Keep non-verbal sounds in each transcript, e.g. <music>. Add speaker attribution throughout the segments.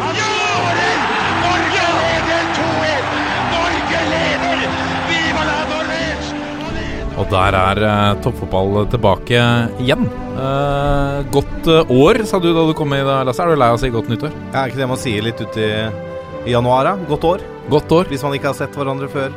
Speaker 1: Han skårer! Norge leder 2-1! Norge leder! Viva la Norvège!
Speaker 2: Og der er eh, toppfotball tilbake igjen. Eh, godt eh, år, sa du da du kom i det, Lasse. Er du lei av å si godt nyttår?
Speaker 3: Ja, er ikke det man sier litt uti i januar, da? Godt år.
Speaker 2: Godt år,
Speaker 3: Hvis man ikke har sett hverandre før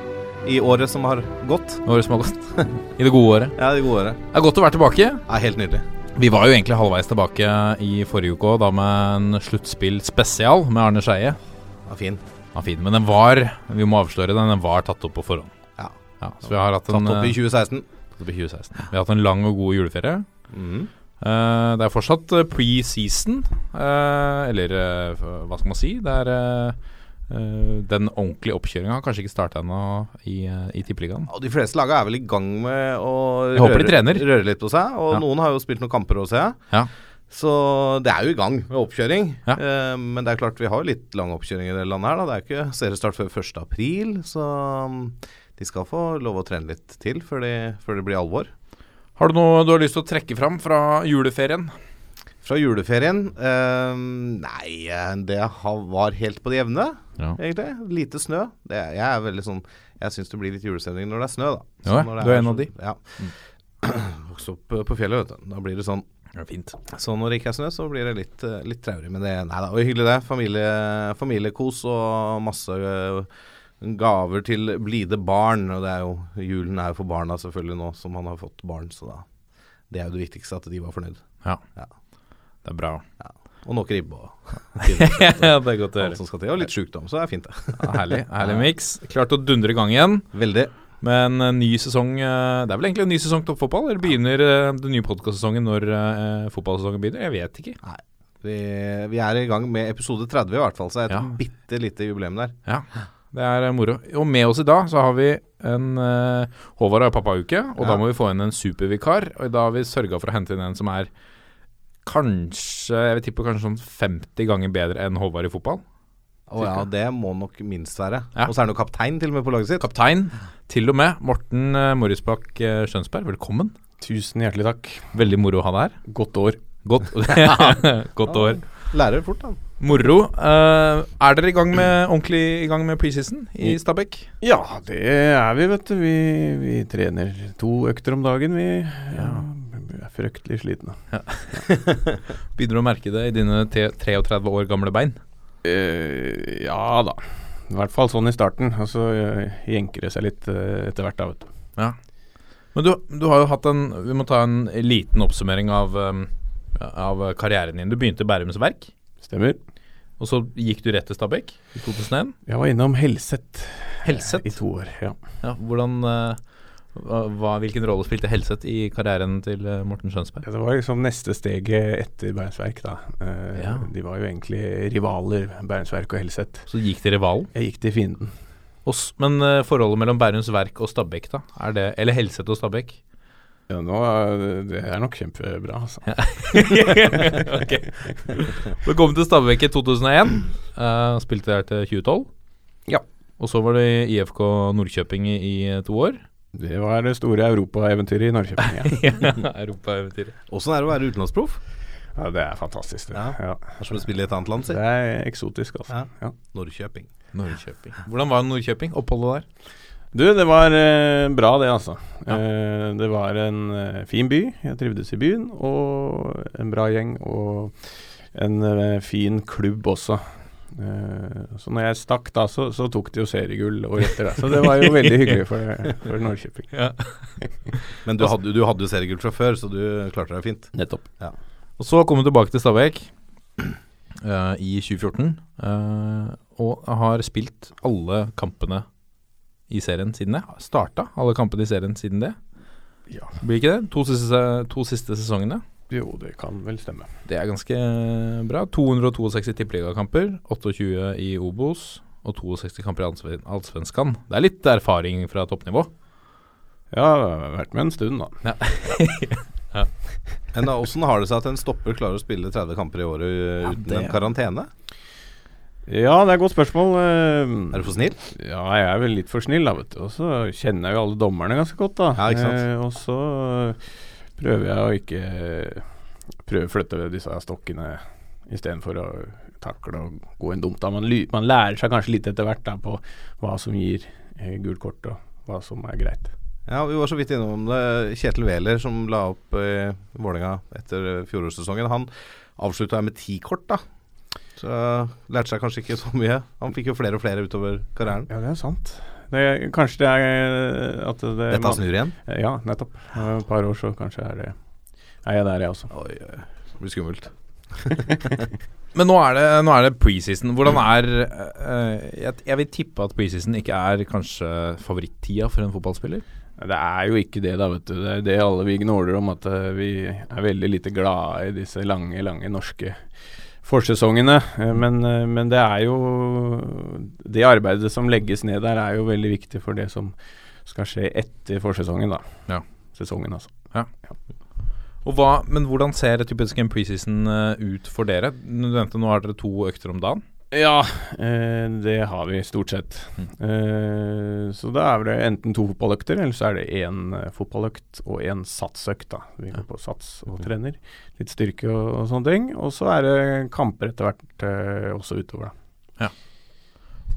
Speaker 3: i året som har gått.
Speaker 2: året som har gått. <laughs> I det gode året.
Speaker 3: Ja, det gode året.
Speaker 2: Det er godt å være tilbake.
Speaker 3: Ja, helt nydelig.
Speaker 2: Vi var jo egentlig halvveis tilbake i forrige uke òg, da med en sluttspill spesial med Arne Skeie.
Speaker 3: Ja, fin.
Speaker 2: Ja, fin, men den var, vi må avsløre den, den var tatt opp på forhånd.
Speaker 3: Ja.
Speaker 2: Ja, så vi har hatt en
Speaker 3: Tatt opp i
Speaker 2: eh,
Speaker 3: 2016.
Speaker 2: tatt opp i 2016. Vi har hatt en lang og god juleferie.
Speaker 3: Mhm.
Speaker 2: Eh, det er fortsatt eh, pre-season, eh, eller eh, hva skal man si? Det er eh, eh, Den ordentlige oppkjøringa har kanskje ikke starta ennå i, eh, i Tippeligaen.
Speaker 3: Og de fleste laga er vel i gang med å
Speaker 2: Jeg håper de trener.
Speaker 3: røre litt på seg. Og
Speaker 2: Ja.
Speaker 3: noen har jo spilt noen kamper også, ja.
Speaker 2: Ja.
Speaker 3: Så det er jo i gang med oppkjøring.
Speaker 2: Ja.
Speaker 3: Eh, men det er klart vi har jo litt lang oppkjøring i det landet her. Da. Det er ikke seriestart før 1.4, så mm, de skal få lov å trene litt til før, de, før det blir alvor.
Speaker 2: Har du noe du har lyst til å trekke fram fra juleferien?
Speaker 3: Fra juleferien eh, Nei, eh, det har, var helt på det jevne,
Speaker 2: Ja.
Speaker 3: egentlig. Lite snø. Det, jeg er veldig sånn Jeg syns det blir litt julestemning når det er snø, da. Så
Speaker 2: Ja,
Speaker 3: når det
Speaker 2: du er en
Speaker 3: så-
Speaker 2: av de.
Speaker 3: Ja. <clears throat> Vokste opp eh, på fjellet, vet du. Da blir det sånn.
Speaker 2: Det er fint.
Speaker 3: Så når det ikke er snø, så blir det litt, eh, litt traurig. Men det nei, det var hyggelig, det. Familie, familiekos og masse eh, gaver til blide barn. Og det er jo, julen er jo for barna selvfølgelig nå som han har fått barn, så da Det er jo det viktigste, at de var fornøyd.
Speaker 2: Ja.
Speaker 3: Ja.
Speaker 2: Det er bra. <laughs>
Speaker 3: Og nok ribbe og
Speaker 2: ja, det er godt å
Speaker 3: alt som skal til. Og litt sjukdom, så det er fint, det.
Speaker 2: Ja, herlig. Herlig miks. Klart å dundre i gang igjen
Speaker 3: <laughs> Veldig.
Speaker 2: med en eh, ny sesong. eh, Det er vel egentlig en ny sesong toppfotball? Eller begynner eh, den nye podkastsesongen når eh, fotballsesongen begynner? Jeg vet ikke.
Speaker 3: Vi, vi er i gang med episode 30 i hvert fall, så det er et
Speaker 2: Ja.
Speaker 3: bitte lite jubileum der.
Speaker 2: Ja, det er eh, moro. Og med oss i dag så har vi en eh, Håvard og pappa-uke, og da
Speaker 3: Ja.
Speaker 2: må vi få inn en supervikar. Og da har vi sørga for å hente inn en som er kanskje Jeg vil tippe kanskje sånn 50 ganger bedre enn Håvard i fotball.
Speaker 3: Og ja, det må nok minst være.
Speaker 2: Ja.
Speaker 3: Og så er han jo kaptein til og med på laget sitt.
Speaker 2: Kaptein, til og med. Morten eh, Morrisbakk eh, Skjønsberg, velkommen.
Speaker 4: Tusen hjertelig takk.
Speaker 2: Veldig moro å ha deg her.
Speaker 4: Godt år.
Speaker 2: Godt, <laughs> Godt år.
Speaker 3: Lærer fort, han.
Speaker 2: Moro. Eh, er dere i gang med ordentlig i gang med preseason i Stabæk?
Speaker 4: Ja, det er vi, vet du. Vi, vi trener to økter om dagen, vi. Ja, vi er fryktelig slitne.
Speaker 2: Begynner du å merke det i dine te- 33 år gamle bein?
Speaker 4: Eh, ja da. I hvert fall sånn i starten. Og så eh, jenker det seg litt eh, etter hvert, da, vet du.
Speaker 2: Ja. Men du, du har jo hatt en Vi må ta en liten oppsummering av, eh, av karrieren din. Du begynte i Bærums Verk,
Speaker 4: Stemmer.
Speaker 2: og så gikk du rett til Stabæk i 2001.
Speaker 4: Jeg var innom Helset i
Speaker 2: Helset.
Speaker 4: to år, ja.
Speaker 2: Ja, hvordan eh, hva, hva- Hvilken rolle spilte Helset i karrieren til eh, Morten Skjønsberg?
Speaker 4: Ja, Det var liksom neste steget etter Bernsverk, da. Eh,
Speaker 2: Ja.
Speaker 4: De var jo egentlig rivaler, Bernsverk og Helset.
Speaker 2: Så gikk til rivalen.
Speaker 4: Jeg gikk til fienden.
Speaker 2: Oss, men eh, forholdet mellom Bærums Verk og Stabæk, da? Er det, eller Helset og Stabæk?
Speaker 4: Ja, nå, eh, det er nok kjempebra, altså.
Speaker 2: ok. Du kom til Stabæk i 2001. eh, spilte der til 2012.
Speaker 4: Ja.
Speaker 2: Og så var det i IFK Nordkjøping i, i to år.
Speaker 4: Det var det store europaeventyret i Norrköping.
Speaker 3: <laughs>
Speaker 4: Ja.
Speaker 2: Europaeventyret.
Speaker 3: Åssen er det å være utenlandsproff?
Speaker 4: ja, det er fantastisk. Det.
Speaker 3: Ja.
Speaker 4: Ja.
Speaker 3: Det er som å spille i et annet land,
Speaker 4: det
Speaker 3: si.
Speaker 4: er eksotisk, altså. Ja.
Speaker 3: Norrköping.
Speaker 2: Nordkjøping. Hvordan var Nordkjøping? Oppholdet der?
Speaker 4: Du, det var eh, bra, det, altså. Eh, det var en eh, fin by. Jeg trivdes i byen. Og en bra gjeng. Og en eh, fin klubb også. Eh, så når jeg stakk da, så, så tok de jo seriegull året etter. da. Så det var jo veldig hyggelig for, for Norrköping.
Speaker 3: Men du hadde, du hadde jo seriegull fra før, så du klarte deg fint.
Speaker 4: Nettopp.
Speaker 2: Og så kom hun tilbake til Stabæk eh, i 2014, eh, og har spilt alle kampene i serien siden det. Starta alle kampene i serien siden det.
Speaker 4: Ja.
Speaker 2: Blir ikke det? To siste, to siste sesongene.
Speaker 4: Jo, det kan vel stemme.
Speaker 2: Det er ganske eh, bra. 262 tippeligakamper, 28 i Obos og 62 kamper i Allsven- Allsvenskan. Det er litt erfaring fra toppnivå.
Speaker 4: Ja, jeg har vært med en stund, da.
Speaker 3: Men da, Hvordan har det seg at en stopper klarer å spille 30 kamper i året eh, uten en karantene?
Speaker 4: Ja, det er et godt spørsmål. eh,
Speaker 3: Er du for snill?
Speaker 4: Ja, jeg er vel litt for snill, da, vet du. Og så kjenner jeg jo alle dommerne ganske godt, da.
Speaker 3: Ja, ikke sant?
Speaker 4: Eh, og så eh, prøver jeg å ikke eh, Prøve å flytte disse stokkene istedenfor å takle og gå inn dumt. Da. Man, ly- man lærer seg kanskje litt etter hvert da, på hva som gir eh, gult kort, og hva som er greit.
Speaker 3: Ja, Vi var så vidt innom det. Kjetil Wæler, som la opp i Vålerenga etter eh, fjorårssesongen, han avslutta med ti kort, da. Så eh, lærte seg kanskje ikke så mye. Han fikk jo flere og flere utover karrieren.
Speaker 4: Ja, det er sant. Det, kanskje det er eh, at det
Speaker 3: Dette snur igjen.
Speaker 4: Ja, nettopp. Om et par år så kanskje er det Er jeg der, jeg også.
Speaker 3: Oi, oi. Det blir skummelt.
Speaker 2: Men nå er det, nå er det preseason. Hvordan er eh, jeg, jeg vil tippe at preseason ikke er kanskje favorittida for en fotballspiller.
Speaker 4: Det er jo ikke det, da, vet du. Det er det alle vi gnåler om, at eh, vi er veldig lite glade i disse lange, lange norske forsesongene. Eh, Men, eh, men det er jo Det arbeidet som legges ned der, er jo veldig viktig for det som skal skje etter forsesongen, da.
Speaker 2: Ja.
Speaker 4: Sesongen, altså.
Speaker 2: Og hva, men hvordan ser typisk en preseason eh, ut for dere? Du nevnte nå har dere to økter om dagen.
Speaker 4: Ja, eh, det har vi stort sett.
Speaker 2: Mm.
Speaker 4: Eh, så da er det enten to fotballøkter, eller så er det én eh, fotballøkt og én satsøkt. da. Vi går på sats
Speaker 2: Mm.
Speaker 4: og trener, litt styrke og, og sånne ting. Og så er det kamper etter hvert eh, også utover, da.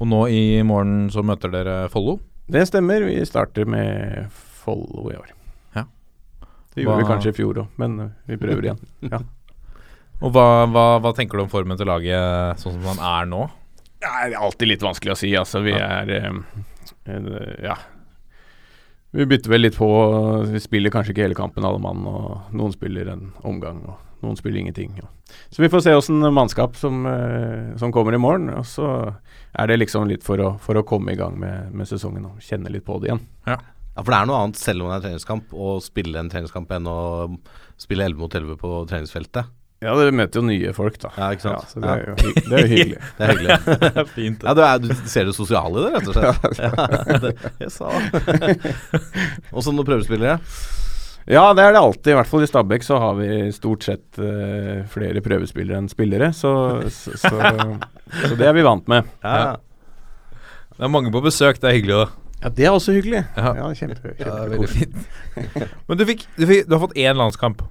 Speaker 2: Og nå i morgen så møter dere Follo.
Speaker 4: Det stemmer, vi starter med Follo i år.
Speaker 2: Ja.
Speaker 4: Det gjorde vi
Speaker 2: Hva-
Speaker 4: kanskje i fjor òg, men eh, vi prøver igjen. ja.
Speaker 2: Og hva, hva, hva tenker du om formen til laget sånn som den er nå?
Speaker 4: Nei, det er alltid litt vanskelig å si. Altså, vi er eh, eh, Ja. Vi bytter vel litt på. Vi spiller kanskje ikke hele kampen, alle mann. Og noen spiller en omgang, og noen spiller ingenting. Og. Så vi får se åssen mannskap som, eh, som kommer i morgen. Og så er det liksom litt for å, for å komme i gang med, med sesongen og kjenne litt på det igjen.
Speaker 3: Ja, For det er noe annet selv om det er treningskamp, å spille en treningskamp enn å spille 11 mot 11 på treningsfeltet.
Speaker 4: Ja, dere møter jo nye folk, da.
Speaker 3: Ja, ikke sant?
Speaker 4: så det er jo, hy- det er jo hyggelig.
Speaker 3: Det er hyggelig.
Speaker 2: <laughs>
Speaker 3: <laughs>
Speaker 2: Fint.
Speaker 3: Ja, du, er, du ser det sosiale i det, rett og slett. <laughs> Ja, det, jeg sa <laughs> Og så noen prøvespillere.
Speaker 4: Ja, det er det alltid. I hvert fall i Stabæk så har vi stort sett eh, flere prøvespillere enn spillere, så, så, så, så det er vi vant med.
Speaker 3: Ja.
Speaker 2: Det er mange på besøk, det er hyggelig. da.
Speaker 4: Ja, det er også hyggelig.
Speaker 2: Ja.
Speaker 4: kjempe,
Speaker 2: veldig fint. <laughs> Men du, fikk, du, fikk, du har fått én landskamp.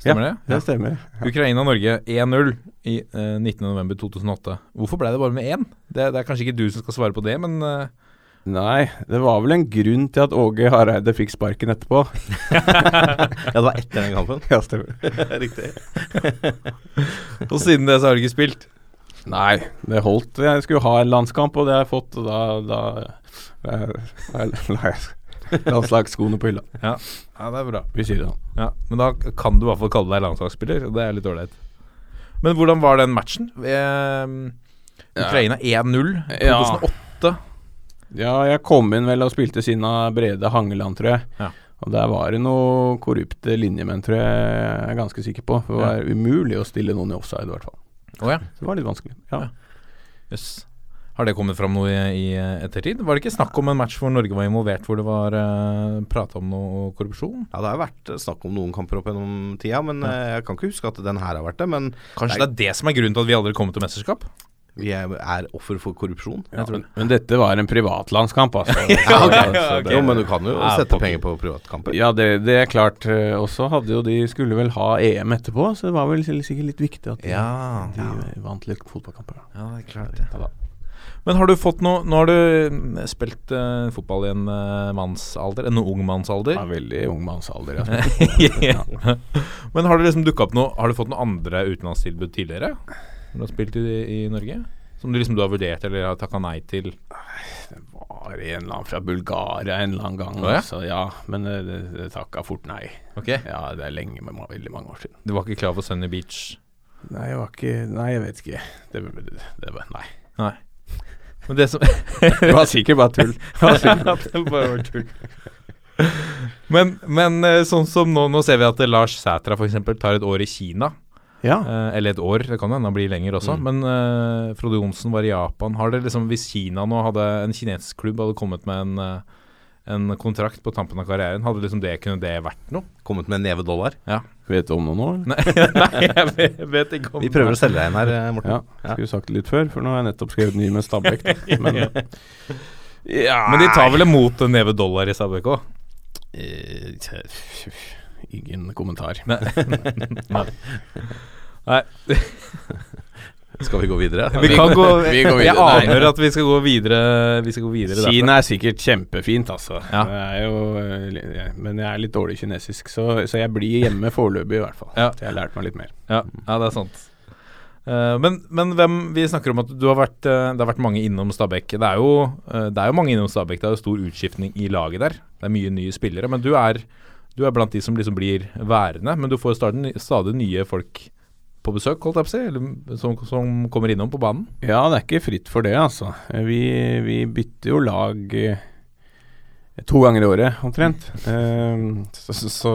Speaker 2: Stemmer det?
Speaker 4: Det stemmer.
Speaker 2: Ukraina-Norge 1-0 i eh, 19. november 2008. Hvorfor ble det bare med én? Det, det er kanskje ikke du som skal svare på det, men eh,
Speaker 4: Nei, det var vel en grunn til at Åge Hareide fikk sparken etterpå.
Speaker 3: ja, det var etter den kampen.
Speaker 4: <laughs> Ja, stemmer.
Speaker 3: <laughs> Riktig.
Speaker 2: Og siden det så har du ikke spilt.
Speaker 4: Nei, det holdt. Jeg skulle ha en landskamp, og det har jeg fått. Og da, da, da, da la jeg landslagsskoene på hylla.
Speaker 2: Ja, det er bra.
Speaker 4: Vi sier det. sånn.
Speaker 2: Ja, Men da kan du i hvert fall kalle deg landslagsspiller, og det er litt ålreit. Men hvordan var den matchen? Eh, Ukraina 1-0
Speaker 4: Ja.
Speaker 2: 2008.
Speaker 4: Ja, jeg kom inn vel og spilte sinna Brede Hangeland, tror jeg.
Speaker 2: Ja.
Speaker 4: Og der var det noen korrupte linjemenn, tror jeg. Jeg er ganske sikker på. For det var umulig å stille noen i offside, i hvert fall.
Speaker 2: Å ja.
Speaker 4: Så det var litt vanskelig. Ja.
Speaker 2: Jøss. Har det kommet fram noe i, i ettertid? Var det ikke snakk om en match hvor Norge var involvert, hvor det var uh, prata om noe korrupsjon?
Speaker 3: Ja, det har jo vært eh, snakk om noen kamper opp gjennom tida, men eh, jeg kan ikke huske at den her har vært det. Men
Speaker 2: Kanskje det er det som er grunnen til at vi aldri kommer til mesterskap?
Speaker 3: vi er, er offer for korrupsjon.
Speaker 4: Ja, men, men dette var en privatlandskamp, altså. <laughs> ja,
Speaker 3: Så det- Jo, men du kan jo
Speaker 2: Ja,
Speaker 3: sette
Speaker 2: pokker.
Speaker 3: penger på privatkamper.
Speaker 4: Ja, det, det er klart. eh, Også hadde jo de skulle vel ha EM etterpå, så det var vel sikkert litt viktig at de,
Speaker 2: Ja.
Speaker 4: de vant litt fotballkamper. da.
Speaker 2: Ja, det er klart det. Men har du fått noe Nå har du mm, spilt eh, fotball i en eh, mannsalder, en ung mannsalder.
Speaker 4: Ja, veldig ung <laughs> mannsalder. Altså.
Speaker 2: Ja. <laughs> Men har det liksom dukka opp noe Har du fått noen andre utenlandstilbud tidligere? Når du har spilt i, i Norge? Som du liksom du har vurdert eller har takka nei til?
Speaker 4: var en eller annen fra Bulgaria en eller annen gang.
Speaker 2: Å, ja?
Speaker 4: Altså, ja, men eh, det, det takka fort nei.
Speaker 2: Ok
Speaker 4: Ja, det er lenge, men ma- veldig mange år siden.
Speaker 2: Du var ikke klar for Sunny Beach?
Speaker 4: Nei, jeg var ikke Nei, jeg vet ikke. Det, det, det var Nei.
Speaker 2: Nei. Men det <laughs> som
Speaker 4: <laughs> Det var sikkert bare <laughs> tull. Det var sikkert-
Speaker 2: <laughs> Men, men eh, sånn som nå, nå ser vi at eh, Lars Sætra f.eks. tar et år i Kina.
Speaker 4: ja.
Speaker 2: Eh, eller et år, det kan hende han blir lenger også. Men eh, Frode Johnsen var i Japan. Har det liksom, Hvis Kina nå hadde en kinesisk klubb hadde kommet med en, eh, en kontrakt på tampen av karrieren. Hadde liksom det kunne det vært noe?
Speaker 3: Kommet med en neve dollar.
Speaker 4: Vet du om noe nå? eller?
Speaker 2: Nei, nei <laughs> jeg vet, jeg vet ikke om
Speaker 3: Vi prøver å selge deg inn her, eh, Morten.
Speaker 4: Ja, skulle sagt det litt før, for nå har jeg nettopp skrevet ny med Stabæk. da. <laughs> Men, ja.
Speaker 2: Men de tar vel imot en neve dollar i Stabæk òg?
Speaker 4: Eh, tja, Ingen kommentar.
Speaker 2: Nei. Nei.
Speaker 3: Skal vi gå videre?
Speaker 2: Vi kan gå
Speaker 4: vi går
Speaker 2: Jeg
Speaker 4: videre.
Speaker 2: aner at vi skal gå videre Vi skal gå videre derfra.
Speaker 4: Kina er sikkert kjempefint, altså.
Speaker 2: Ja.
Speaker 4: Det er jo, eh, li- ja, men jeg er litt dårlig i kinesisk, så, så jeg blir hjemme foreløpig, i hvert fall.
Speaker 2: Ja.
Speaker 4: Så jeg har lært meg litt mer.
Speaker 2: Ja, ja det er sant. Eh, men, men hvem Vi snakker om at du har vært eh, det har vært mange innom Stabæk. Det er jo, eh, det er jo mange innom Stabæk. Det er jo stor utskiftning i laget der. Det er mye nye spillere. Men du er, du er blant de som liksom blir værende. Men du får stadig, stadig nye folk på besøk, holdt jeg på å si, eller som, som kommer innom på banen.
Speaker 4: Ja, det er ikke fritt for det, altså. Eh, Vi, vi bytter jo lag eh, to ganger i året, omtrent. Eh, så, så, så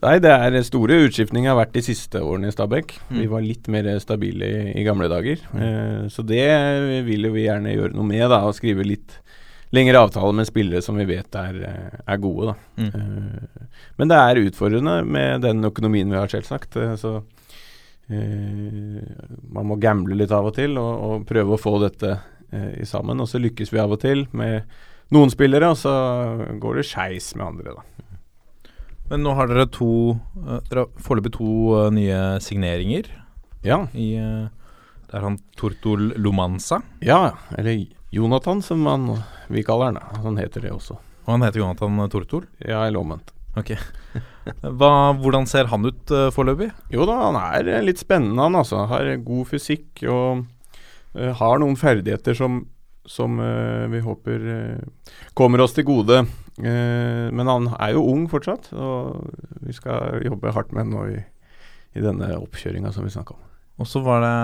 Speaker 4: Nei, det er store utskiftninger har vært de siste årene i Stabæk.
Speaker 2: Mm.
Speaker 4: Vi var litt mer stabile i, i gamle dager. Eh, så det vil jo vi gjerne gjøre noe med, da. Og skrive litt lengre avtaler med spillere som vi vet er, eh, er gode, da. Eh, Men det er utfordrende med den økonomien vi har, selvsagt. eh, Så eh, man må gamble litt av og til og, og prøve å få dette eh, i sammen. Og så lykkes vi av og til med noen spillere, og så går det skeis med andre, da.
Speaker 2: Men nå har dere to eh, Dere har foreløpig to eh, nye signeringer
Speaker 4: Ja,
Speaker 2: i eh, Det er han Tortol Lomanza.
Speaker 4: ja. Eller Jonathan, som han, vi kaller han. da. Han heter det også.
Speaker 2: Og han heter Jonathan Tortol.
Speaker 4: Ja, eller omvendt.
Speaker 2: Hva, hvordan ser han ut uh, foreløpig?
Speaker 4: Jo da, han er eh, litt spennende, han altså. Han Har god fysikk og eh, har noen ferdigheter som, som eh, vi håper eh, kommer oss til gode. Eh, men han er jo ung fortsatt, og vi skal jobbe hardt med ham nå i, i denne oppkjøringa som vi snakka om.
Speaker 2: Og så var det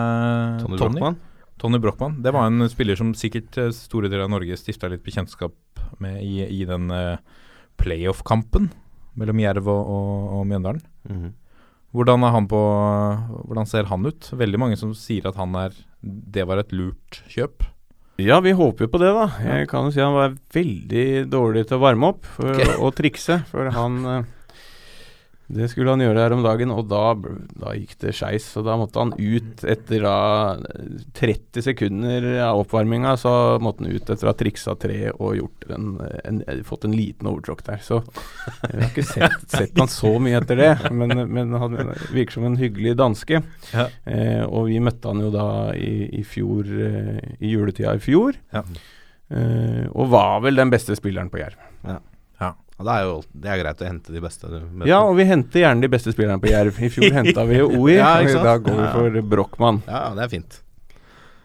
Speaker 3: Tony
Speaker 2: Tony,
Speaker 3: Brochmann.
Speaker 2: Tony Brochmann. Det var en spiller som sikkert eh, store deler av Norge stifta litt bekjentskap med i, i den eh, playoff-kampen mellom Jerv og, og, og Mjøndalen.
Speaker 3: Mhm.
Speaker 2: Hvordan, er han på, eh, hvordan ser han ut? Veldig mange som sier at han er Det var et lurt kjøp.
Speaker 4: Ja, vi håper jo på det, da. Jeg kan jo si han var veldig dårlig til å varme opp for, og trikse, for han eh, Det skulle han gjøre her om dagen, og da, bl- da gikk det skeis. Så da måtte han ut etter da eh, 30 sekunder av oppvarminga, så måtte han ut etter å ha triksa tre og gjort en, en, en, fått en liten overtråkk der. Så jeg har ikke sett, sett han så mye etter det, men, men han virker som en hyggelig danske.
Speaker 2: Ja.
Speaker 4: Eh, og vi møtte han jo da i, i fjor, eh, i juletida i fjor.
Speaker 2: Ja.
Speaker 4: Eh, og var vel den beste spilleren på Jerv.
Speaker 3: Ja, det er jo det er greit å hente de beste. du vet.
Speaker 4: Ja, og vi henter gjerne de beste spillerne på Jerv. I fjor henta <laughs> vi jo OI,
Speaker 3: Ja,
Speaker 4: og
Speaker 3: ikke sant?
Speaker 4: i dag går vi
Speaker 3: Ja.
Speaker 4: for Brochmann.
Speaker 3: ja, det er fint.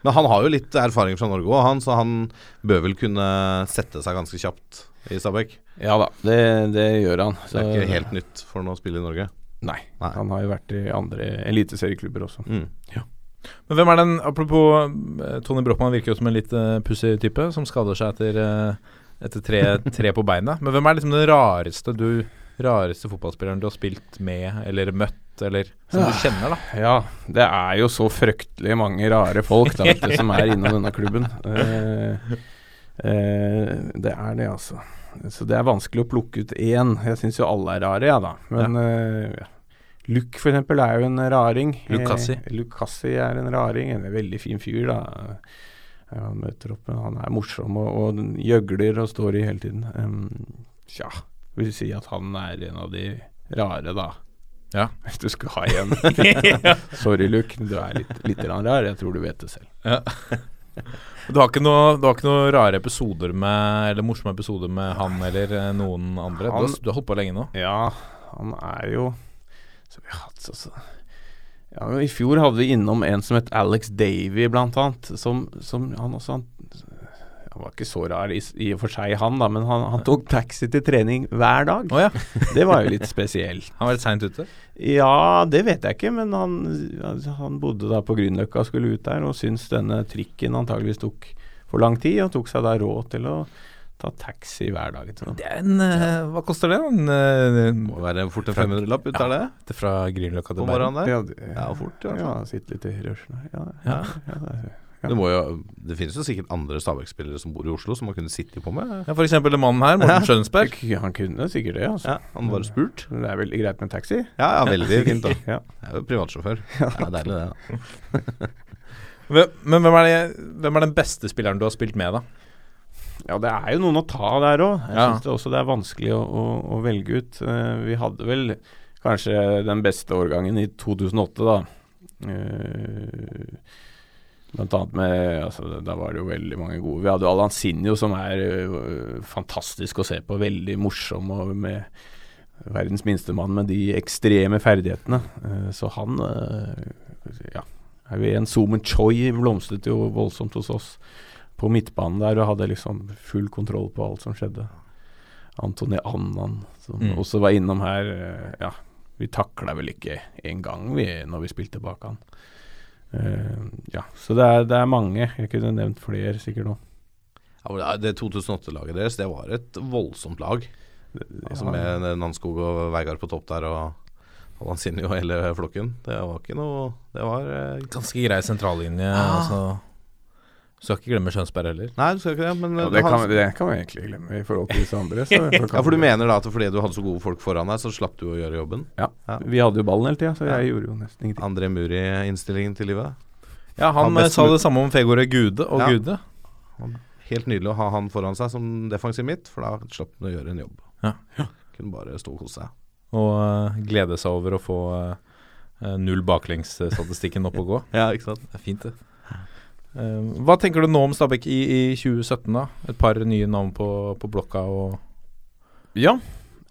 Speaker 3: Men han har jo litt erfaring fra Norge òg, han, så han bør vel kunne sette seg ganske kjapt i Stabæk.
Speaker 4: Ja da, det, det gjør han.
Speaker 3: Så det er ikke helt nytt for han å spille i Norge.
Speaker 4: Nei.
Speaker 3: Nei.
Speaker 4: Han har jo vært i andre eliteserieklubber også.
Speaker 3: Mm.
Speaker 2: Men hvem er den Apropos eh, Tony Brochmann virker jo som en litt uh, pussig type, som skader seg etter, eh, etter tre, tre på beina. Men hvem er liksom den rareste du Rareste fotballspilleren du har spilt med eller møtt, eller som du kjenner, da?
Speaker 4: Ja, det er jo så fryktelig mange rare folk da, vet du, som er innom denne klubben. Eh, eh, det er det, altså. Så det er vanskelig å plukke ut én. Jeg syns jo alle er rare, jeg, ja, da. Men eh, ja. Luke, for eksempel, er jo en raring.
Speaker 2: Lukassi.
Speaker 4: Eh, Lukassi er en raring. En veldig fin fyr, da. Ja, han møter opp, men han er morsom og, og den gjøgler og står i hele tiden. Um, tja, vil si at han er en av de rare, da.
Speaker 2: Ja.
Speaker 4: Hvis du skal ha en. Sorry, Luke, du er litt, litt grann rar. Jeg tror du vet det selv.
Speaker 2: Du har ikke noen noe rare episoder med Eller morsomme episoder med han eller eh, noen andre? Du,
Speaker 4: Han-
Speaker 2: har, du har holdt på lenge nå.
Speaker 4: Ja, han er jo Så vi har hatt så, så. Ja, men I fjor hadde vi innom en som het Alex Davy, blant annet. Som, som han også han, han var ikke så rar i, s- i og for seg, han, da, men han, han tok taxi til trening hver dag.
Speaker 2: Å ja.
Speaker 4: Det var jo litt spesielt.
Speaker 2: Han var litt seint ute.
Speaker 4: <laughs> Ja, det vet jeg ikke, men han, altså, han bodde da på Grünerløkka og skulle ut der, og syntes denne trikken antageligvis tok for lang tid, og tok seg da råd til å ta taxi hver dag. Til
Speaker 2: Det er en eh, Hva koster det? En,
Speaker 3: Må være fort en 500-lapp ut av det
Speaker 2: uh, fra Grünerløkka
Speaker 3: på
Speaker 2: til Bærum?
Speaker 3: morgenen der.
Speaker 4: ja, det,
Speaker 3: Ja, fort, i hvert fall.
Speaker 4: Ja, sitte litt i rørsla. Ja,
Speaker 2: Ja.
Speaker 4: ja, det er- Ja.
Speaker 3: Det, må jo, det finnes jo sikkert andre Stabæk-spillere som bor i Oslo, som man kunne sittet på med.
Speaker 2: Ja, for eksempel den mannen her, Morten Skjønsberg.
Speaker 4: Han kunne sikkert det, altså.
Speaker 3: Ja, Han var spurt.
Speaker 4: Det er veldig greit med taxi.
Speaker 3: Ja, ja, veldig fint. <laughs>
Speaker 4: <laughs>
Speaker 3: da
Speaker 4: da. Ja.
Speaker 3: Jeg er jo privatsjåfør. Det er deilig, det. da.
Speaker 2: Hvem- Men hvem er, det, hvem er den beste spilleren du har spilt med, da?
Speaker 4: Ja, det er jo noen å ta der òg. Jeg
Speaker 2: Ja.
Speaker 4: synes det også det er vanskelig å, å, å velge ut. Eh, Vi hadde vel kanskje den beste årgangen i 2008, da. Eh, Blant annet med altså, Da var det jo veldig mange gode. Vi hadde jo Alan Sinjo, som er eh, fantastisk å se på. Veldig morsom og med verdens minste mann med de ekstreme ferdighetene. Eh, Så han eh, Ja. Er jo en Zoomen Choi blomstret jo voldsomt hos oss på midtbanen der og hadde liksom full kontroll på alt som skjedde. Antony Annan som
Speaker 2: Mm.
Speaker 4: også var innom her. eh, Ja, vi takla vel ikke en gang vi, når vi spilte bak han. Eh, ja, så det er, det er mange. Jeg kunne nevnt flere sikkert nå.
Speaker 3: Ja, men det 2008-laget deres, det var et voldsomt lag. Altså
Speaker 4: Ja.
Speaker 3: Med Nanskog og Veigard på topp der og Alanzini og hele flokken. Det var ikke noe Det var eh,
Speaker 2: Ganske grei sentrallinje. Altså. Skal ikke glemme Skjønsberg heller.
Speaker 3: Nei, du skal ikke det, men
Speaker 4: Ja,
Speaker 3: eh,
Speaker 4: det,
Speaker 3: han-
Speaker 4: kan, det kan vi egentlig glemme i forhold til disse andre.
Speaker 3: <laughs>
Speaker 4: Så
Speaker 3: ja, For du mener da at fordi du hadde så gode folk foran deg, så slapp du å gjøre jobben?
Speaker 4: Ja, Vi hadde jo ballen hele tida, så jeg gjorde jo nesten ingenting.
Speaker 3: André Muri-innstillingen til livet?
Speaker 2: Ja, Han, eh,
Speaker 3: Han best-
Speaker 2: sa det samme om Fegore Gude og
Speaker 3: Ja.
Speaker 2: Gude.
Speaker 3: Helt nydelig å ha han foran seg som defensiv midt, for da slapp han å gjøre en jobb.
Speaker 2: Ja.
Speaker 3: Kunne bare stå og kose seg.
Speaker 2: Og eh, glede seg over å få eh, null baklengsstatistikken opp og gå.
Speaker 3: Ja, ikke
Speaker 2: <laughs>
Speaker 3: sant?
Speaker 2: Det er fint, det. Eh, hva tenker du nå om Stabæk i, i 2017, da? Et par nye navn på, på blokka og
Speaker 4: Ja.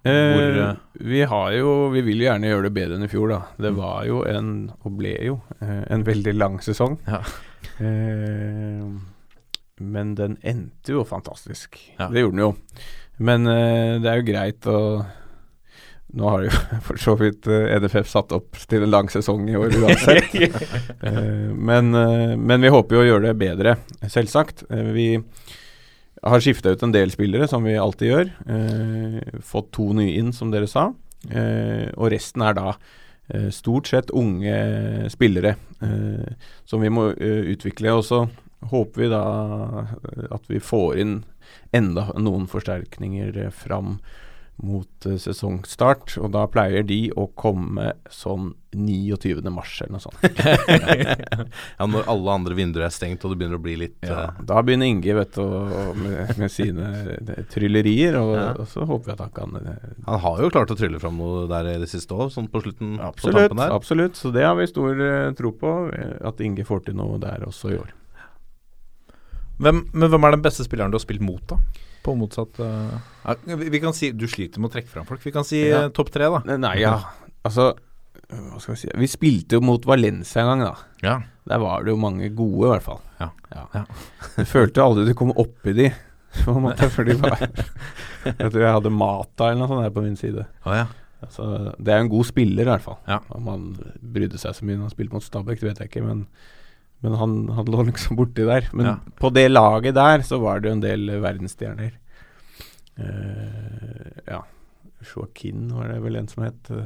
Speaker 2: Hvor, eh,
Speaker 4: Eh, vi har jo Vi vil jo gjerne gjøre det bedre enn i fjor, da. Det
Speaker 2: Mm.
Speaker 4: var jo en, og ble jo, eh, en veldig lang sesong.
Speaker 2: Ja.
Speaker 4: Eh, men den endte jo fantastisk.
Speaker 2: Ja.
Speaker 4: Det gjorde den jo. Men eh, det er jo greit å nå har jo <laughs> for så vidt eh, NFF satt opp til en lang sesong i år uansett.
Speaker 2: <laughs>
Speaker 4: Eh, men, eh, men vi håper jo å gjøre det bedre, selvsagt. Eh, Vi har skifta ut en del spillere, som vi alltid gjør. Eh, Fått to nye inn, som dere sa. Eh, Og resten er da eh, stort sett unge spillere eh, som vi må eh, utvikle. Og så håper vi da eh, at vi får inn enda noen forsterkninger eh, fram mot eh, sesongstart, og da pleier de å komme sånn 29. mars eller noe sånt.
Speaker 3: Ja, Når alle andre vinduer er stengt og det begynner å bli litt eh,
Speaker 4: Da begynner Inge vet du, å- å- med, med sine eh, tryllerier, og,
Speaker 3: Ja.
Speaker 4: og så håper vi at han kan eh,
Speaker 3: Han har jo klart å trylle fram noe der i det siste òg, sånn på slutten. På
Speaker 4: Absolutt,
Speaker 3: tampen der.
Speaker 4: absolutt. Så det har vi stor eh, tro på, eh, at Inge får til noe der også i år.
Speaker 2: hvem, Men hvem er den beste spilleren du har spilt mot, da? På motsatt eh, ja, vi, vi kan si Du sliter med å trekke fram folk. Vi kan si
Speaker 4: Ja.
Speaker 2: eh, topp tre, da.
Speaker 4: Nei, Nei, ja. <laughs> Altså, hva skal vi si Vi spilte jo mot Valencia en gang, da.
Speaker 2: Ja.
Speaker 4: Der var det jo mange gode, i hvert fall.
Speaker 2: Ja. Ja.
Speaker 4: Du følte aldri du kom oppi de, på en måte, for de var Jeg tror jeg hadde Mata eller noe sånt her på min side.
Speaker 2: Ah, ja.
Speaker 4: Så det er en god spiller, i hvert fall.
Speaker 2: Ja.
Speaker 4: Om han brydde seg så mye når han spilte mot Stabæk, det vet jeg ikke, men, men han, han lå liksom borti der. Men
Speaker 2: Ja.
Speaker 4: på det laget der så var det jo en del eh, verdensstjerner. Eh, ja. Joaquin var det vel en som het. eh,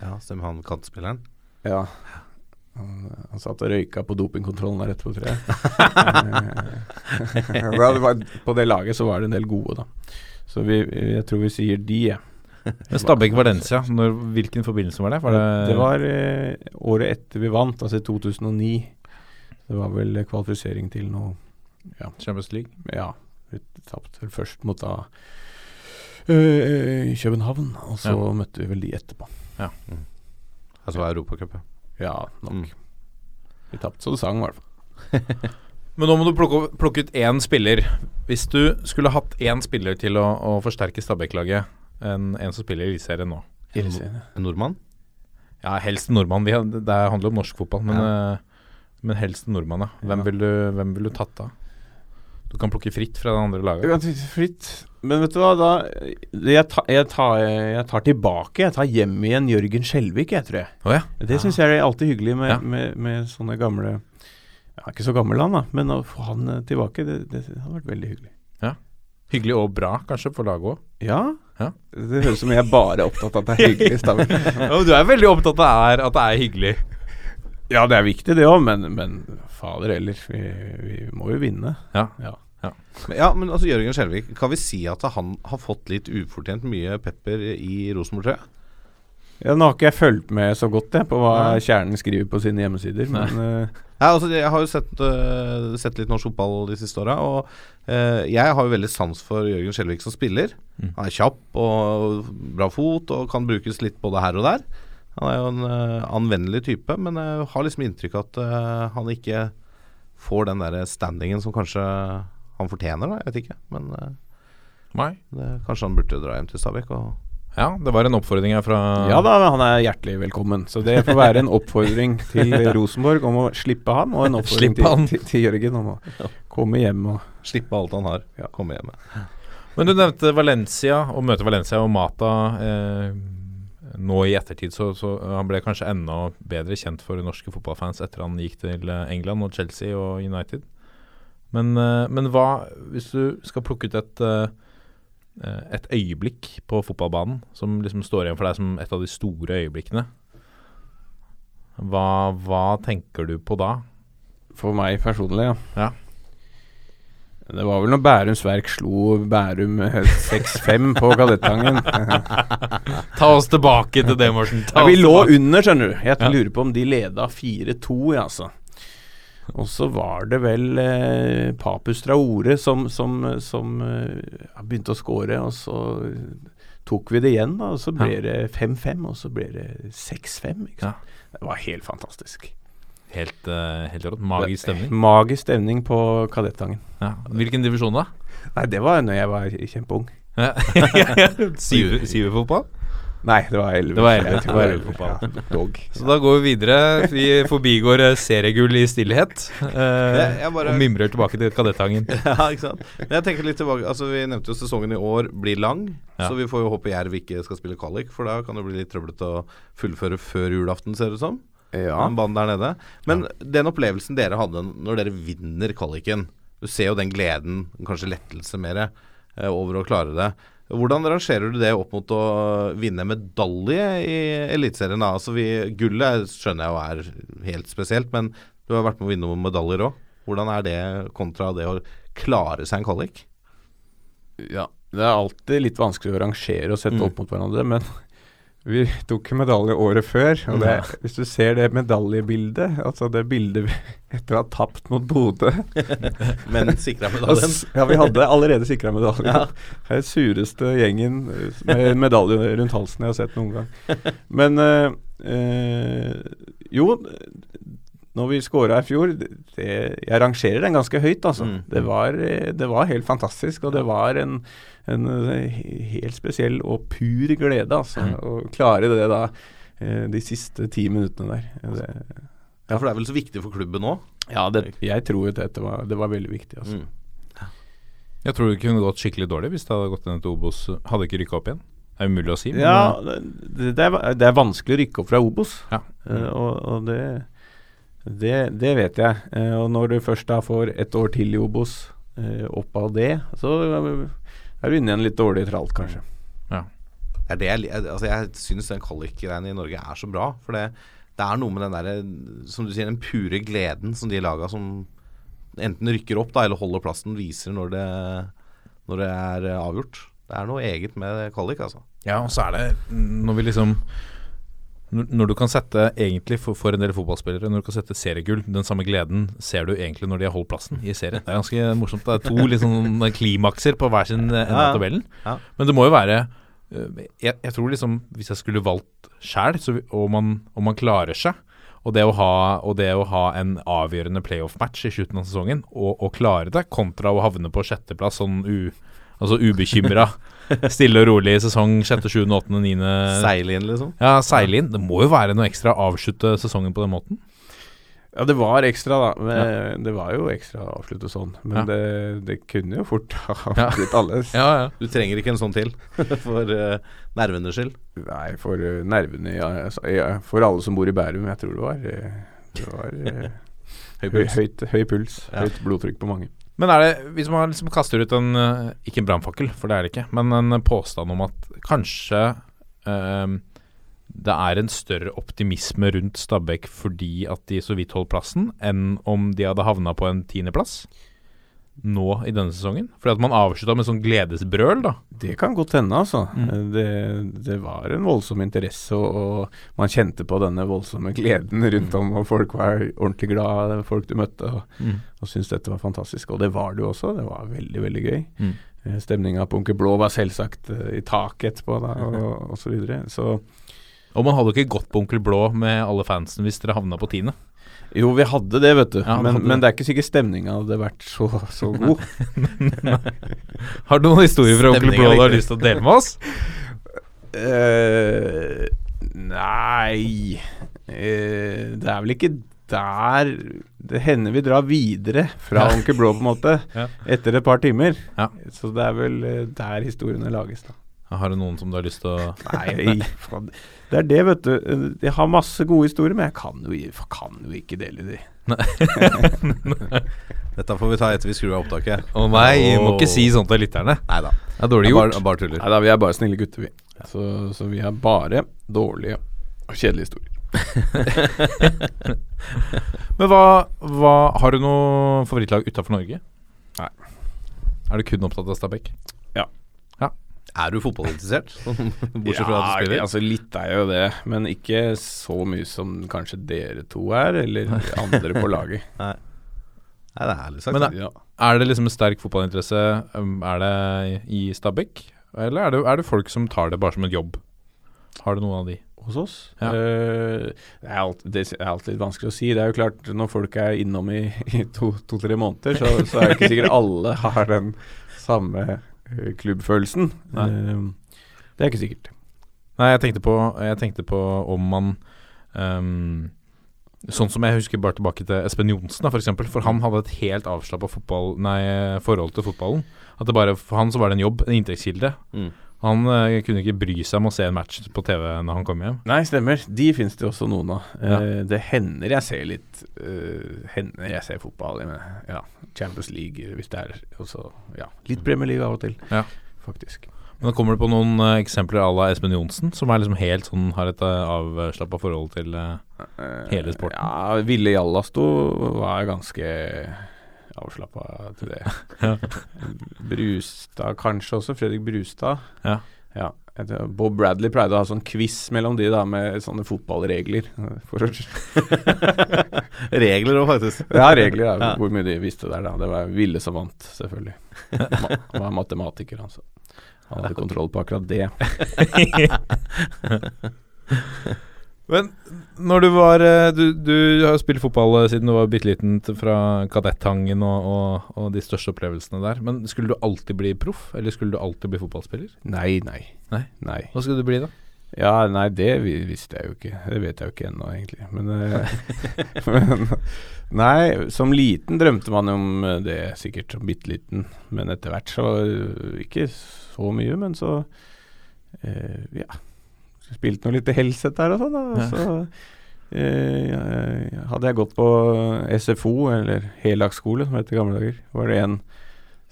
Speaker 3: Ja, stemmer han kantspilleren.
Speaker 4: Ja. Han, han satt og røyka på dopingkontrollen der etterpå, tror
Speaker 2: <laughs>
Speaker 4: jeg. Eh, <laughs> da det var, på det laget så var det en del gode, da. Så vi, jeg tror vi sier de, jeg.
Speaker 2: Men Stabæk Valencia, når, hvilken forbindelse var det? Var det,
Speaker 4: Det var eh, året etter vi vant, altså i 2009. Det var vel kvalifisering til noe
Speaker 2: Champions League.
Speaker 4: Ja, vi tapte vel først mot da eh, København, og så
Speaker 2: Ja.
Speaker 4: møtte vi vel de etterpå.
Speaker 3: Altså var Europacup, ja.
Speaker 4: Ja, nok.
Speaker 3: Mm.
Speaker 4: Vi tapte så det sang, i hvert fall.
Speaker 2: Men nå må du plukke, plukke ut én spiller. Hvis du skulle hatt én spiller til å, å forsterke Stabæk-laget, en, en som spiller i Eliteserien nå
Speaker 3: En nordmann?
Speaker 2: Ja, helst en nordmann. Vi, det handler om norsk fotball, men, eh, men helst en nordmann, ja. Hvem,
Speaker 4: Ja.
Speaker 2: vil du, hvem vil du tatt av? Du kan plukke fritt fra det andre
Speaker 4: Du
Speaker 2: laget.
Speaker 4: kan titte fritt. Men vet du hva, da jeg, ta, jeg, tar, jeg tar tilbake. Jeg tar hjem igjen Jørgen Skjelvik, jeg, tror jeg.
Speaker 2: Å ja.
Speaker 4: Det syns jeg er alltid hyggelig med,
Speaker 2: Ja.
Speaker 4: med, med sånne gamle Ja, ikke så gammel han, da, men å få han eh, tilbake, det, det hadde vært veldig hyggelig.
Speaker 2: Hyggelig og bra, kanskje, for laget òg.
Speaker 4: Ja?
Speaker 2: Ja.
Speaker 4: Det høres ut
Speaker 3: <laughs>
Speaker 4: som jeg bare er opptatt av at det er hyggelig. Stavik.
Speaker 2: Ja, men du er veldig opptatt av er, at det er hyggelig.
Speaker 4: Ja, det er viktig det òg, men, men fader heller. Vi, vi må jo vinne.
Speaker 2: Ja.
Speaker 4: Ja.
Speaker 3: Men, ja, men altså Jørgen Skjelvik, kan vi si at han har fått litt ufortjent mye pepper i Rosenborg-trøya?
Speaker 4: Ja, Nå har ikke jeg fulgt med så godt jeg, på hva Kjernen skriver på sine hjemmesider, men eh,
Speaker 3: Ja, altså, jeg har jo sett, øh, sett litt norsk fotball de siste åra, og øh, jeg har jo veldig sans for Jørgen Skjelvik som spiller. Han er kjapp og bra fot og kan brukes litt både her og der. Han er jo en øh, anvendelig type, men jeg har liksom inntrykk av at øh, han ikke får den der standingen som kanskje han fortjener, da. Jeg vet ikke, men øh,
Speaker 2: Nei.
Speaker 3: det, kanskje han burde dra hjem til Stabæk og
Speaker 2: Ja, det var en oppfordring her fra
Speaker 4: ja da, han er hjertelig velkommen. Så det får være en oppfordring til Rosenborg om å slippe han, og en oppfordring
Speaker 2: Slipp han.
Speaker 4: Til, til, til Jørgen om å komme hjem og
Speaker 3: slippe alt han har, komme hjem med.
Speaker 2: Men du nevnte Valencia, og møte Valencia og Mata. Eh, nå i ettertid så, så han ble kanskje enda bedre kjent for norske fotballfans etter han gikk til eh, England og Chelsea og United. Men, eh, men hva, hvis du skal plukke ut et, eh, eh, et øyeblikk på fotballbanen som liksom står igjen for deg som et av de store øyeblikkene, hva, hva tenker du på da?
Speaker 4: For meg personlig, ja.
Speaker 2: Ja.
Speaker 4: Det var vel når Bærums Verk slo Bærum eh, 6-5 på Kadettangen.
Speaker 2: <laughs> Ta oss tilbake til det, Morten.
Speaker 4: Nei, vi lå under, skjønner du. Jeg lurer på om de leda 4-2, ja, altså. Og så var det vel eh, Papus Traore som, som, som eh, ja, begynte å score, og så tok vi det igjen, da. Og så ble det 5-5, og så ble det 6-5. ikke
Speaker 2: Ja.
Speaker 4: sant? Det var helt fantastisk.
Speaker 2: Helt, eh, helt rått. Magisk stemning.
Speaker 4: Magisk stemning på Kadettangen.
Speaker 2: Ja. Hvilken divisjon da?
Speaker 4: Nei, det var når jeg var kjempeung.
Speaker 3: <laughs>
Speaker 2: Syverfotball.
Speaker 4: Nei, det var 11.
Speaker 2: Det var 11,
Speaker 4: Jeg tror det var
Speaker 2: ja.
Speaker 4: 11 fotball. Dog.
Speaker 2: Så da går vi videre. Vi forbigår eh, seriegull i stillhet.
Speaker 3: Jeg-
Speaker 2: Eh,
Speaker 3: jeg bare-
Speaker 2: og mimrer tilbake til Kadettangen.
Speaker 3: <laughs> Ja, ikke sant. Men jeg tenker litt tilbake Altså Vi nevnte jo sesongen i år blir lang,
Speaker 2: Ja.
Speaker 3: så vi får jo håpe Jerv ikke skal spille kvalik, for da kan det bli litt trøblete å fullføre før julaften, ser det ut som.
Speaker 4: Ja.
Speaker 3: Den banen der nede. Men den opplevelsen dere hadde når dere vinner kvaliken Du ser jo den gleden, kanskje lettelse mer, eh, over å klare det. Hvordan rangerer du det opp mot å vinne medalje i Eliteserien? da? Altså vi- Gullet skjønner jeg jo er helt spesielt, men du har vært med å vinne noen medaljer òg. Hvordan er det kontra det å klare seg en kvalik?
Speaker 4: ja. Det er alltid litt vanskelig å rangere og sette opp mot hverandre, men vi tok ikke medalje året før. Og det, hvis du ser det medaljebildet, altså det bildet vi- etter å ha tapt mot Bodø
Speaker 3: Men sikra
Speaker 4: og
Speaker 3: medaljen.
Speaker 4: s- Ja, vi hadde allerede sikra medalje. Det er den sureste gjengen eh, med medalje rundt halsen jeg har sett noen gang. Men eh, eh, jo, når vi scora i fjor det, Jeg rangerer den ganske høyt, altså. Det, var, eh, det var helt fantastisk, og det var en, en eh, he- helt spesiell og pur glede, altså. Å klare det da eh, de siste ti minuttene der. Det,
Speaker 3: Ja, for det er vel så viktig for klubben òg.
Speaker 4: ja, det, jeg tror jo dette var, det var veldig viktig, altså.
Speaker 2: Jeg tror det kunne gått skikkelig dårlig hvis det hadde gått ned til Obos. Hadde ikke rykka opp igjen. Det er umulig å si. men,
Speaker 4: Ja, det, det, er, det er vanskelig å rykke opp fra Obos,
Speaker 2: Ja.
Speaker 4: Eh, og, og det, det, det vet jeg. Eh, og når du først da får et år til i Obos eh, opp av det, så er du inne i en litt dårlig tralt, kanskje.
Speaker 3: Det er det jeg, li- altså jeg syns den kvalik-greien i Norge er så bra. For det, det er noe med den derre, som du sier, den pure gleden som de laga som enten rykker opp da, eller holder plassen, viser når det, når det er eh, avgjort. Det er noe eget med kvalik, altså.
Speaker 2: Ja, og så er det når vi liksom når når du kan sette, egentlig for, for en del fotballspillere, når du kan sette seriegull, den samme gleden ser du egentlig når de har holdt plassen i serien. Det er ganske morsomt. Det er to liksom klimakser på hver sin eh, ende av tabellen.
Speaker 3: Ja.
Speaker 2: Men det må jo være eh, jeg, jeg tror liksom Hvis jeg skulle valgt sjæl, og, man- og man klarer seg og det, å ha, og det å ha en avgjørende playoff-match i slutten av sesongen, og, og klare det, kontra å havne på sjetteplass sånn u, altså ubekymra,
Speaker 3: <laughs>
Speaker 2: stille og rolig i sesong sjette, sjuende, åttende, niende
Speaker 3: Seile inn, liksom.
Speaker 2: ja, seile inn. Det må jo være noe ekstra å avslutte sesongen på den måten.
Speaker 4: Ja, det var ekstra, da. Men, eh, Det var jo ekstra å avslutte sånn.
Speaker 2: Ja.
Speaker 4: Men det, det kunne jo fort <laughs> ha
Speaker 2: Ja.
Speaker 4: blitt annerledes.
Speaker 2: Ja, ja.
Speaker 3: Du trenger ikke en sånn til <laughs> for eh, nervenes skyld.
Speaker 4: Nei, for eh, nervene ja, altså, ja, For alle som bor i Bærum, jeg tror det var, eh, det var eh,
Speaker 3: Høy
Speaker 4: <laughs> høy,
Speaker 3: puls.
Speaker 4: høyt, høy puls. Høyt blodtrykk på mange.
Speaker 2: Men er det, hvis man liksom kaster ut en eh, Ikke en brannfakkel, for det er det ikke, men en påstand om at kanskje eh, det er en større optimisme rundt Stabæk fordi at de så vidt holdt plassen, enn om de hadde havna på en tiendeplass nå i denne sesongen? Fordi at man avslutta med sånn gledesbrøl, da.
Speaker 4: Det kan godt hende, altså.
Speaker 2: Mm.
Speaker 4: Det, det var en voldsom interesse, og, og man kjente på denne voldsomme gleden
Speaker 2: Mm.
Speaker 4: rundt om, og folk var ordentlig glad, folk du møtte, og,
Speaker 2: Mm.
Speaker 4: og syntes dette var fantastisk. Og det var det jo også, det var veldig, veldig gøy.
Speaker 2: Mm.
Speaker 4: Eh, Stemninga på Onkel Blå var selvsagt eh, i taket etterpå, da,
Speaker 2: <laughs>
Speaker 4: og, og så videre. Så
Speaker 2: Og man hadde jo ikke gått på Onkel Blå med alle fansen hvis dere havna på tiende.
Speaker 4: jo, vi hadde det, vet du,
Speaker 2: Ja, vi
Speaker 4: men,
Speaker 2: hadde det.
Speaker 4: men det er ikke sikkert stemninga hadde vært så, så
Speaker 2: <laughs>
Speaker 4: god.
Speaker 2: Har du noen historier fra Onkel
Speaker 3: Stemningen
Speaker 2: Blå
Speaker 3: er
Speaker 2: du har
Speaker 3: viktig.
Speaker 2: lyst til å dele med oss?
Speaker 4: eh nei eh, Det er vel ikke der Det hender vi drar videre fra
Speaker 2: Ja.
Speaker 4: Onkel Blå, på en måte, <laughs>
Speaker 2: Ja.
Speaker 4: etter et par timer.
Speaker 2: Ja.
Speaker 4: Så det er vel eh, der historiene lages, da.
Speaker 2: Har du noen som du har lyst til å
Speaker 4: <laughs> Nei, faen. Det er det, vet du. Jeg har masse gode historier, men jeg kan jo, jeg kan jo ikke dele de.
Speaker 3: Dette får vi ta etter vi skrur av opptaket.
Speaker 2: Å nei, må ikke
Speaker 3: Åh.
Speaker 2: si sånt til lytterne.
Speaker 3: Nei da.
Speaker 2: Det er dårlig
Speaker 3: Jeg
Speaker 2: gjort.
Speaker 3: bare, bare tuller.
Speaker 4: Nei da, vi er bare snille gutter, vi. Så, så vi har bare dårlige og kjedelige historier.
Speaker 2: Men hva, hva Har du noe favorittlag utafor Norge?
Speaker 4: Nei.
Speaker 2: Er du kun opptatt av Stabæk?
Speaker 3: Er
Speaker 2: <laughs>
Speaker 3: du fotballinteressert? Bortsett fra at du
Speaker 4: Ja,
Speaker 3: spiller?
Speaker 4: altså litt er jo det, men ikke så mye som kanskje dere to er, eller andre på laget.
Speaker 3: Nei, det er ærlig sagt.
Speaker 2: Men
Speaker 3: det,
Speaker 4: Ja.
Speaker 2: Er det liksom en sterk fotballinteresse um, Er det i i Stabæk? Eller er det, er det folk som tar det bare som en jobb? Har du noen av de?
Speaker 4: Hos oss?
Speaker 2: Ja.
Speaker 4: Eh, det, er alt, det er alltid litt vanskelig å si. Det er jo klart, når folk er innom i, <laughs> i to-tre måneder, så, så er det ikke sikkert alle har den samme eh, klubbfølelsen.
Speaker 2: Nei.
Speaker 4: Eh, det er ikke sikkert.
Speaker 2: Nei, jeg tenkte på, jeg tenkte på om man um, Sånn som jeg husker bare tilbake til Espen Johnsen, da, for eksempel. For han hadde et helt avslappa fotball, nei, forhold til fotballen. At det bare, for han så var det en jobb, en inntektskilde.
Speaker 3: Mm.
Speaker 2: Han eh, kunne ikke bry seg om å se en match på TV når han kom hjem.
Speaker 4: Nei, stemmer. De finnes det også noen av. Eh,
Speaker 2: Ja.
Speaker 4: det hender jeg ser litt eh, Hender jeg ser fotball. Jeg mener, ja, Champions League, hvis det er og så, ja, Litt Premier League av og til,
Speaker 2: Mm. Ja.
Speaker 4: faktisk.
Speaker 2: Men da kommer du på noen eh, eksempler à la Espen Johnsen, som er liksom helt sånn har et uh, avslappa forhold til eh,
Speaker 4: Eh,
Speaker 2: <laughs> Hele sporten.
Speaker 4: Ja, Ville Jallasto var ganske avslappa til det.
Speaker 2: <laughs> Ja.
Speaker 4: Brustad kanskje også. Fredrik Brustad.
Speaker 2: Ja.
Speaker 4: Ja, jeg tror Bob Bradley pleide å ha sånn quiz mellom de da med sånne fotballregler. eh, For
Speaker 2: eh,
Speaker 3: Regler òg, faktisk.
Speaker 4: Ja, regler er hvor mye de visste der, da. Det var Ville som vant, selvfølgelig. Ma han var matematiker, han, så han hadde kontroll på akkurat det.
Speaker 2: Men når du var eh, Du, du har jo spilt fotball eh, siden du var bitte liten, t- fra Kadettangen og, og, og de største opplevelsene der. Men skulle du alltid bli proff, eller skulle du alltid bli fotballspiller?
Speaker 4: Nei, nei.
Speaker 2: Nei. Hva skulle du bli, da?
Speaker 4: Ja, nei, det vi- visste jeg jo ikke. Det vet jeg jo ikke ennå, egentlig. Men, eh, <laughs> men Nei, som liten drømte man om eh, det, sikkert som bitte liten. Men etter hvert så eh, Ikke så mye, men så eh, Ja. Spilte noe litt i Helset der og sånn, da. Og
Speaker 2: Ja.
Speaker 4: så eh, jeg- hadde jeg gått på SFO, eller heldagsskole som det het i gamle dager, var det en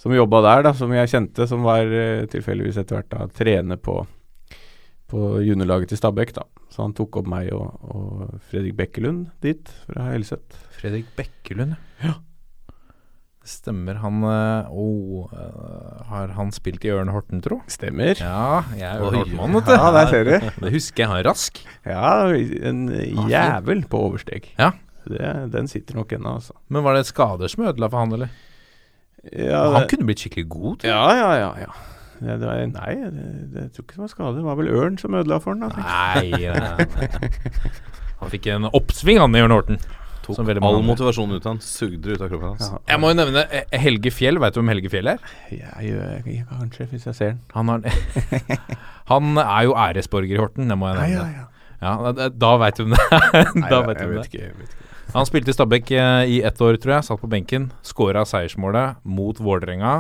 Speaker 4: som jobba der, da, som jeg kjente, som var eh, tilfeldigvis etter hvert da trener på på juniorlaget til Stabæk, da. Så han tok opp meg og, og Fredrik Bekkelund dit, fra Helset.
Speaker 2: Fredrik Bekkelund, ja. Stemmer han eh, Å, eh, har han spilt i Ørn Horten, tro?
Speaker 4: Stemmer.
Speaker 2: Ja, jeg er Ørn
Speaker 3: Oi.
Speaker 2: Horten-mann, vet du.
Speaker 4: Ja, der ser du.
Speaker 2: <laughs> Det husker jeg han rask.
Speaker 4: Ja, en jævel på oversteg.
Speaker 2: Ja.
Speaker 4: Det, den sitter nok ennå, altså.
Speaker 2: Men var det skader som ødela for han, eller?
Speaker 4: Ja,
Speaker 2: han kunne blitt skikkelig god, tror jeg.
Speaker 4: ja, ja. ja, ja. Det, det var, nei, det, det, jeg tror ikke det var skade. Det var vel ørn som ødela for den. da, tenker
Speaker 2: Nei,
Speaker 4: jeg.
Speaker 2: nei, nei. Han fikk en oppsving, han i Ørn Horten. Som veldig mange
Speaker 3: All
Speaker 2: andre.
Speaker 3: motivasjonen ut av han sugde det ut av kroppen hans.
Speaker 4: Ja.
Speaker 2: Jeg må jo nevne eh, Helge Fjell. Veit du hvem Helge Fjell er?
Speaker 4: Jeg gjør jeg kanskje, hvis jeg ser den.
Speaker 2: Han, har, <laughs> han er jo æresborger i Horten, det må jeg nevne.
Speaker 4: ja.
Speaker 2: Ja, da- da veit du hvem det er. <laughs> Da vet du hvem
Speaker 4: jeg
Speaker 2: det er.
Speaker 4: vet ikke. Jeg vet ikke.
Speaker 2: Han spilte i Stabæk eh, i ett år, tror jeg. Satt på benken. Skåra seiersmålet mot Vålerenga.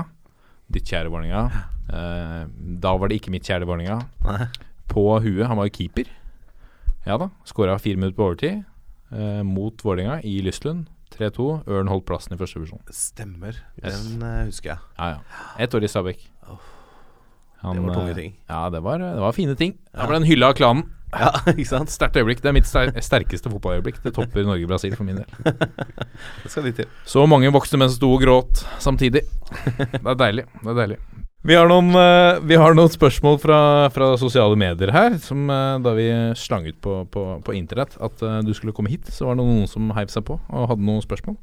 Speaker 2: Ditt kjære Vålerenga. Eh, da var det ikke mitt kjære Vålerenga.
Speaker 3: Nei.
Speaker 2: På huet. Han var jo keeper. Ja da. Skåra fire minutter på overtid eh, mot Vålerenga i Lyslund. 3-2. Ørn holdt plassen i første divisjon.
Speaker 3: Stemmer.
Speaker 2: Yes.
Speaker 3: Den eh, husker jeg.
Speaker 2: Ja, ja. Ett år i Stabæk. Han,
Speaker 3: Det var tunge
Speaker 2: eh,
Speaker 3: ting. <laughs>
Speaker 2: Ja, det var, det var fine ting. Han ble en hylle av klanen.
Speaker 3: Ja, ikke sant?
Speaker 2: Sterkt øyeblikk. Det er mitt ster sterkeste fotballøyeblikk. Det topper Norge-Brasil for min del.
Speaker 3: Det skal litt til.
Speaker 2: Så mange voksne menn sto og gråt samtidig. Det er deilig. Det er deilig. Vi har noen, eh, vi har noen spørsmål fra, fra sosiale medier her, som eh, da vi slang ut på, på, på internett at eh, du skulle komme hit, så var det noen som heiv seg på og hadde noen spørsmål.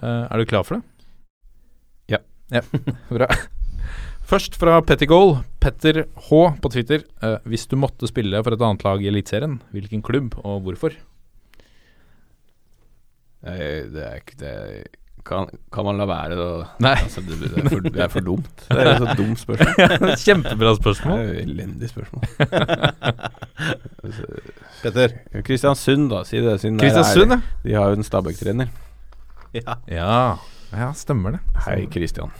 Speaker 2: Eh, er du klar for det?
Speaker 4: Ja.
Speaker 2: ja. Bra. Først fra Pettigoal. Petter H på Twitter. Eh, hvis du måtte spille for et annet lag i Eliteserien, hvilken klubb og hvorfor?
Speaker 4: Eh, Det er ikke det kan, kan man la være å
Speaker 2: Nei.
Speaker 4: Altså, det, det, er for, det er for dumt. Det er et så dumt <laughs> spørsmål.
Speaker 2: <laughs> Kjempebra
Speaker 4: Det
Speaker 2: spørsmål.
Speaker 4: er jo Elendig spørsmål.
Speaker 3: Petter.
Speaker 4: Kristiansund, da. Si det. Siden det er-
Speaker 2: Kristiansund, ja.
Speaker 4: De har jo en Stabæk-trener.
Speaker 2: Ja, ja stemmer det.
Speaker 4: Hei, Kristian.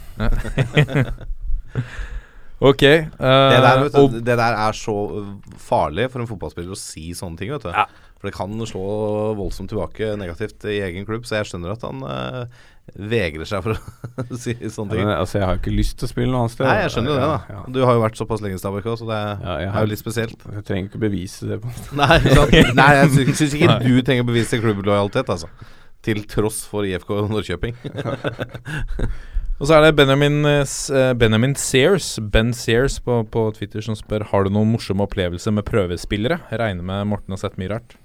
Speaker 2: Ok. eh,
Speaker 3: Det der, vet
Speaker 2: og
Speaker 3: du, det der er så eh, farlig for en fotballspiller å si sånne ting, vet du. For det kan slå voldsomt tilbake negativt i egen klubb, så jeg skjønner at han eh, vegrer seg for <laughs> å si sånne
Speaker 4: Men,
Speaker 3: ting.
Speaker 4: altså, jeg har jo ikke lyst til å spille noe annet sted.
Speaker 3: Nei, jeg skjønner jo det,
Speaker 4: Ja,
Speaker 3: da. Du har jo vært såpass lenge i Stabæk òg, så det
Speaker 4: Ja, jeg
Speaker 3: er
Speaker 4: har-
Speaker 3: jo litt
Speaker 4: <laughs>
Speaker 3: spesielt.
Speaker 4: ja. Jeg trenger ikke bevise det. på
Speaker 3: Nei, ikke sant? Nei jeg sy- syns ikke du trenger å bevise klubblojalitet, altså. Til tross for IFK Norrköping.
Speaker 2: Og så er det Benjamin, eh, S- eh, Benjamin Sears Ben Sears på, på Twitter som spør Har du noen morsom opplevelse med prøvespillere. Jeg regner med Morten har sett mye rart.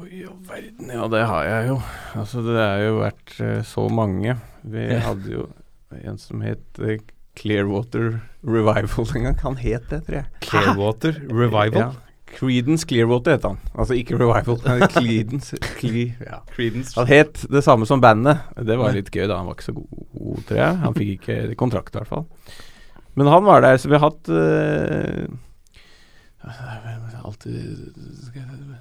Speaker 4: Oi, all verden, ja det har jeg jo. Altså det er jo vært eh, så mange. Vi hadde jo en som het eh, Clearwater Revival en gang. Han het det, tror jeg.
Speaker 2: Clearwater Revival.
Speaker 4: Ja. Creedence Clearwater het han. Altså ikke Revival, men Creedence Cle ja.
Speaker 3: Creedence.
Speaker 4: Han het det samme som bandet. Det var litt gøy, da. Han var ikke så god, tror jeg. Han fikk ikke kontrakt, i hvert fall. Men han var der, så vi har hatt eh, Alltid skal jeg-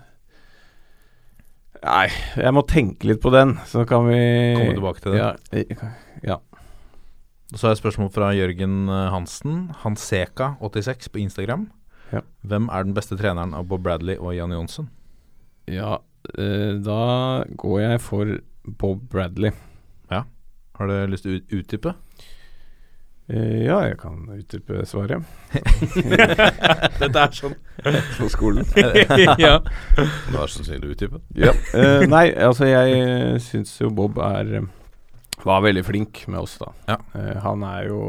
Speaker 4: Nei, jeg må tenke litt på den, så kan vi
Speaker 2: Komme tilbake til det.
Speaker 4: Ja, eh, ja.
Speaker 2: Og Så er det et spørsmål fra Jørgen eh, Hansen. Hanseka86 på Instagram.
Speaker 4: Ja.
Speaker 2: Hvem er den beste treneren av Bob Bradley og Jan Johnsen?
Speaker 4: ja eh, da går jeg for Bob Bradley.
Speaker 2: Har du lyst til å ut- utdype?
Speaker 4: Eh, ja, jeg kan utdype svaret.
Speaker 2: Dette er sånn
Speaker 4: På skolen.
Speaker 2: <laughs>
Speaker 3: <laughs>
Speaker 2: ja.
Speaker 3: Du er sannsynlig utdypet.
Speaker 4: Ja. <laughs> Eh, nei, altså jeg syns jo Bob er eh, var veldig flink med oss, da.
Speaker 2: Ja.
Speaker 4: Eh, han er jo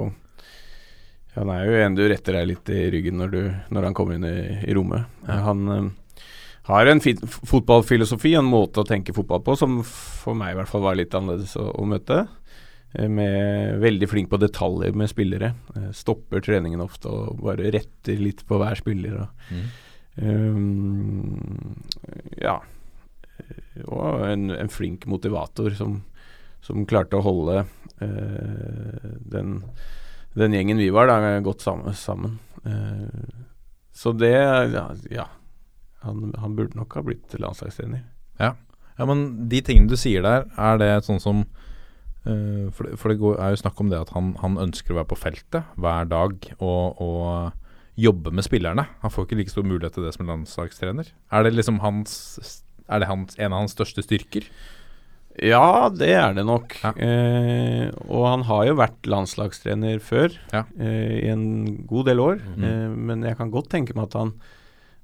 Speaker 4: Han er jo en du retter deg litt i ryggen når, du, når han kommer inn i, i rommet. Eh, han eh, har en fin f- fotballfilosofi, en måte å tenke fotball på, som for meg i hvert fall var litt annerledes å, å møte. Eh, Med, veldig flink på detaljer med spillere. Eh, Stopper treningen ofte og bare retter litt på hver spiller. Og, Eh, ja, og en, en flink motivator som, som klarte å holde eh, den, den gjengen vi var, da, godt sammen. sammen. Eh, så det Ja. ja. Han, han burde nok ha blitt landslagstrener.
Speaker 2: Ja, men de tingene du sier der, er det sånn som eh, For det, for det går, er jo snakk om det at han, han ønsker å være på feltet hver dag og, og jobbe med spillerne. Han får ikke like stor mulighet til det som landslagstrener. Er det liksom hans Er det hans, en av hans største styrker?
Speaker 4: Ja, det er det nok.
Speaker 2: Ja.
Speaker 4: Eh, og han har jo vært landslagstrener før,
Speaker 2: Ja.
Speaker 4: eh, i en god del år.
Speaker 2: Mhm.
Speaker 4: Eh, men jeg kan godt tenke meg at han,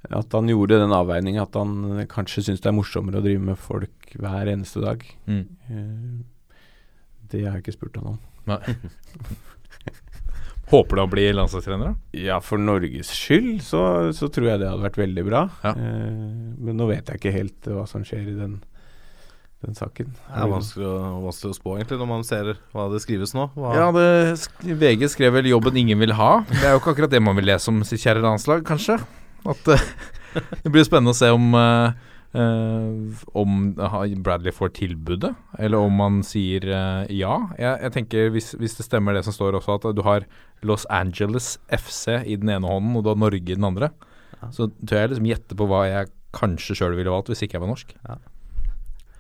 Speaker 4: at han gjorde den avveiningen at han eh, kanskje syns det er morsommere å drive med folk hver eneste dag.
Speaker 2: Mm.
Speaker 4: Eh, det har jeg ikke spurt han om.
Speaker 2: Håper du han blir landslagstrener, da?
Speaker 4: Ja, for Norges skyld så, så tror jeg det hadde vært veldig bra.
Speaker 2: Ja.
Speaker 4: Eh, men nå vet jeg ikke helt hva som skjer i den, den saken.
Speaker 3: Det er vanskelig å, vanskelig å spå, egentlig, når man ser hva det skrives nå. Hva,
Speaker 2: Ja, det, sk- VG skrev vel 'jobben ingen vil ha'. Det er jo ikke akkurat det man vil lese om sitt kjære landslag, kanskje. At eh, <laughs> Det blir jo spennende å se om eh, eh, Om ha- Bradley får tilbudet, eller om han sier eh, ja. Jeg, jeg tenker, hvis, hvis det stemmer det som står også, at du har Los Angeles FC i den ene hånden, og du har Norge i den andre, så tør jeg liksom gjette på hva jeg kanskje sjøl ville valgt hvis ikke jeg var norsk.
Speaker 3: Ja.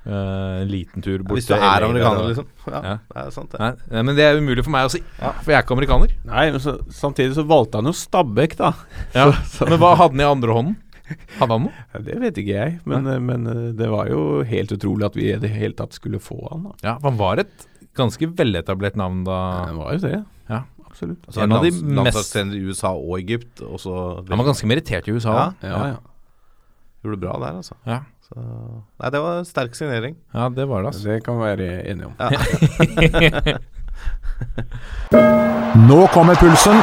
Speaker 2: Eh, en liten tur borte
Speaker 3: Hvis du
Speaker 2: eller-
Speaker 3: er amerikaner, liksom. Ja,
Speaker 2: Ja.
Speaker 3: det er sant, det.
Speaker 2: Nei, nei, men det er umulig for meg å si, for jeg er ikke amerikaner.
Speaker 4: Nei, men så, samtidig så valgte han jo Stabæk, da.
Speaker 2: Ja. Men hva hadde han i andre hånden? Hadde han noe?
Speaker 4: Ja, det vet ikke jeg, men, men eh, det var jo helt utrolig at vi i det hele tatt skulle få han. Da.
Speaker 2: Ja, for han var et ganske veletablert navn da.
Speaker 4: Det var jo det.
Speaker 2: Ja,
Speaker 4: absolutt.
Speaker 3: Altså,
Speaker 2: En av de
Speaker 3: lands-
Speaker 2: mest-
Speaker 3: Landslagstrener i USA og Egypt, og så
Speaker 2: Han var ganske merittert i USA.
Speaker 3: Ja,
Speaker 4: Ja, ja.
Speaker 3: Gjorde det bra der, altså.
Speaker 2: Ja.
Speaker 3: Så, nei, det var en sterk signering.
Speaker 2: Ja, det var det, altså.
Speaker 4: Det kan vi være enige om. <laughs>
Speaker 5: Nå kommer pulsen.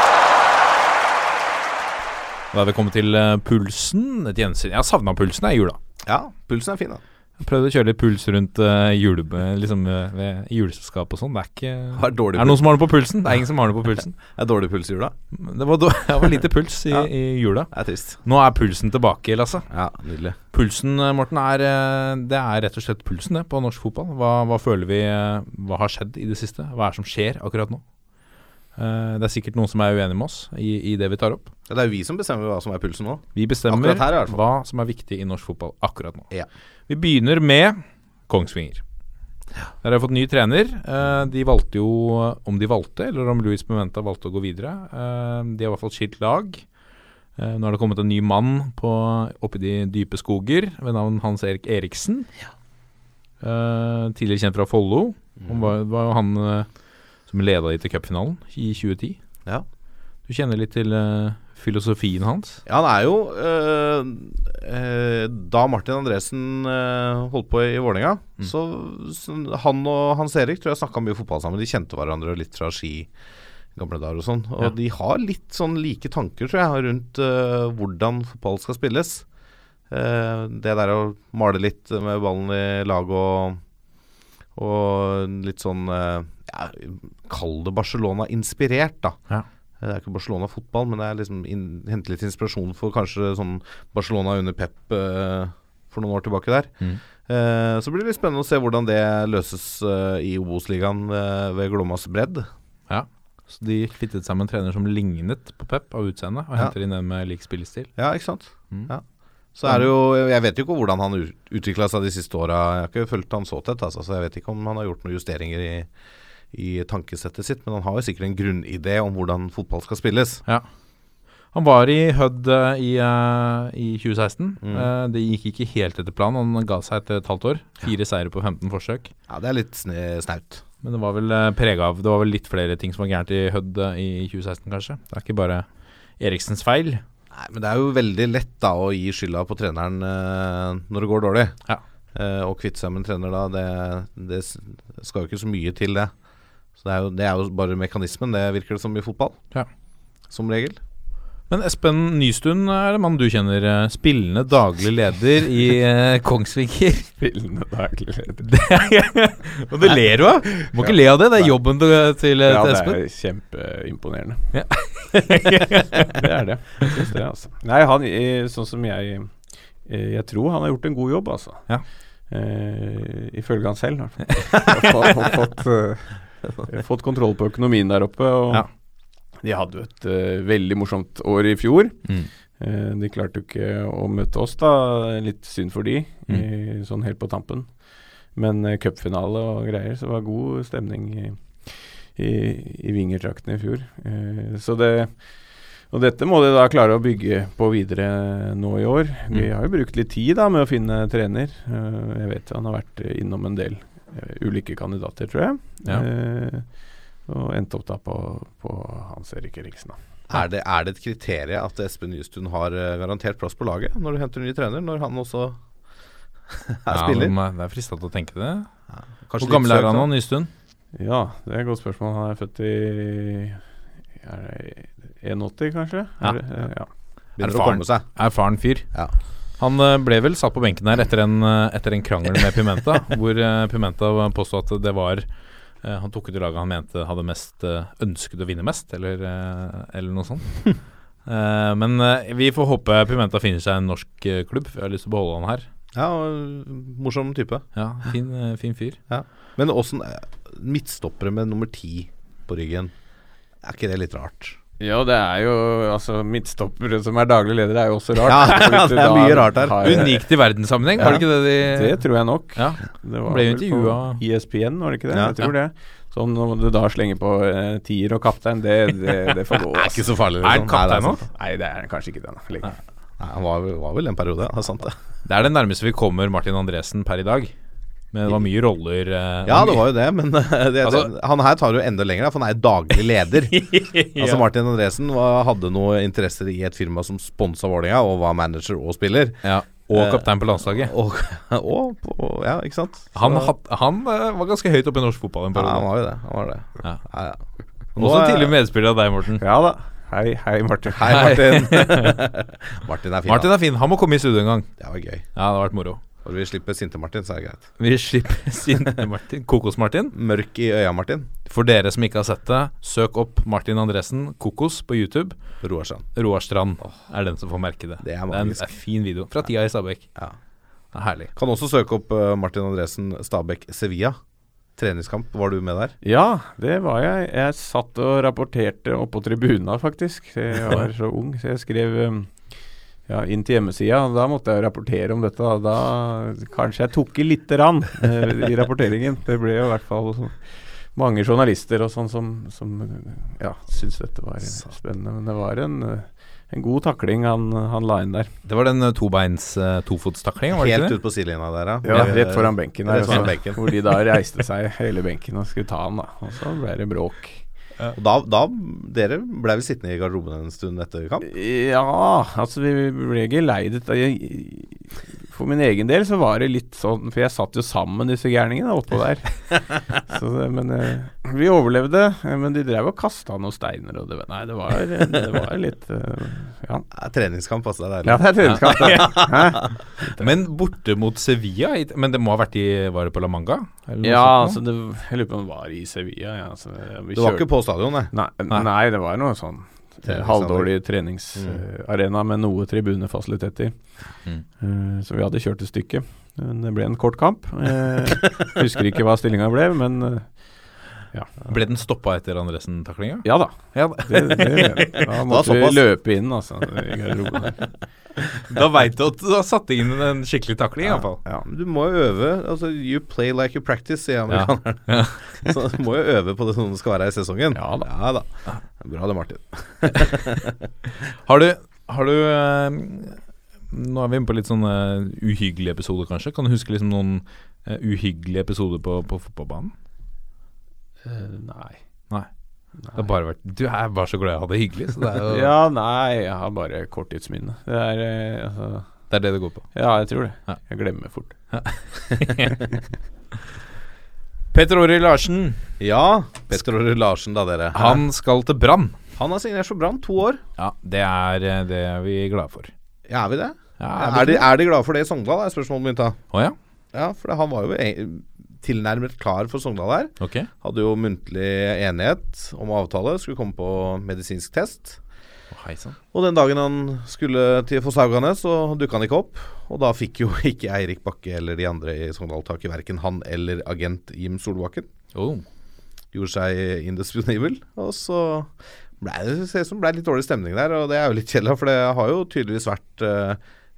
Speaker 2: Da er vi kommet til eh, pulsen. Et gjensyn. Jeg har savna pulsen jeg, i jula.
Speaker 3: Ja, pulsen er fin, da.
Speaker 2: Jeg prøvde å kjøre litt puls rundt eh, jule, liksom, eh, ved juleselskap og sånn. Det er ikke
Speaker 3: Har dårlig
Speaker 2: Er det noen som har noe på pulsen? Det er ingen som har noe på <laughs> pulsen.
Speaker 3: Er dårlig puls i jula?
Speaker 2: Det var, da- det var lite puls i,
Speaker 3: Ja.
Speaker 2: i jula.
Speaker 3: Det er trist.
Speaker 2: Nå er pulsen tilbake, Lasse.
Speaker 3: Ja, nydelig.
Speaker 2: Pulsen, eh, Morten, er, eh, det er rett og slett pulsen det, på norsk fotball. Hva, hva føler vi eh, Hva har skjedd i det siste? Hva er det som skjer akkurat nå? Eh, Det er sikkert noen som er uenig med oss i, i det vi tar opp.
Speaker 3: Ja, det er jo vi som bestemmer hva som er pulsen nå.
Speaker 2: Vi bestemmer
Speaker 3: Akkurat her i hvert fall.
Speaker 2: hva som er viktig i norsk fotball akkurat nå.
Speaker 3: Ja.
Speaker 2: Vi begynner med Kongsvinger. Der har jeg fått ny trener. Eh, De valgte jo, om de valgte, eller om Luis Pimenta valgte å gå videre eh, De har i hvert fall skilt lag. Eh, Nå har det kommet en ny mann på, oppe i de dype skoger ved navn Hans Erik Eriksen. Eh, Tidligere kjent fra Follo. Han
Speaker 3: Mm.
Speaker 2: var, var jo han eh, som leda de til cupfinalen i 2010.
Speaker 3: Ja.
Speaker 2: Du kjenner litt til eh, filosofien hans?
Speaker 3: Ja, han er jo øh, øh, Da Martin Andresen øh, holdt på i Vålerenga, så, så han og Hans Erik tror jeg snakka mye fotball sammen. De kjente hverandre litt fra ski i gamle dager og sånn. Og
Speaker 2: Ja.
Speaker 3: de har litt sånn like tanker, tror jeg, rundt øh, hvordan fotball skal spilles. Eh, det der å male litt med ballen i lag og og litt sånn eh, ja, Kall det Barcelona-inspirert, da.
Speaker 2: Ja.
Speaker 3: Det er ikke Barcelona-fotball, men det er liksom in hente litt inspirasjon for kanskje sånn Barcelona under Pep eh, for noen år tilbake der.
Speaker 2: Mm.
Speaker 3: Eh, så blir det litt spennende å se hvordan det løses eh, i Obos-ligaen eh, ved Glommas bredd.
Speaker 2: Ja. Så de fittet sammen en trener som lignet på Pep av utseende, og
Speaker 3: Ja.
Speaker 2: henter inn en med lik spillestil.
Speaker 3: Ja, ikke sant?
Speaker 2: Mm.
Speaker 3: Ja. Så er det jo Jeg vet jo ikke hvordan han utvikla seg de siste åra. Jeg har ikke fulgt han så tett, altså, så jeg vet ikke om han har gjort noen justeringer i, i tankesettet sitt. Men han har jo sikkert en grunnidé om hvordan fotball skal spilles.
Speaker 2: Han var i Hødd eh, i, eh, i 2016.
Speaker 3: Mm.
Speaker 2: Eh, det gikk ikke helt etter planen. Han ga seg etter et halvt år. Fire seire på 15 forsøk.
Speaker 3: Ja, det er litt sne snaut.
Speaker 2: Men det var vel uh, prega av Det var vel litt flere ting som var gærent i Hødd eh, i 2016, kanskje. Det er ikke bare Eriksens feil.
Speaker 3: Nei, men det er jo veldig lett da å gi skylda på treneren eh, når det går dårlig.
Speaker 2: Ja.
Speaker 3: Eh, å kvitte seg med en trener da, det, det s- skal jo ikke så mye til det. Så det er jo, det er jo bare mekanismen, det virker det som i fotball.
Speaker 2: Ja.
Speaker 3: Som regel.
Speaker 2: Men Espen Nystuen er det mann du kjenner. eh, Spillende daglig leder i eh, Kongsvinger.
Speaker 4: <laughs> Spillende daglig leder.
Speaker 2: <laughs> Og det ler du av! Må ikke le av det, det er jobben til, eh, til,
Speaker 4: <laughs> Ja,
Speaker 2: til
Speaker 4: det
Speaker 2: Espen.
Speaker 4: er
Speaker 2: <laughs>
Speaker 4: kjempeimponerende.
Speaker 2: Ja.
Speaker 4: det er det. Jeg synes det, altså. Nei, han eh, Sånn som jeg eh, Jeg tror han har gjort en god jobb, altså.
Speaker 2: Ja.
Speaker 4: Eh, ifølge han selv,
Speaker 2: <laughs>
Speaker 4: i hvert fall. Han har fått, eh, fått kontroll på økonomien der oppe. Og
Speaker 2: Ja.
Speaker 4: De hadde jo et eh, veldig morsomt år i fjor.
Speaker 2: Mm.
Speaker 4: Eh, de klarte jo ikke å møte oss, da. Litt synd for de, eh, sånn helt på tampen. Men eh, cupfinale og greier, så det var god stemning i, i, i vingertraktene i fjor. Eh, så det Og dette må de da klare å bygge på videre nå i år. De har jo brukt litt tid da med å finne trener. Eh, jeg vet han har vært innom en del eh, ulike kandidater, tror jeg.
Speaker 2: Ja.
Speaker 4: Eh, og endte opp da på, på Hans Erik Eriksen. Da.
Speaker 3: Er det, er det et kriterium at Espen Nystuen har eh, garantert plass på laget når du henter en ny trener, når han også <laughs> er
Speaker 2: Ja,
Speaker 3: spiller?
Speaker 2: men, eh, det er fristende å tenke det.
Speaker 3: Kanskje
Speaker 2: Hvor
Speaker 3: litt
Speaker 2: gammel er
Speaker 3: søkt,
Speaker 2: han
Speaker 3: da.
Speaker 2: nå, Nystuen?
Speaker 4: Ja, det er et godt spørsmål. Han er født i er det 81, kanskje?
Speaker 2: Ja.
Speaker 4: Er det, eh, ja.
Speaker 3: Begynner å
Speaker 2: Erfaren.
Speaker 3: komme seg.
Speaker 2: Erfaren fyr.
Speaker 3: Ja.
Speaker 2: Han eh, ble vel satt på benken her etter en, eh, etter en krangel med
Speaker 3: <laughs>
Speaker 2: Pimenta, hvor eh, Pimenta påsto at det var eh, Han tok ut det laget han mente hadde mest eh, ønsket å vinne mest, eller, eh, eller
Speaker 3: <laughs>
Speaker 2: noe sånt. Eh, Men eh, vi får håpe Pimenta finner seg en norsk eh, klubb. Jeg har lyst til å beholde han her.
Speaker 3: Ja, og eh, morsom type.
Speaker 2: Ja, Fin, eh, fin fyr.
Speaker 3: Men åssen Midtstoppere med nummer ti på ryggen, er ikke det litt rart?
Speaker 4: ja, det er jo Altså, midtstoppere som er daglig leder, er jo også rart. <laughs>
Speaker 3: Ja, det er
Speaker 4: Da
Speaker 3: mye rart her.
Speaker 4: har jeg-
Speaker 2: Unikt i verdenssammenheng, var det ikke det de
Speaker 4: Det tror jeg nok.
Speaker 2: Ja.
Speaker 4: Det var
Speaker 2: Ble jo
Speaker 4: vel på E
Speaker 2: intervjua-
Speaker 4: ESPN, var det ikke det?
Speaker 3: Ja.
Speaker 4: jeg tror det. Så om du da slenger på eh, tier og kaptein, det, det, det
Speaker 3: <laughs>
Speaker 4: får gå. altså.
Speaker 3: Ikke så farlig. liksom.
Speaker 2: Er han
Speaker 3: Nei, det
Speaker 2: kaptein nå?
Speaker 3: sant.
Speaker 4: Nei, det er kanskje ikke det. da, lenger.
Speaker 3: <laughs> Nei, han var, var vel en periode, ja. Det er sant, det.
Speaker 2: Det er det nærmeste vi kommer Martin Andresen per i dag. Men det var mye roller. eh,
Speaker 3: Ja, det var jo det, men <laughs> eh, det,
Speaker 2: Altså-
Speaker 3: han her tar det jo enda lenger, da, for han er jo daglig <laughs> leder. Altså Martin Andresen var, hadde noen interesser i et firma som sponsa Vålerenga, og var manager og spiller.
Speaker 2: ja,
Speaker 3: Eh,
Speaker 2: Og kaptein på landslaget.
Speaker 3: Og, <laughs> og på, ja, ikke sant? Så-
Speaker 2: Han, had, han eh, var ganske høyt oppe i norsk fotball en
Speaker 3: ja, han
Speaker 2: periode.
Speaker 3: var jo det. Han var det.
Speaker 2: Ja.
Speaker 3: Ja, ja.
Speaker 2: Også
Speaker 3: Nå, eh,
Speaker 2: tidligere medspiller av deg, Morten.
Speaker 4: Ja da. Hei, hei, Martin.
Speaker 3: Hei, <laughs> Martin. Martin er fin.
Speaker 2: Martin
Speaker 3: da.
Speaker 2: er fin. Han må komme i studio en gang.
Speaker 3: Det var gøy.
Speaker 2: Ja, det har vært moro.
Speaker 3: Og vi slipper Sinte-Martin, så er det greit.
Speaker 2: Vi
Speaker 3: <laughs>
Speaker 2: slipper <laughs> Sinte-Martin. Kokos-Martin.
Speaker 3: Mørk i øya-Martin.
Speaker 2: For dere som ikke har sett det, søk opp Martin Andresen, Kokos, på YouTube.
Speaker 3: Roar Strand.
Speaker 2: Roar Strand er den som får merke det.
Speaker 3: Det er
Speaker 2: en,
Speaker 3: magisk.
Speaker 2: det er en fin video fra tida i Stabæk.
Speaker 3: Ja.
Speaker 2: Det er herlig.
Speaker 3: Kan også søke opp eh, Martin Andresen Stabæk Sevilla. Treningskamp, var du med der?
Speaker 4: Ja, det var jeg. Jeg satt og rapporterte oppå tribuna, faktisk. Jeg var
Speaker 3: <laughs>
Speaker 4: så ung, så jeg skrev um, ja, inn til hjemmesida. og Da måtte jeg jo rapportere om dette. Da, da kanskje jeg tok i lite grann eh, i rapporteringen. Det ble jo i hvert fall så- mange journalister og sånn som, som ja, syntes dette var eh, spennende. Men det var en, eh, en god takling han, han la inn der.
Speaker 2: Det var den eh, tobeins eh, tofotstaklinga, var det
Speaker 3: Helt
Speaker 2: ikke det?
Speaker 3: ut på sidelinja der,
Speaker 4: Ja, rett foran benken her.
Speaker 3: Rett foran
Speaker 4: også,
Speaker 3: benken.
Speaker 4: Hvor de da reiste seg hele benken og skulle ta han, da. Og så ble det bråk.
Speaker 3: Og Da, da Dere ble vel sittende i garderoben en stund etter kamp?
Speaker 4: Ja, altså vi ble ikke lei det. Jeg- For min egen del så var det litt sånn For jeg satt jo sammen disse gærningene oppå <laughs> der. Så, det- men eh, vi overlevde. eh, Men de drev og kasta noen steiner og det var- Nei, det var, det var litt eh, Ja.
Speaker 3: Ja, treningskamp, altså. Det er
Speaker 4: <laughs> ja
Speaker 3: deilig.
Speaker 4: det er treningskamp. Hæ?
Speaker 2: Men borte mot Sevilla i- Men det må ha vært i Var det på La Manga? Eller noe
Speaker 4: Ja,
Speaker 2: sånt
Speaker 4: altså
Speaker 2: noe?
Speaker 4: det, Jeg lurer på om det var i Sevilla. Ja, altså, vi
Speaker 3: Du var
Speaker 4: kjørte-
Speaker 3: ikke på stadion, nei?
Speaker 4: Nei, nei, det var noe sånn eh,
Speaker 3: Treningsanlegg.
Speaker 4: halvdårlig treningsarena med noe tribunefasiliteter. Eh, Så vi hadde kjørt et stykke. Men Det ble en kort kamp. Eh, husker ikke hva stillinga ble, men eh,
Speaker 2: Ble den stoppa etter Andresen-taklinga?
Speaker 4: ja da.
Speaker 2: Ja,
Speaker 4: Det, <laughs> det, da måtte vi
Speaker 3: såpass.
Speaker 4: løpe inn, altså. I garderoben der.
Speaker 2: <laughs> da veit du at du har satt inn en skikkelig takling, iallfall.
Speaker 4: Ja.
Speaker 3: Men Du må jo øve. Altså, you play like you practice, sier amerikanerne. <laughs> Så du må jo øve på det som det skal være i sesongen.
Speaker 4: Ja da.
Speaker 3: Ja, da. Bra det, Martin.
Speaker 2: Har du, har du eh, Nå er vi inne på litt sånne eh, uhyggelige episoder, kanskje. Kan du huske liksom noen eh, uhyggelige episoder på, på fotballbanen?
Speaker 4: Eh, Nei.
Speaker 2: Nei. Det har bare vært Du er bare så glad i å ha det hyggelig, så det <laughs> er jo
Speaker 4: Ja, nei, jeg har bare korttidsminne. Det er eh, altså
Speaker 2: det, er det det går på.
Speaker 4: Ja, jeg tror
Speaker 2: Ja.
Speaker 4: det. Jeg glemmer fort.
Speaker 2: Petter Åri Larsen,
Speaker 3: Ja, Petter Åre Larsen, da, dere.
Speaker 2: han skal til Brann.
Speaker 3: Han har signert for Brann, to år.
Speaker 2: Ja, det er eh, det er vi glade for.
Speaker 3: Ja, er vi det?
Speaker 2: Ja,
Speaker 3: Er, de, er de glade for det i Sogndal, er spørsmålet mitt da.
Speaker 2: Å ja?
Speaker 3: Ja, for det, han var jo en- tilnærmet klar for Sogndal her.
Speaker 2: Ok.
Speaker 3: Hadde jo muntlig enighet om avtale, skulle komme på medisinsk test.
Speaker 2: Å, Hei sann.
Speaker 3: Og den dagen han skulle til Fosshaugane, så dukka han ikke opp. Og da fikk jo <laughs> ikke Eirik Bakke eller de andre i Sogndal tak i verken han eller agent Jim Solbakken.
Speaker 2: Oh.
Speaker 3: Gjorde seg indisponibel. Og så ble det ser ut som det ble litt dårlig stemning der, og det er jo litt kjedelig, for det har jo tydeligvis vært eh,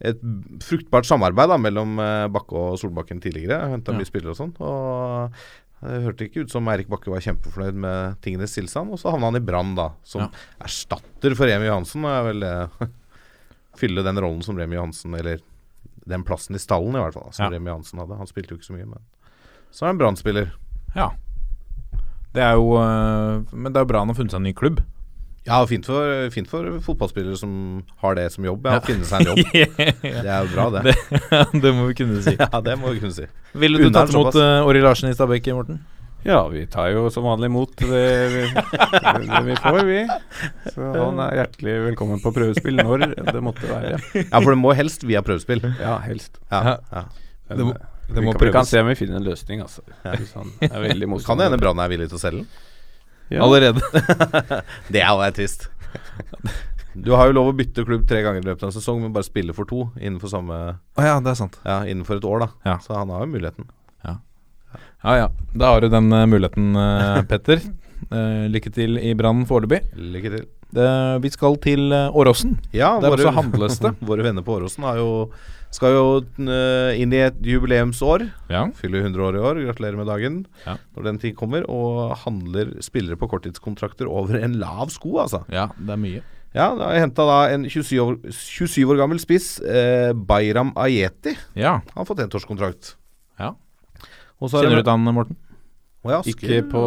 Speaker 3: et fruktbart samarbeid da, mellom eh, Bakke og Solbakken tidligere. Henta mye spillere og sånn. Og det hørte ikke ut som Eirik Bakke var kjempefornøyd med tingenes tilstand. Og så havna han i Brann, da, som
Speaker 2: Ja.
Speaker 3: erstatter for Remi Johansen. Og er vel eh, <laughs> Fylle den rollen som Remi Johansen, eller den plassen i stallen i hvert fall, da, som
Speaker 2: Ja.
Speaker 3: Remi Johansen hadde. Han spilte jo ikke så mye, men så er han Brann-spiller.
Speaker 2: Ja. Det er jo eh, Men det er jo bra han har funnet seg en ny <laughs> klubb.
Speaker 3: Ja, og fint for, fint for fotballspillere som har det som jobb, ja, å finne seg en
Speaker 2: <laughs>
Speaker 3: jobb. Det er jo bra, det.
Speaker 2: det må vi kunne si.
Speaker 3: <laughs> Ja, det må vi kunne si.
Speaker 2: Ville du
Speaker 3: Unna
Speaker 2: tatt
Speaker 3: er
Speaker 2: imot uh, Åri Larsen i Stabæk, Morten?
Speaker 4: Ja, vi tar jo som vanlig imot det vi, det vi får, vi. Så han er hjertelig velkommen på prøvespill når det måtte være.
Speaker 3: Ja, for det må helst via prøvespill.
Speaker 4: Ja, helst.
Speaker 3: Ja, ja.
Speaker 4: Men,
Speaker 2: Det må-
Speaker 4: eh,
Speaker 2: det
Speaker 4: vi
Speaker 2: må
Speaker 4: kan, vi kan
Speaker 2: prøves.
Speaker 4: se om vi finner en løsning, altså. Hvis han er
Speaker 3: Kan
Speaker 4: veldig
Speaker 3: det hende
Speaker 4: motstander.
Speaker 3: Brann er villig til å selge den?
Speaker 4: Ja.
Speaker 2: Allerede.
Speaker 3: <laughs> Det er jo det er trist. Du har jo lov å bytte klubb tre ganger i løpet av en sesong, men bare spille for to innenfor samme
Speaker 2: Å ja, det er sant.
Speaker 3: Ja, innenfor et år, da.
Speaker 2: Ja.
Speaker 3: Så han har jo muligheten.
Speaker 2: Ja ja. Da har du den eh, muligheten, eh, Petter. Eh, lykke til i Brann foreløpig.
Speaker 3: Lykke til.
Speaker 2: Det- Vi skal til eh, Åråsen.
Speaker 3: Ja,
Speaker 2: Der også handles det.
Speaker 3: <laughs> våre venner på Åråsen har jo skal jo eh, inn i et jubileumsår.
Speaker 2: Ja.
Speaker 3: Fyller 100 år i år, gratulerer med dagen
Speaker 2: Ja.
Speaker 3: når den tid kommer. Og handler spillere på korttidskontrakter over en lav sko, altså.
Speaker 2: ja, det er mye.
Speaker 3: Ja, da har jeg henta da en 27 år, 27 år gammel spiss, eh, Bayram Ayeti.
Speaker 2: Ja.
Speaker 3: Han har fått ettårskontrakt.
Speaker 2: Ja.
Speaker 3: Og så er
Speaker 2: Kjenner du
Speaker 3: det-
Speaker 2: til han, Morten?
Speaker 3: Å, ja, Asker.
Speaker 4: Ikke på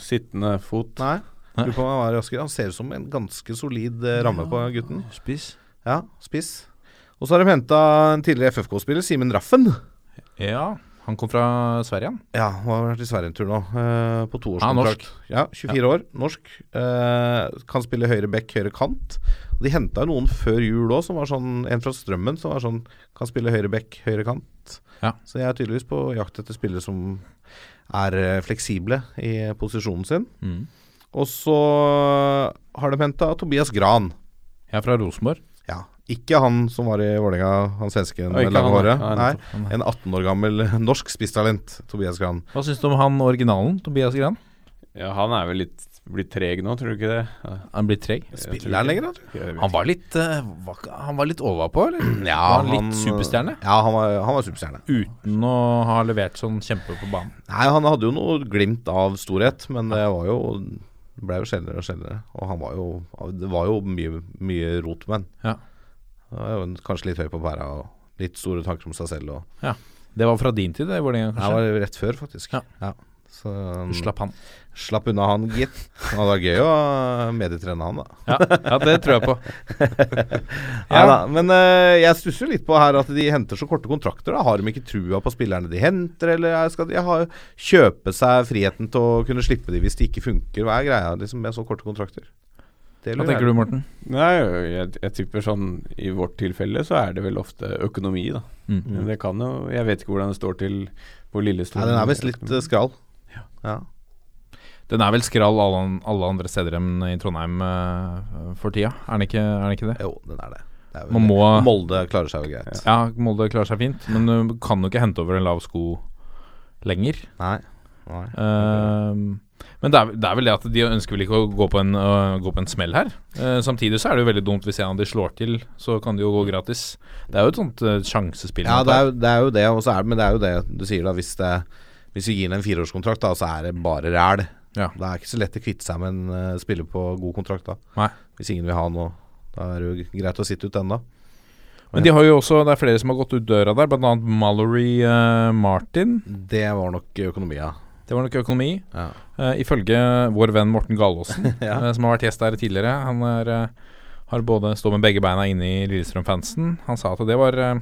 Speaker 4: sittende fot.
Speaker 3: Nei. Lurer på om han var i Asker. Han ser ut som en ganske solid eh, ramme på gutten.
Speaker 2: Spiss.
Speaker 3: Ja, spiss. Og så har de henta en tidligere FFK-spiller, Simen Raffen.
Speaker 2: Ja, han kom fra Sverige, han.
Speaker 3: Ja, han har vært i Sverige en tur nå, eh, på
Speaker 2: Han er
Speaker 3: toårskontrakt.
Speaker 2: norsk.
Speaker 3: Ja, 24 år, norsk. Eh, kan spille høyre back, høyre kant. Og de henta jo noen før jul òg, som var sånn En fra Strømmen som var sånn Kan spille høyre back, høyre kant.
Speaker 2: Ja.
Speaker 3: Så jeg er tydeligvis på jakt etter spillere som er eh, fleksible i posisjonen sin.
Speaker 2: Mm.
Speaker 3: Og så har de henta Tobias Gran.
Speaker 2: Jeg er fra Rosenborg.
Speaker 3: Ja, ikke han som var i Vålerenga, han svensken
Speaker 4: Ja, ikke
Speaker 3: med lange
Speaker 4: han,
Speaker 3: håret.
Speaker 4: nei. Nei,
Speaker 3: Nei,
Speaker 4: nettopp,
Speaker 3: en 18 år gammel norsk spisstalent, Tobias Gran.
Speaker 2: Hva syns du om han originalen, Tobias Gran?
Speaker 4: Ja, han er vel litt blitt treg nå, tror du ikke det? Ja.
Speaker 2: Han blir treg.
Speaker 3: Spiller han lenger, da? tror
Speaker 4: Jeg vet
Speaker 2: Han var litt eh, var ikke- Han var litt overpå, eller?
Speaker 3: jeg. Ja,
Speaker 2: var han eh, litt superstjerne?
Speaker 3: Ja, han var, han var superstjerne.
Speaker 2: Uten å ha levert sånn kjempe på banen.
Speaker 3: Nei, han hadde jo noe glimt av storhet, men det var jo det ble jo sjeldnere og sjeldnere. Og han var jo Det var jo mye, mye rot med han.
Speaker 2: Ja.
Speaker 3: Han var jo en- Kanskje litt høy på pæra og litt store tanker om seg selv. Og,
Speaker 2: ja. Det var fra din tid, det, Vålerenga,
Speaker 3: Nei, det var
Speaker 2: kanskje?
Speaker 3: rett før, faktisk.
Speaker 2: Ja.
Speaker 3: Så um,
Speaker 2: Du slapp han.
Speaker 3: slapp unna han, gitt. Og det var gøy å medietrene han, da.
Speaker 2: Ja, ja, det tror <laughs> jeg på.
Speaker 3: Ja, da, men eh, jeg stusser jo litt på her at de henter så korte kontrakter. Da. Har de ikke trua på spillerne de henter, eller er- skal de ha, kjøpe seg friheten til å kunne slippe de hvis de ikke funker? Hva er greia liksom, med så korte kontrakter? Det
Speaker 2: Hva tenker du, Morten?
Speaker 4: Nei, jeg, jeg tipper sånn I vårt tilfelle så er det vel ofte økonomi, da.
Speaker 2: Mm.
Speaker 4: Men det kan jo Jeg vet ikke hvordan det står til på Lillestrøm.
Speaker 3: Nei, den er visst litt eh, skral. Ja.
Speaker 2: Den er vel skral alle, an- alle andre steder enn i Trondheim eh, for tida, er den ikke, er den ikke det?
Speaker 3: Jo, den er det. det er vel,
Speaker 2: Man må
Speaker 3: Molde klarer seg jo greit.
Speaker 2: Ja, Molde klarer seg fint, men du kan jo ikke hente over en lav sko lenger.
Speaker 3: Nei. Nei.
Speaker 2: Ehm, men det er, det er vel det at de ønsker vel ikke å gå på en, å gå på en smell her. Eh, samtidig så er det jo veldig dumt hvis en av de slår til, så kan det jo gå gratis. Det er jo et sånt eh, sjansespill.
Speaker 3: Ja,
Speaker 2: man
Speaker 3: det
Speaker 2: tar.
Speaker 3: er, jo- det er jo det, og så er, det- men det er jo det du sier, da. Hvis, det, hvis vi gir den en fireårskontrakt, da, så er det bare ræl.
Speaker 2: Ja.
Speaker 3: Det er ikke så lett å kvitte seg med en eh, spiller på god kontrakt, da.
Speaker 2: Nei.
Speaker 3: Hvis ingen vil ha noe. Da er det jo greit å sitte ut den, da.
Speaker 2: Men de har jo også, det er flere som har gått ut døra der, bl.a. Mallory eh, Martin.
Speaker 3: Det var nok økonomia.
Speaker 2: Det var nok økonomi.
Speaker 3: Ja.
Speaker 2: Eh, ifølge vår venn Morten Galaasen,
Speaker 3: <laughs> Ja.
Speaker 2: eh, som har vært gjest der tidligere. Han er, eh, har både står med begge beina inne i Lillestrøm-fansen. Han sa at det var eh,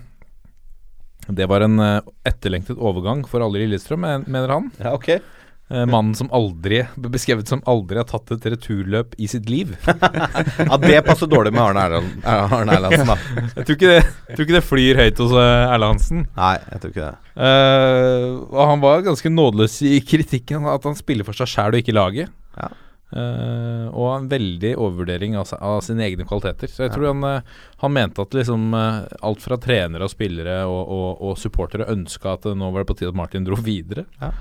Speaker 2: det var en eh, etterlengtet overgang for alle i Lillestrøm, men- mener han.
Speaker 3: Ja, ok.
Speaker 2: Eh, mannen som aldri ble beskrevet som aldri har tatt et returløp i sitt liv.
Speaker 3: <laughs> Ja, det passer dårlig med Arne <laughs> Erland- Arne Erlandsen, da.
Speaker 2: Jeg tror ikke det, jeg tror ikke det flyr høyt hos eh, Erle Hansen.
Speaker 3: Nei, jeg tror ikke det.
Speaker 2: Eh, og han var ganske nådeløs i kritikken at han spiller for seg sjæl og ikke laget.
Speaker 3: Ja.
Speaker 2: Eh, og en veldig overvurdering av, se- av sine egne kvaliteter. Så jeg tror han, eh, han mente at liksom eh, alt fra trenere og spillere og, og, og supportere ønska at eh, nå var det på tide at Martin dro videre.
Speaker 3: Ja.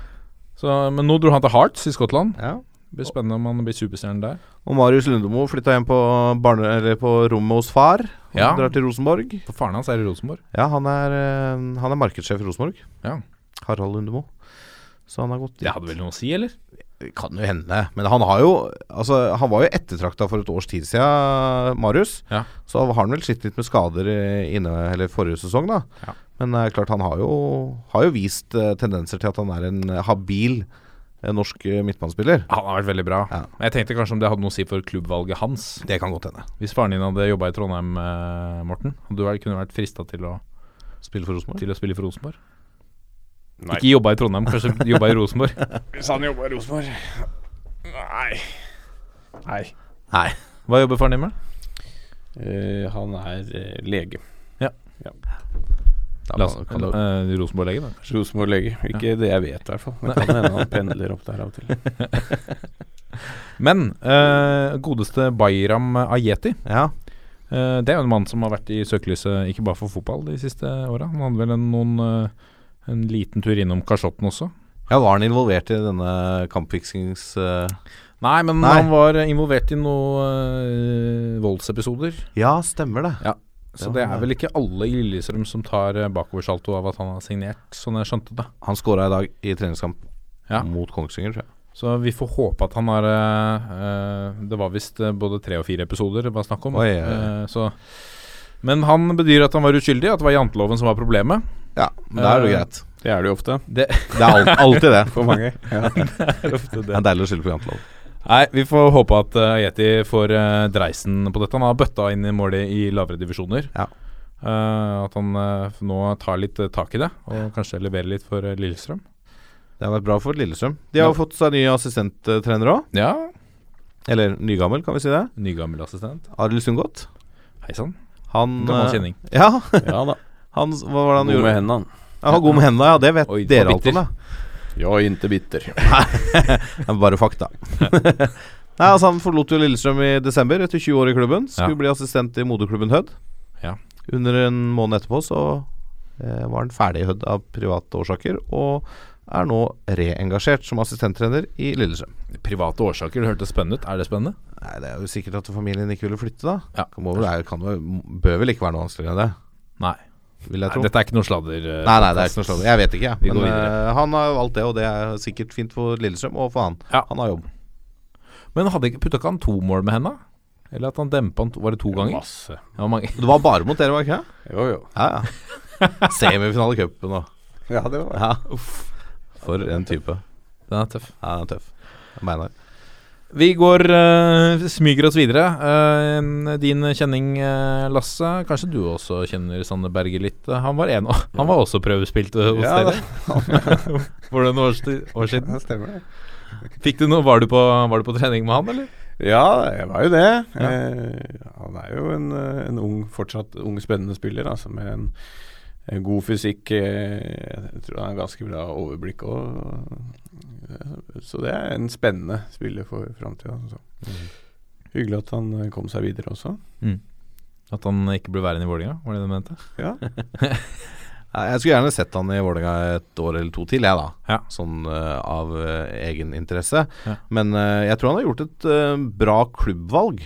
Speaker 2: Så, men nå dro han til Hearts i Skottland.
Speaker 3: Ja.
Speaker 2: Det blir spennende om han blir superstjerne der.
Speaker 3: Og Marius Lundemo flytta hjem på, barne, eller på rommet hos far. Han
Speaker 2: Ja.
Speaker 3: Drar til Rosenborg.
Speaker 2: For faren hans er i Rosenborg.
Speaker 3: Ja, han er, eh, han er markedssjef i Rosenborg.
Speaker 2: Ja.
Speaker 3: Harald Lundemo. Så han har gått dit.
Speaker 2: Det hadde vel noe å si, eller?
Speaker 3: Det kan jo hende. Men han har jo Altså, han var jo ettertrakta for et års tid siden, Marius.
Speaker 2: Ja.
Speaker 3: Så har han vel slitt litt med skader eh, inne Eller forrige sesong, da.
Speaker 2: Ja.
Speaker 3: Men det er klart, han har jo, har jo vist eh, tendenser til at han er en eh, habil eh, norsk eh, midtbanespiller.
Speaker 2: Han har vært veldig bra.
Speaker 3: Ja.
Speaker 2: Men Jeg tenkte kanskje om det hadde noe å si for klubbvalget hans.
Speaker 3: Det kan godt hende.
Speaker 2: Hvis faren din hadde jobba i Trondheim, eh, Morten, hadde du vært- kunne vært frista til å
Speaker 3: Spiller for Rosenborg.
Speaker 2: til å spille for Rosenborg?
Speaker 4: Nei.
Speaker 2: Ikke jobba i Trondheim, kanskje jobba i Rosenborg.
Speaker 4: <laughs> Hvis han jobba i Rosenborg Nei. Nei.
Speaker 3: Nei.
Speaker 2: Hva jobber faren din med?
Speaker 4: Eh, han er eh, lege.
Speaker 3: Da
Speaker 2: La oss,
Speaker 3: kan du-
Speaker 2: eh, Rosenborg-lege, da.
Speaker 4: Rosenborg-lege. Ikke det jeg vet, i hvert fall. Det kan hende han pendler opp der av og til.
Speaker 2: Men eh, godeste Bayram Ayeti,
Speaker 3: Ja.
Speaker 2: eh, det er jo en mann som har vært i søkelyset ikke bare for fotball de siste åra. Han hadde vel en, noen eh, en liten tur innom Kasjotten også.
Speaker 3: ja, var han involvert i denne kampfiksings... eh,
Speaker 2: Nei, men
Speaker 3: Nei.
Speaker 2: han var involvert i noen eh, voldsepisoder.
Speaker 3: <laughs> Ja, stemmer det.
Speaker 2: Så
Speaker 3: Det
Speaker 2: det
Speaker 3: var
Speaker 2: er
Speaker 3: det.
Speaker 2: vel ikke alle i Lillestrøm som tar eh, bakoversalto av at han har signert, sånn jeg skjønte det.
Speaker 3: Han skåra i dag i treningskamp
Speaker 2: Ja.
Speaker 3: mot Kongsvinger, tror jeg.
Speaker 2: Så vi får håpe at han har eh, eh, Det var visst eh, både tre og fire episoder det var snakk om.
Speaker 3: Oi, oi, oi.
Speaker 2: Eh, så. Men han bedyr at han var uskyldig, at det var janteloven som var problemet.
Speaker 3: Ja, men da er det jo
Speaker 2: Eh,
Speaker 3: greit.
Speaker 4: Det er det jo ofte.
Speaker 3: Det er al- alltid det.
Speaker 4: For
Speaker 3: <laughs>
Speaker 4: mange. Ja.
Speaker 3: Det er deilig å skylde på jantelov.
Speaker 2: Nei, vi får håpe at eh, Yeti får eh, dreisen på dette. Han har bøtta inn i målet i lavere divisjoner.
Speaker 3: Ja.
Speaker 2: Eh, at han eh, nå tar litt eh, tak i det, og kanskje leverer litt for eh, Lillestrøm.
Speaker 3: Det har vært bra for Lillestrøm. De har jo fått seg ny assistenttrener òg.
Speaker 2: Ja,
Speaker 3: Eller nygammel, kan vi si det.
Speaker 2: Nygammel assistent.
Speaker 3: Arild Sundgodt.
Speaker 2: Hei sann.
Speaker 3: Han
Speaker 2: Gammel
Speaker 3: eh,
Speaker 2: kjenning.
Speaker 3: Ja,
Speaker 4: ja da.
Speaker 3: han, s- hva var det <laughs> han
Speaker 4: God
Speaker 3: gjorde?
Speaker 4: med hendene.
Speaker 3: Han var god med hendene, ja. Det vet
Speaker 2: Oi,
Speaker 3: dere
Speaker 2: var
Speaker 3: alt om,
Speaker 2: bitter.
Speaker 3: ja.
Speaker 4: Ja, inte bitter.
Speaker 3: Det er Bare fakta. <laughs> Nei, altså Han forlot jo Lillestrøm i desember, etter 20 år i klubben. Skulle
Speaker 2: Ja.
Speaker 3: bli assistent i moderklubben Hødd.
Speaker 2: Ja.
Speaker 3: Under en måned etterpå så eh, var han ferdig i Hødd av private årsaker, og er nå reengasjert som assistenttrener i Lillestrøm.
Speaker 2: Private årsaker, det hørtes spennende ut. Er det spennende?
Speaker 3: Nei, Det er jo sikkert at familien ikke ville flytte, da.
Speaker 2: Ja.
Speaker 3: Kom over, det er- kan jo, bør vel ikke være noe vanskeligere enn det,
Speaker 2: Nei.
Speaker 3: vil jeg
Speaker 2: Nei
Speaker 3: tro.
Speaker 2: dette er ikke noe sladder. eh,
Speaker 3: Nei, nei, det er ikke noe sånt. Jeg vet ikke,
Speaker 2: Vi
Speaker 3: jeg.
Speaker 2: går
Speaker 3: Men
Speaker 2: videre.
Speaker 3: eh, han har valgt det, og det er sikkert fint for Lillestrøm og for han.
Speaker 2: Ja.
Speaker 3: Han har jobb.
Speaker 2: Men hadde ikke, putta ikke han to mål med henda? Eller at han dempa han to, Var det to ganger?
Speaker 4: Masse.
Speaker 2: Det var mange. <laughs>
Speaker 3: Det var bare mot dere, var det ikke? det?
Speaker 4: Jo, jo.
Speaker 3: Ja, ja. Semifinale i cupen og
Speaker 4: Ja, det var
Speaker 3: ja. Uff. For en type.
Speaker 2: Den er tøff.
Speaker 3: Ja, han er tøff. Beinar.
Speaker 2: Vi går eh, smyger oss videre. Eh, din kjenning, eh, Lasse. Kanskje du også kjenner Sanne Berge litt. Eh, Han var, en, han var også prøvespilt eh, hos
Speaker 4: Ja, da.
Speaker 2: dere for noen år, sti- år siden.
Speaker 4: Det stemmer, det.
Speaker 2: Fikk du noe, var, du på, var du på trening med han, eller?
Speaker 4: Ja, jeg var jo det. Eh, han er jo en, eh, en ung, fortsatt ung, spennende spiller, altså, med en, en god fysikk. Eh, jeg tror han har ganske bra overblikk òg. Så det er en spennende spiller for framtida. Altså. Hyggelig at han eh, kom seg videre også.
Speaker 2: At han ikke ble værende i Vålerenga, var det det du mente?
Speaker 4: Ja,
Speaker 3: Ja, Jeg skulle gjerne sett han i Vålerenga et år eller to til, jeg da.
Speaker 2: Ja.
Speaker 3: Sånn eh, av eh, egen interesse.
Speaker 2: Ja.
Speaker 3: Men eh, jeg tror han har gjort et eh, bra klubbvalg.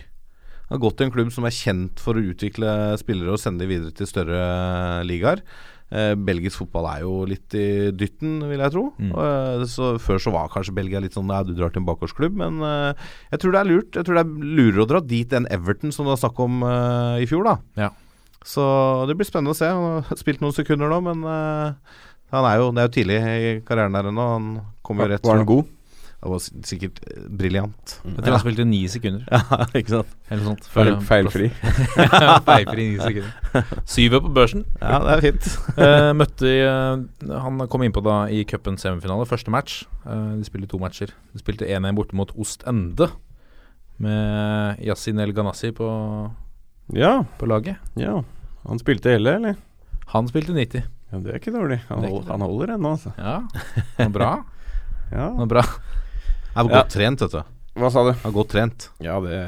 Speaker 3: Han har gått til en klubb som er kjent for å utvikle spillere og sende de videre til større eh, ligaer. Eh, belgisk fotball er jo litt i dytten, vil jeg tro.
Speaker 2: Mm.
Speaker 3: Og, eh, så før så var kanskje Belgia litt sånn Nei, du drar til en bakgårdsklubb, men eh, jeg tror det er lurt. Jeg tror det er lurere å dra dit enn Everton, som det var snakk om eh, i fjor, da.
Speaker 2: Ja.
Speaker 3: Så det blir spennende å se. Han har spilt noen sekunder nå, men eh, han er jo, det er jo tidlig i karrieren her ennå. Han kommer jo rett
Speaker 4: var han god?
Speaker 3: fra- Han var s- sikkert eh, briljant.
Speaker 2: Jeg tror han spilte ni sekunder,
Speaker 3: <laughs> Ja, ikke sant?
Speaker 2: eller noe sånt.
Speaker 4: Feil,
Speaker 2: før- <laughs>
Speaker 4: feilfri.
Speaker 2: Feilfri ni
Speaker 4: <laughs>
Speaker 2: sekunder. Syver på børsen.
Speaker 3: Ja, det er fint.
Speaker 2: Eh, møtte eh, Han kom innpå da i cupens semifinale, første match. Eh, de spilte to matcher. De spilte 1-1 borte mot Ostende med Yasin El Ganassi på,
Speaker 4: Ja,
Speaker 2: på laget.
Speaker 4: ja. Han spilte hele, eller?
Speaker 2: Han spilte 90.
Speaker 4: Ja, Det er ikke dårlig. Han,
Speaker 2: Det er ikke
Speaker 4: hold, han holder ennå, altså.
Speaker 2: Ja, han var bra.
Speaker 4: Ja.
Speaker 2: Han var bra.
Speaker 3: Han er
Speaker 4: Ja.
Speaker 3: godt trent, vet du.
Speaker 4: Hva sa du?
Speaker 3: Han er godt trent.
Speaker 4: Ja, det,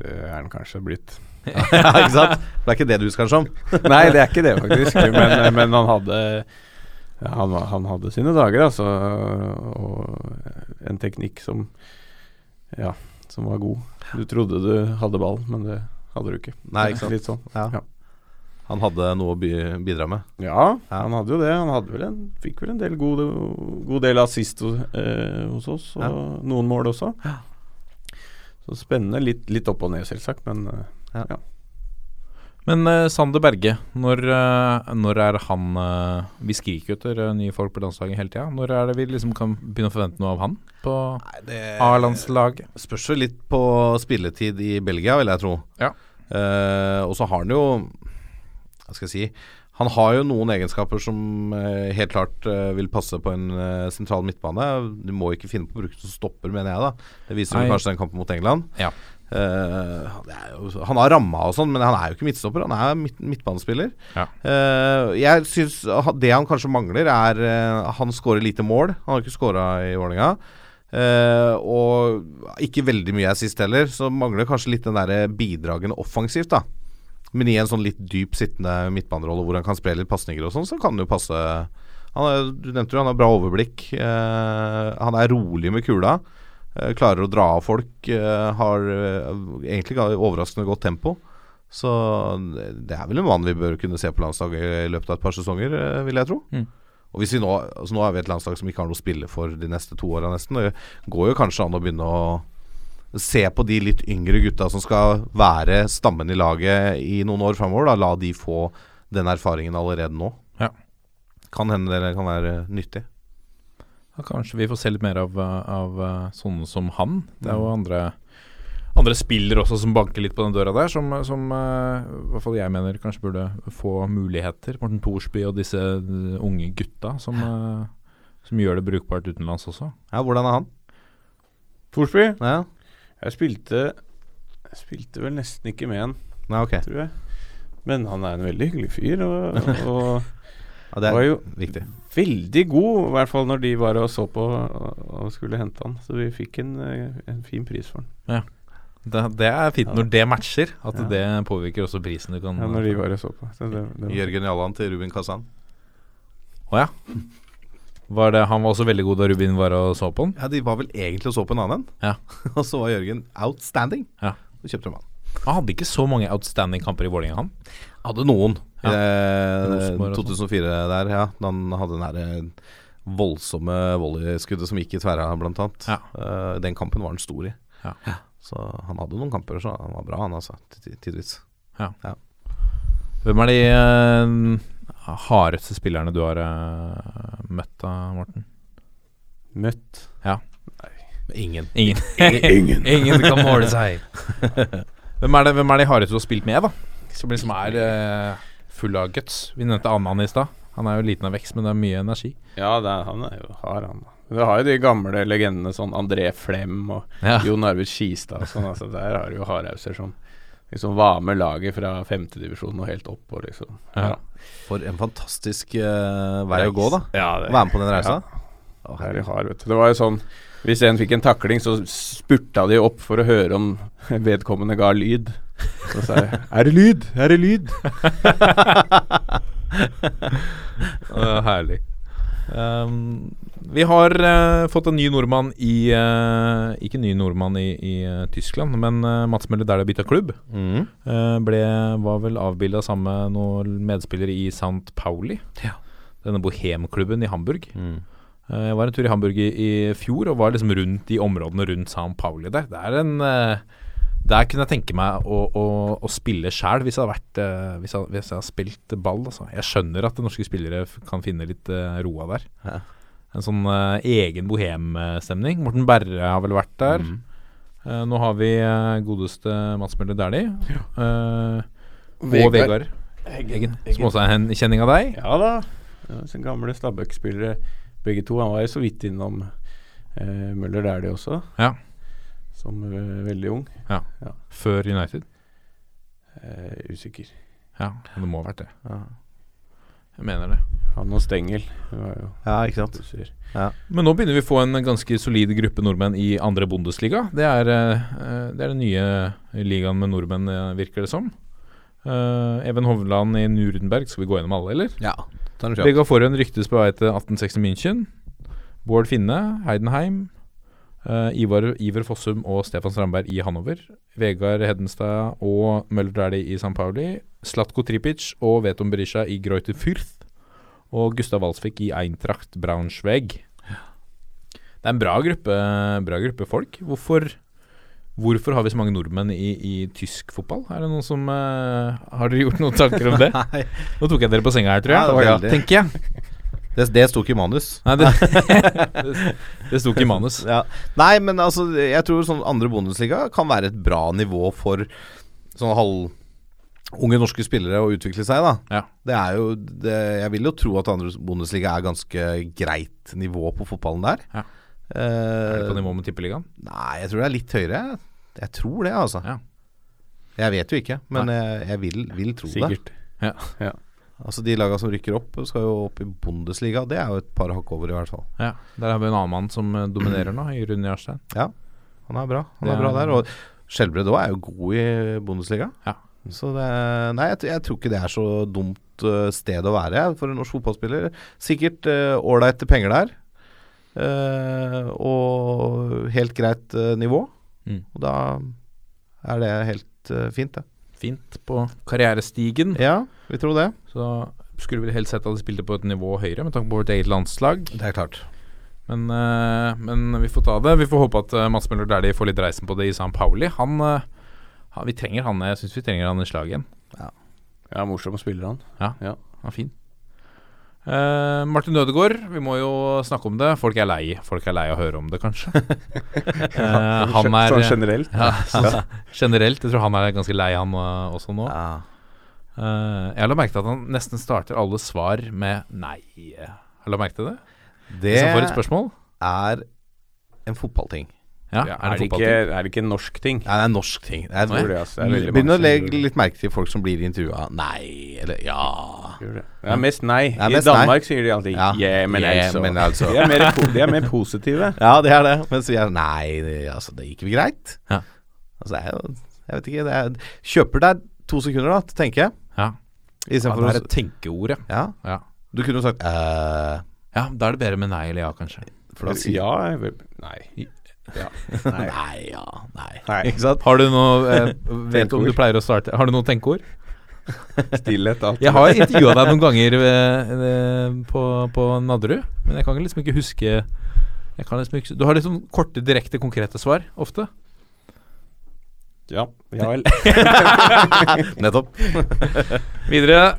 Speaker 4: det er han kanskje blitt.
Speaker 3: <laughs> Ja, ikke sant? Det er ikke det du husker han som.
Speaker 4: Nei, det er ikke det, faktisk. Men, men han hadde ja, han, var- han hadde sine dager, altså. Og en teknikk som Ja, som var god. Du trodde du hadde ball, men det hadde du ikke.
Speaker 3: Nei, ikke sant.
Speaker 4: Litt sånn.
Speaker 3: Ja.
Speaker 4: Ja.
Speaker 3: Han hadde noe å by bidra med.
Speaker 4: Ja, han hadde jo det. Han hadde vel en, fikk vel en del god, god del assist eh, hos oss, og
Speaker 3: Ja.
Speaker 4: noen mål også. Så spennende. Litt, litt opp og ned, selvsagt, men eh,
Speaker 2: Men eh, Sander Berge, når, eh, når er han eh, Vi skriker jo etter eh, nye folk på landslaget hele tida. Når er det vi liksom kan begynne å forvente noe av han på A-landslaget?
Speaker 3: Spørs jo litt på spilletid i Belgia, vil jeg tro.
Speaker 2: Ja.
Speaker 3: Eh, og så har han jo Hva skal jeg si Han har jo noen egenskaper som eh, helt klart eh, vil passe på en eh, sentral midtbane. Du må ikke finne på å bruke som stopper, mener jeg, da. Det viser
Speaker 2: Nei.
Speaker 3: vel kanskje den kampen mot England.
Speaker 2: Ja.
Speaker 3: Eh, det er jo, han har ramma og sånn, men han er jo ikke midtstopper. Han er midt, midtbanespiller.
Speaker 2: Ja.
Speaker 3: Eh, jeg syns det han kanskje mangler, er eh, Han skårer lite mål. Han har ikke skåra i Vålerenga. Eh, og ikke veldig mye assist heller, så mangler kanskje litt den der bidragene offensivt, da. Men i en sånn litt dyp sittende midtbanerolle hvor han kan spre litt pasninger og sånn, så kan det jo passe. Han er, du nevnte jo han har bra overblikk. Eh, han er rolig med kula. Eh, klarer å dra av folk. Eh, har eh, egentlig ga- overraskende godt tempo. Så det det er vel en mann vi bør kunne se på landslaget i løpet av et par sesonger, eh, vil jeg tro.
Speaker 2: Mm.
Speaker 3: Og hvis vi nå, altså nå har vi et landslag som ikke har noe å spille for de neste to åra, nesten. Det går jo kanskje an å begynne å se på de litt yngre gutta som skal være stammen i laget i noen år framover. Da. La de få den erfaringen allerede nå.
Speaker 2: Ja.
Speaker 3: Kan hende dere kan være nyttige.
Speaker 2: Ja, Kanskje vi får se litt mer av, eh, av eh, sånne som han. Det er jo
Speaker 4: Mm.
Speaker 2: andre, andre spillere også som banker litt på den døra der, som, som eh, i hvert fall jeg mener kanskje burde få muligheter. Morten Thorsby og disse eh, unge gutta som, eh, som gjør det brukbart utenlands også.
Speaker 3: Ja, hvordan er han?
Speaker 4: Thorsby?
Speaker 3: Ja,
Speaker 4: Jeg spilte Jeg spilte vel nesten ikke med han,
Speaker 3: Nei, ok.
Speaker 4: tror jeg. Men han er en veldig hyggelig fyr,
Speaker 3: <laughs>
Speaker 4: og, og
Speaker 3: Ja, det
Speaker 4: var
Speaker 3: er
Speaker 4: jo
Speaker 3: viktig.
Speaker 4: veldig god, i hvert fall når de var og så på og, og skulle hente han. Så vi fikk en, eh, en fin pris for han.
Speaker 2: Det, det er fint
Speaker 4: Ja.
Speaker 2: når det matcher, at
Speaker 4: Ja.
Speaker 2: det påvirker også prisen du kan
Speaker 4: Ja, når de var og så på. Så det, det var.
Speaker 3: Mm. Jørgen Jalland til Ruben Kazan.
Speaker 2: Å ja. Var det, han var også veldig god da Rubin var og så på han.
Speaker 3: Ja, De var vel egentlig og så på en annen en, <laughs>
Speaker 2: Ja.
Speaker 3: og så var Jørgen outstanding.
Speaker 2: Ja.
Speaker 3: Så kjøpte de han.
Speaker 2: Han hadde ikke så mange outstanding kamper i Vålerenga, han.
Speaker 3: Hadde noen.
Speaker 2: Ja.
Speaker 3: Eh,
Speaker 2: Rosenborg og sånn.
Speaker 3: 2004 der, ja. Da Han hadde den derre voldsomme volleyskuddet som gikk i tverra, blant annet.
Speaker 2: Ja.
Speaker 3: Eh, den kampen var han stor i.
Speaker 2: Ja.
Speaker 3: Så han hadde noen kamper, så han var bra, han altså. til- til- Tidvis.
Speaker 2: Hvem er de eh, hardeste spillerne du har eh, møtt da, Morten?
Speaker 4: Møtt
Speaker 3: Ingen.
Speaker 2: Ingen. <laughs> Ingen. kan måle <laughs> seg. hvem, er det, hvem er de hardeste du har spilt med, da? Som liksom er eh, full av guts. Vi nevnte Annan i stad. Han er jo liten av vekst, men det er mye energi.
Speaker 4: Ja, det er, han er jo hard, han. Du har jo de gamle legendene, sånn André Flem og
Speaker 2: Ja.
Speaker 4: Jon Arvid Skistad og sånn. Altså, der har du jo hardhauser som liksom var med laget fra femtedivisjon og helt opp og liksom
Speaker 2: Ja.
Speaker 3: <laughs> For en fantastisk eh, vei å gå, da.
Speaker 4: Ja,
Speaker 3: Å
Speaker 4: det,
Speaker 3: være med på den reisa.
Speaker 4: Å, her er de hard, vet du. Det var jo sånn Hvis en fikk en takling, så spurta de opp for å høre om vedkommende ga lyd. Så sa jeg 'Er det lyd? Er det lyd?'
Speaker 2: Eh, herlig. Um, vi har eh, fått en ny nordmann i eh, Ikke ny nordmann i, i eh, Tyskland, men eh, Mats Møller der det bytta klubb.
Speaker 3: Mm.
Speaker 2: Eh, ble, var vel avbilda sammen med noen medspillere i St. Pauli. Denne bohemklubben i Hamburg. Eh, jeg var en tur i Hamburg i, i fjor og var liksom rundt i områdene rundt St. Pauli der. Det er en eh, der kunne jeg tenke meg å, å, å spille sjæl, hvis, jeg hadde vært, eh, hvis, jeg- hvis jeg har spilt ball. Altså. Jeg skjønner at norske spillere f- kan finne litt eh, roa der.
Speaker 3: Ja.
Speaker 2: En sånn eh, egen bohemstemning. Morten Berre har vel vært der. Eh, nå har vi eh, godeste Mats Møller Dæhlie. eh, og Vegard Eggen, som også er en kjenning av deg.
Speaker 4: Ja da. Det var så gamle Stabæk-spillere begge to. Han var jo så vidt innom eh, Møller Dæhlie også,
Speaker 2: Ja.
Speaker 4: som eh, veldig ung.
Speaker 2: Før United.
Speaker 4: Eh, usikker.
Speaker 2: Ja, det må ha vært det.
Speaker 3: Ja.
Speaker 2: Jeg mener det.
Speaker 4: Han og Stengel. Det var jo
Speaker 3: ja, ikke sant.
Speaker 4: busser.
Speaker 2: Men nå begynner vi å få en ganske solid gruppe nordmenn i andre Bundesliga. Det er, eh, det er den nye ligaen med nordmenn, eh, virker det som. Eh, Even Hovland i Nuremberg, skal vi gå gjennom alle, eller?
Speaker 3: Ja. Ta den kjapt.
Speaker 2: Vegard Forhen ryktes på vei til 1860 München. Bård Finne, Heidenheim. eh, Ivar, Iver Fossum og Stefan Strandberg i Hannover. Vegard Hedenstad og Møller Dæhlie i San Pauli. Slatko Tripic og Veton Berisha i Greuter Fürth. Og Gustav Walsvik i Eintracht Braunschweig. Det er en bra gruppe, bra gruppe folk. Hvorfor, hvorfor har vi så mange nordmenn i, i tysk fotball? Er det noen som eh, Har dere gjort noen tanker om det?
Speaker 3: <laughs> Nei,
Speaker 2: Nå tok jeg dere på senga her, tror
Speaker 3: Ja, det var
Speaker 2: jeg.
Speaker 3: veldig.
Speaker 2: tenker jeg.
Speaker 3: det, det sto ikke i manus.
Speaker 2: Nei, <laughs> det, det, det sto ikke i manus.
Speaker 3: Ja. Nei, men altså, jeg tror sånn andre Bundesliga kan være et bra nivå for sånn halvunge norske spillere å utvikle seg, da.
Speaker 2: Ja.
Speaker 3: Det er jo det, Jeg vil jo tro at andre Bundesliga er ganske greit nivå på fotballen der.
Speaker 2: Ja. Er det
Speaker 3: Eh,
Speaker 2: på nivå med Tippeligaen?
Speaker 3: nei, jeg tror det er litt høyere. Jeg tror det, altså.
Speaker 2: Ja.
Speaker 3: Jeg vet jo ikke, men jeg, jeg vil, vil tro det.
Speaker 4: Sikkert.
Speaker 2: Ja.
Speaker 3: Altså De laga som rykker opp, skal jo opp i Bundesliga. Det er jo et par hakk over, i hvert fall.
Speaker 2: ja. Der har vi en annen mann som eh, dominerer nå, i Rune Jarstein.
Speaker 3: Han er bra Han
Speaker 2: Det
Speaker 3: er bra
Speaker 2: er-
Speaker 3: der. Og Skjelbred òg er jo god i Bundesliga.
Speaker 2: Ja.
Speaker 3: Så det Nei, jeg, t- jeg tror ikke det er så dumt eh, sted å være jeg, for en norsk fotballspiller. Sikkert eh, ålreite penger der. eh, og helt greit eh, nivå.
Speaker 2: Mm.
Speaker 3: Og da er det helt eh, fint, det.
Speaker 2: Fint på karrierestigen.
Speaker 3: Ja, vi tror det.
Speaker 2: Så skulle vi helst sett at de spilte på et nivå høyere, med tanke på vårt eget landslag.
Speaker 3: Det er klart.
Speaker 2: Men, eh, men vi får ta det. Vi får håpe at eh, Mats Møller Dæhlie får litt reisen på det i San Pauli. Han, eh, han Vi trenger han, eh, jeg syns vi trenger han i slaget igjen.
Speaker 4: Ja, morsom spiller han.
Speaker 2: Han er fin. Eh, Martin Ødegaard, vi må jo snakke om det. Folk er lei Folk er lei av å høre om det, <laughs> kanskje. Eh, han er
Speaker 4: Sånn generelt.
Speaker 2: <laughs> ja, sånn, generelt. Jeg tror han er ganske lei, han eh, også nå.
Speaker 3: Ja.
Speaker 2: Eh, jeg la merke til at han nesten starter alle svar med nei. Har du lagt merke til det?
Speaker 3: Det
Speaker 2: Hvis han får et spørsmål?
Speaker 3: er en fotballting.
Speaker 2: Ja,
Speaker 4: Ja,
Speaker 2: er det
Speaker 4: ikke,
Speaker 2: fotballting?
Speaker 4: er det ikke en norsk ting?
Speaker 3: Nei, det er en norsk ting. Det er,
Speaker 4: Tror det, altså. Det er veldig mange
Speaker 3: Begynn å
Speaker 4: som
Speaker 3: legge
Speaker 4: gjør det.
Speaker 3: litt merke til folk som blir intervjua. Nei, eller ja.
Speaker 4: Gjør det. Ja, mest nei.
Speaker 3: Ja,
Speaker 4: I
Speaker 3: mest
Speaker 4: Danmark
Speaker 3: nei.
Speaker 4: sier de alltid
Speaker 3: Ja.
Speaker 4: 'yeah, men
Speaker 3: Yeah,
Speaker 4: altså'.
Speaker 3: men altså.
Speaker 4: De, er mer, po- de er mer positive.
Speaker 3: Ja, det er det. Mens vi er Nei, det, altså, det gikk vel greit.
Speaker 2: Ja.
Speaker 3: Altså, det er jo Jeg vet ikke. Det er, kjøper deg to sekunder, da, til å tenke.
Speaker 2: Ja. Ja,
Speaker 3: Istedenfor
Speaker 2: det
Speaker 3: ja,
Speaker 2: er et tenkeord, ja.
Speaker 3: å Ja.
Speaker 2: ja.
Speaker 3: Du kunne jo sagt eh,
Speaker 2: Ja, Da er det bedre med nei eller ja, kanskje.
Speaker 3: <laughs> For da sier
Speaker 4: Ja, jeg vil- nei.
Speaker 3: <laughs> Nei, ja, nei.
Speaker 4: Nei.
Speaker 3: Ikke sant?
Speaker 2: Har du noe <laughs> eh, Vet du om du
Speaker 4: Tenkeord.
Speaker 2: pleier å starte Har du noe tenkeord?
Speaker 4: Stillhet, alt.
Speaker 2: Jeg <laughs> har intervjua deg noen ganger eh, eh, på, på Nadderud, men jeg kan liksom ikke huske jeg kan liksom ikke, Du har liksom korte, direkte, konkrete svar ofte.
Speaker 4: Ja, ja vel.
Speaker 3: <laughs> Nettopp.
Speaker 2: Videre.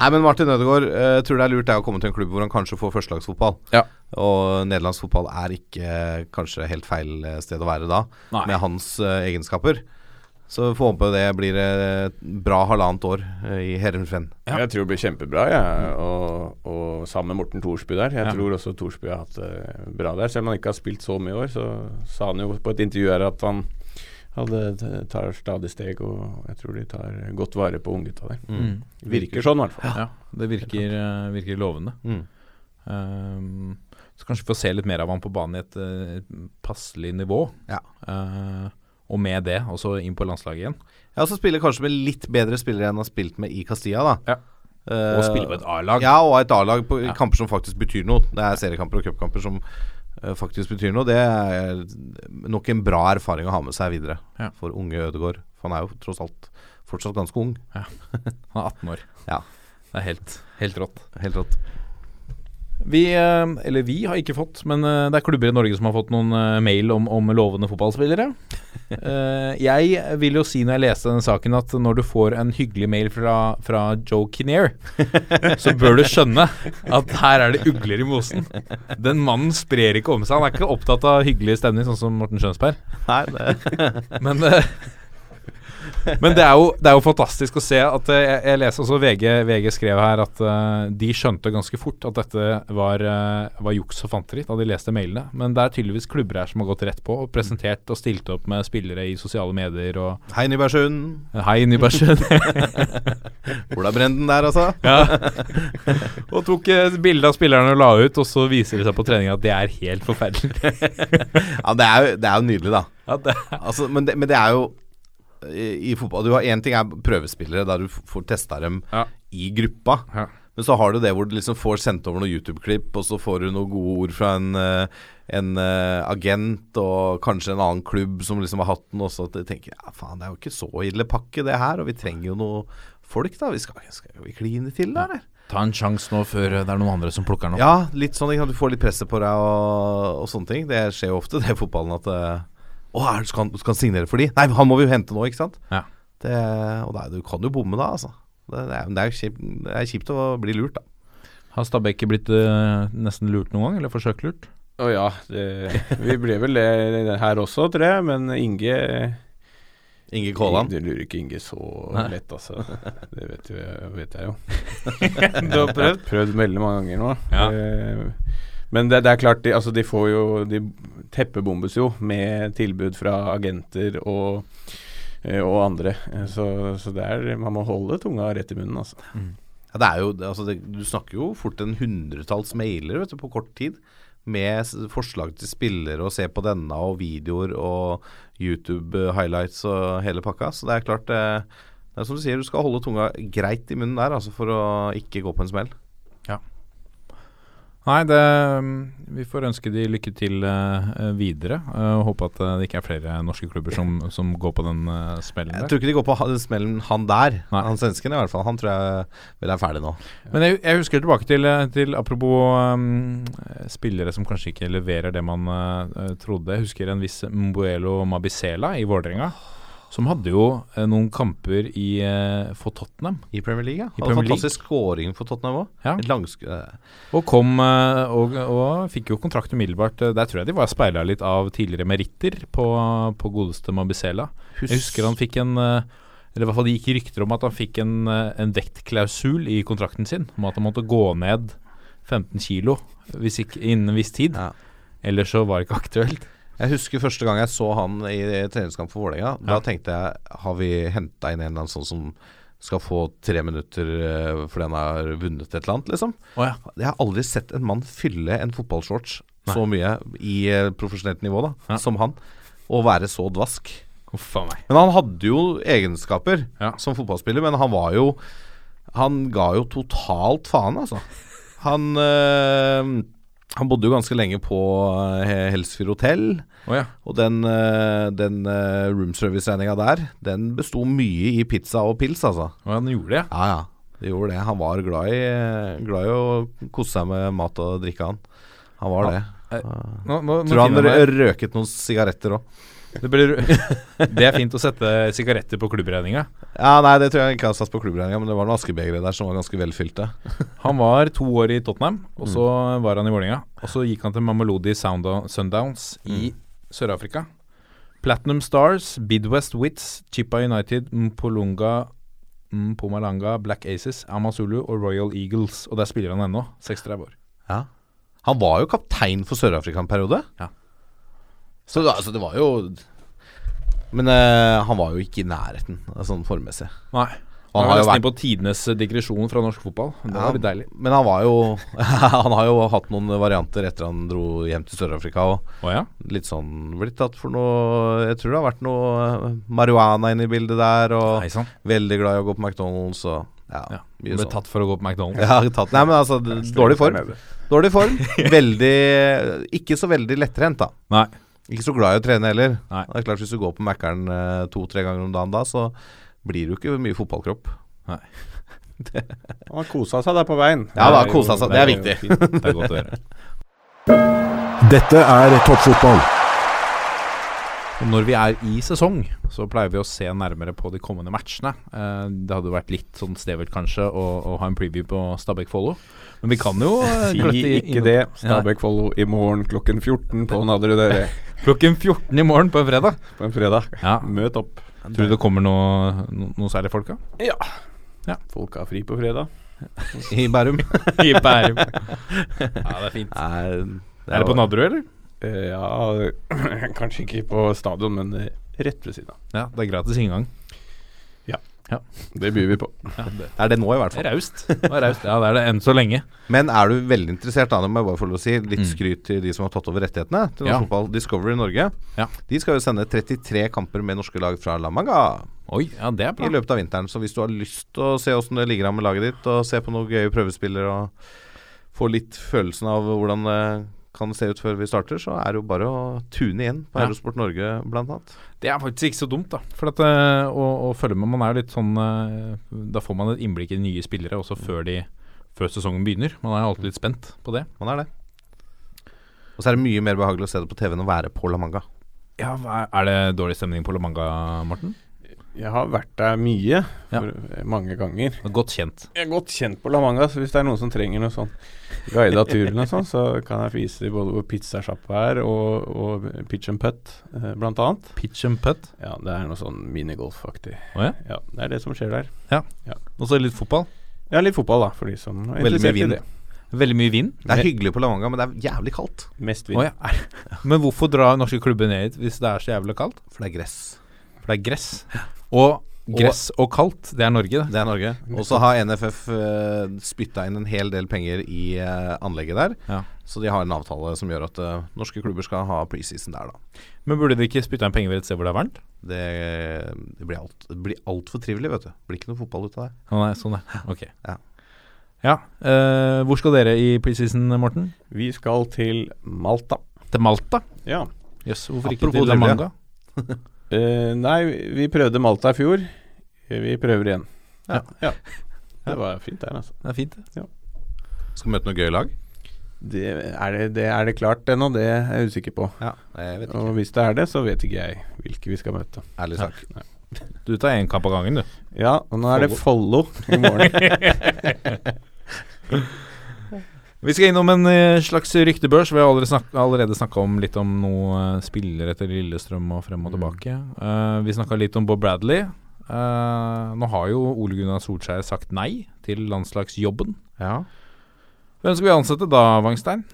Speaker 3: Nei, men Martin Ødegaard, eh, jeg tror det er lurt det å komme til en klubb hvor han kanskje får førstelagsfotball.
Speaker 2: Ja.
Speaker 3: Og nederlandsk fotball er ikke eh, kanskje helt feil eh, sted å være da,
Speaker 2: Nei.
Speaker 3: med hans eh, egenskaper. Så får håpe det blir eh, bra halvannet år eh, i Herrenfen.
Speaker 4: Jeg tror det blir kjempebra, jeg. Og, og sammen med Morten Thorsby der. Jeg
Speaker 2: Mm. Ja.
Speaker 4: tror også Thorsby har hatt det bra der. Selv om han ikke har spilt så mye i år, så sa han jo på et intervju her at han hadde, eh, tar stadig steg, og jeg tror de tar godt vare på unggutta der.
Speaker 2: Mm.
Speaker 4: Virker sånn, i hvert fall.
Speaker 2: Ja, det virker, eh, virker lovende.
Speaker 3: Mm.
Speaker 2: Ehm, så kanskje vi får se litt mer av han på banen i et eh, passelig nivå.
Speaker 3: Ja.
Speaker 2: Eh, og med det også inn på landslaget igjen.
Speaker 3: Ja, så spiller kanskje med litt bedre spillere enn han har spilt med i Castilla, da.
Speaker 2: Ja.
Speaker 3: Eh,
Speaker 2: Og spille på et A-lag.
Speaker 3: Ja, og et A-lag på
Speaker 2: Ja.
Speaker 3: kamper som faktisk betyr noe. Det er seriekamper og cupkamper som eh, faktisk betyr noe. Det er nok en bra erfaring å ha med seg videre
Speaker 2: Ja.
Speaker 3: for unge Ødegaard. For han er jo tross alt fortsatt ganske ung.
Speaker 2: Han er 18 år.
Speaker 3: Ja.
Speaker 2: Det er helt, helt rått.
Speaker 3: Helt rått.
Speaker 2: Vi, eh, eller vi har ikke fått, men eh, det er klubber i Norge som har fått noen eh, mail om, om lovende
Speaker 3: <laughs>
Speaker 2: fotballspillere. Eh, Jeg vil jo si når jeg leste denne saken at når du får en hyggelig mail fra, fra Joe
Speaker 3: <laughs>
Speaker 2: Kinnear, så bør du skjønne at her er det ugler i mosen. Den mannen sprer ikke om seg. Han er ikke opptatt av hyggelig stemning, sånn som Morten Skjønsberg.
Speaker 3: Nei, det,
Speaker 2: Men, eh, <laughs> men det, er jo, det er jo fantastisk å se at eh, jeg, jeg leser også VG, VG skrev her at eh, de skjønte ganske fort at dette var, eh, var juks og fanteri da de leste mailene. Men det er tydeligvis klubber her som har gått rett på og presentert og stilt opp med spillere i sosiale medier og eh,
Speaker 3: hei, Nybergsund.
Speaker 2: Hei, Nybergsund. <laughs>
Speaker 3: Ola Brenden der, altså.
Speaker 2: ja. Og tok eh, bilde av spillerne og la ut, og så viser det seg på trening at det er helt <laughs> forferdelig.
Speaker 3: Ja, det er jo, det er jo nydelig, da.
Speaker 2: ja, det,
Speaker 3: Altså, men, det, men det er jo i, i fotball Du har én ting er prøvespillere, der du f- får testa dem
Speaker 2: Ja.
Speaker 3: i gruppa.
Speaker 2: Ja.
Speaker 3: Men så har du det hvor du liksom får sendt over noen YouTube-klipp, og så får du noen gode ord fra en, eh, en eh, agent og kanskje en annen klubb som liksom har hatt den også, at du tenker ja, faen, det er jo ikke så ille pakke, det her, og vi trenger jo noe folk, da. Vi skal, skal vi kline til, da, eller?
Speaker 2: Ta en sjanse nå før eh, det er noen andre som plukker den opp.
Speaker 3: Ja, litt sånn ikke sant? Du får litt presset på deg og, og sånne ting. Det skjer jo ofte, <laughs> det i fotballen, at eh, Å, er det- skal, han- skal han signere for de? Nei, han må vi jo hente nå, ikke sant?
Speaker 2: Ja.
Speaker 3: Det, og nei, du kan jo bomme da, altså. Det, det, er, det, er kjipt, det er kjipt å bli lurt, da.
Speaker 2: Har Stabæk blitt eh, nesten lurt noen gang, eller forsøkt lurt?
Speaker 4: Å ja, det, vi ble vel det det her også, tror jeg. Men Inge
Speaker 3: Inge Kåland.
Speaker 4: Du lurer ikke Inge så lett, altså. Det vet, jo, vet jeg jo.
Speaker 2: du har
Speaker 4: Jeg har prøvd veldig mange ganger nå.
Speaker 2: Ja.
Speaker 4: Eh, Men det, det er klart, de, altså de får jo De teppebombes jo med tilbud fra agenter og eh, og andre. Eh, Så, så det er, man må holde tunga rett i munnen, altså.
Speaker 3: Ja, det er jo, det- altså, det, du snakker jo fort en hundretalls mailer vet du, på kort tid. Med s- forslag til spillere og se på denne og videoer og YouTube-highlights og hele pakka. Så det er klart eh, Det er som du sier, du skal holde tunga greit i munnen der altså, for å ikke gå på en smell.
Speaker 2: Nei, det, mm, vi får ønske de lykke til eh, videre. eh, og håpe at eh, det ikke er flere norske klubber som, som går på den eh, smellen
Speaker 3: Jeg
Speaker 2: der.
Speaker 3: tror ikke de går på ha- den smellen han der.
Speaker 2: Nei.
Speaker 3: Han svensken i hvert fall. Han tror jeg vil være ferdig nå.
Speaker 2: Men jeg, jeg husker tilbake til, eh, til apropos um, eh, spillere som kanskje ikke leverer det man eh, eh, trodde. Jeg husker en viss Mbuelo Mabisela i Vålerenga. Som hadde jo eh, noen kamper i, eh, for Tottenham.
Speaker 3: I Premier League, ja.
Speaker 2: I
Speaker 3: Hadde
Speaker 2: Premier League.
Speaker 3: fantastisk scoring for Tottenham òg.
Speaker 2: Ja.
Speaker 3: Langsk... eh,
Speaker 2: Og kom eh, og, og fikk jo kontrakt umiddelbart. Eh, Der tror jeg de var speila litt av tidligere meritter på, på godeste Mabisela. Jeg husker han fikk en eh, Eller i hvert fall det gikk rykter om at han fikk en, eh, en vektklausul i kontrakten sin om at han måtte gå ned 15 kilo hvis ikke, innen en viss tid.
Speaker 3: Ja.
Speaker 2: Ellers så var det ikke aktuelt.
Speaker 3: Jeg husker første gang jeg så han i treningskamp for Vålerenga. Da tenkte jeg har vi henta inn en eller annen sånn som skal få tre minutter eh, fordi han har vunnet et eller annet, liksom.
Speaker 2: Å ja.
Speaker 3: Jeg har aldri sett en mann fylle en fotballshorts så mye i eh, profesjonelt nivå da,
Speaker 2: Ja.
Speaker 3: som han, og være så dvask.
Speaker 2: Huff a meg.
Speaker 3: Men han hadde jo egenskaper
Speaker 2: Ja.
Speaker 3: som fotballspiller, men han var jo Han ga jo totalt faen, altså. Han eh, Han bodde jo ganske lenge på eh, Helsfyr hotell.
Speaker 2: Å ja.
Speaker 3: Og den, eh, den eh, room service-regninga der, den besto mye i pizza og pils, altså.
Speaker 2: Å, han gjorde det, ja.
Speaker 3: Ja, ja. Det gjorde det. Han var glad i, glad i å kose seg med mat og drikke, han. Han var det.
Speaker 2: Nå, nå, nå
Speaker 3: Tror han
Speaker 2: finner jeg meg.
Speaker 3: rø- røket noen sigaretter òg.
Speaker 2: det, blir, det er fint å sette sigaretter på klubbregninga.
Speaker 3: <laughs> Ja, nei, det tror jeg ikke han satt på klubbregninga, men det var noen askebegre der som var ganske velfylte.
Speaker 2: Han var to år i Tottenham, og
Speaker 3: Mm.
Speaker 2: så var han i Vålerenga. Og så gikk han til Mamelodi Sounda- Sundowns
Speaker 3: Mm.
Speaker 2: i Sør-Afrika. Platinum Stars, Bidwest Wits, Chippa United, Mpolunga Mpumalanga, Black Aces, Amazulu og Royal Eagles. Og der spiller han ennå, 36 år.
Speaker 3: Ja. Han var jo kaptein for Sør-Afrika en periode.
Speaker 2: Ja.
Speaker 3: Så det, altså, det var jo Men eh, han var jo ikke i nærheten, sånn formmessig.
Speaker 2: Nei.
Speaker 3: Han
Speaker 2: Han var
Speaker 3: har jo
Speaker 2: nesten
Speaker 3: vært-
Speaker 2: inne på tidenes digresjon fra norsk fotball. Det
Speaker 3: Ja,
Speaker 2: var litt deilig.
Speaker 3: Men han var jo <laughs> Han har jo hatt noen varianter etter han dro hjem til Sør-Afrika og
Speaker 2: Å ja?
Speaker 3: litt sånn blitt tatt for noe Jeg tror det har vært noe eh, marihuana inne i bildet der, og
Speaker 2: Nei sann.
Speaker 3: veldig glad i å gå på McDonald's og ja,
Speaker 2: Ja.
Speaker 3: mye
Speaker 2: Ble
Speaker 3: sånn.
Speaker 2: tatt for å gå på McDonald's.
Speaker 3: <laughs> Ja, tatt. Nei, men altså, d- dårlig form. Dårlig
Speaker 2: <laughs>
Speaker 3: form. Veldig Ikke så veldig lettrent, da.
Speaker 2: Nei.
Speaker 3: Ikke så glad i å trene heller.
Speaker 2: Nei.
Speaker 3: Det er klart Hvis du går på Mækkern eh, to-tre ganger om dagen da, så blir du ikke mye fotballkropp.
Speaker 4: Han har kosa seg der på veien.
Speaker 3: Ja da,
Speaker 4: Det er jo-
Speaker 3: kosa seg. Det er viktig.
Speaker 4: jo fint.
Speaker 2: Altså, Det er godt å høre.
Speaker 5: Dette er toppfotball.
Speaker 2: Og Når vi er i sesong, så pleier vi å se nærmere på de kommende matchene. Eh, Det hadde jo vært litt sånn stevert kanskje å, å ha en preview på Stabæk-Follo, men vi kan jo <laughs> eh,
Speaker 4: Si
Speaker 2: gløtte i-
Speaker 4: ikke det. Stabæk-Follo i morgen klokken 14 på Nadderudøy
Speaker 2: Klokken 14 i morgen på en fredag.
Speaker 4: på en fredag.
Speaker 2: Ja.
Speaker 4: Møt opp.
Speaker 2: Tror du det kommer noe, no, noe særlig folk, da?
Speaker 4: Folk har fri på fredag.
Speaker 3: I Bærum.
Speaker 2: <laughs> I Bærum. Ja, det er fint.
Speaker 3: Nei,
Speaker 2: Er det på Nadderud, eller?
Speaker 4: Eh, ja, <clears throat> kanskje ikke på stadion, men eh, rett ved siden av.
Speaker 2: Ja, det er gratis inngang.
Speaker 4: Det byr vi på.
Speaker 3: er det nå, i hvert
Speaker 2: Det
Speaker 3: fall.
Speaker 2: er raust. Det er raust. Ja, det er det enn så lenge.
Speaker 3: Men er du veldig interessert, da, det må jeg bare få lov å si, litt
Speaker 2: Mm.
Speaker 3: skryt til de som har tatt over rettighetene til norsk
Speaker 2: Ja.
Speaker 3: fotball, Discovery Norge.
Speaker 2: Ja.
Speaker 3: De skal jo sende 33 kamper med norske lag fra La Manga.
Speaker 2: Oi, ja, det er
Speaker 3: i
Speaker 2: bra.
Speaker 3: løpet av vinteren. Så hvis du har lyst til å se åssen det ligger an med laget ditt, og se på noen gøye prøvespiller og få litt følelsen av hvordan det kan se ut før vi starter, så er det jo bare å tune inn på
Speaker 2: Ja.
Speaker 3: Eurosport Norge, blant annet.
Speaker 2: Det er faktisk ikke så dumt, da. For at, eh, å, å følge med Man er jo litt sånn eh, Da får man et innblikk i nye spillere også før, de, før sesongen begynner. Man er jo alltid litt spent på det.
Speaker 3: Man er det. Og så er det mye mer behagelig å se det på TV enn å være på La Manga.
Speaker 2: Ja, hva Er er det dårlig stemning på La Manga, Morten?
Speaker 4: Jeg har vært der mye,
Speaker 2: Ja.
Speaker 4: for, eh, mange ganger.
Speaker 2: Det er Godt kjent.
Speaker 4: Jeg er godt kjent på La Manga, så hvis det er noen som trenger noe sånn guida tur eller noe sånt, så kan jeg vise dem både hvor pizzasjappa er, og, og pitch and putt, eh, blant annet.
Speaker 2: Pitch and putt.
Speaker 4: Ja, det er noe sånn minigolf-aktig.
Speaker 2: Å ja.
Speaker 4: Ja, det er det som skjer der.
Speaker 2: Og så litt fotball.
Speaker 4: Ja, litt fotball, da, for de som
Speaker 3: Veldig mye
Speaker 4: er interessert i
Speaker 3: vind.
Speaker 4: det.
Speaker 2: Veldig mye vind.
Speaker 3: Det er hyggelig på La Manga, men det er jævlig kaldt.
Speaker 4: Mest vind.
Speaker 2: Å ja. er- <laughs> Men hvorfor drar norske klubber ned hit hvis det er så jævlig kaldt?
Speaker 3: For det er gress.
Speaker 2: For det er gress. Og gress og kaldt, det er Norge, det.
Speaker 3: Det er Norge. Og så har NFF uh, spytta inn en hel del penger i eh, anlegget der.
Speaker 2: Ja.
Speaker 3: Så de har en avtale som gjør at eh, norske klubber skal ha preseason der, da.
Speaker 2: Men burde de ikke spytte inn penger ved et sted hvor det er varmt?
Speaker 3: Det, det blir altfor alt det blir alt for trivelig, vet du. Det blir ikke noe fotball ut av det.
Speaker 2: Å nei, sånn er Ok.
Speaker 3: Ja.
Speaker 2: Ja, eh, hvor skal dere i preseason, Morten?
Speaker 4: Vi skal til Malta.
Speaker 2: Til Malta?
Speaker 4: Ja.
Speaker 2: Jøss, hvorfor ikke
Speaker 3: Apropos
Speaker 2: til La
Speaker 3: trivelig,
Speaker 2: Manga?
Speaker 4: Eh, nei, vi prøvde Malta i fjor. Eh, Vi prøver igjen.
Speaker 2: Ja.
Speaker 4: ja. Det var fint der, altså.
Speaker 2: Det er fint.
Speaker 3: Skal møte noe gøy lag?
Speaker 4: Det, er, det, det, er det klart ennå? Det er jeg usikker på.
Speaker 3: Ja, jeg vet ikke.
Speaker 4: Og hvis det er det, så vet ikke jeg hvilke vi skal møte.
Speaker 3: Ærlig sak.
Speaker 4: Nei.
Speaker 2: Du tar én kamp av gangen, du.
Speaker 4: Ja, og nå er det Follo i morgen.
Speaker 2: Vi skal innom en eh, slags ryktebørs. Vi har allerede, snak allerede snakka om litt om noe eh, spillere til Lillestrøm og frem og tilbake. Eh, vi snakka litt om Bob Bradley. Eh, nå har jo Ole Gunnar Solskjær sagt nei til landslagsjobben.
Speaker 3: Ja.
Speaker 2: Hvem skal vi ansette da, Wangstein?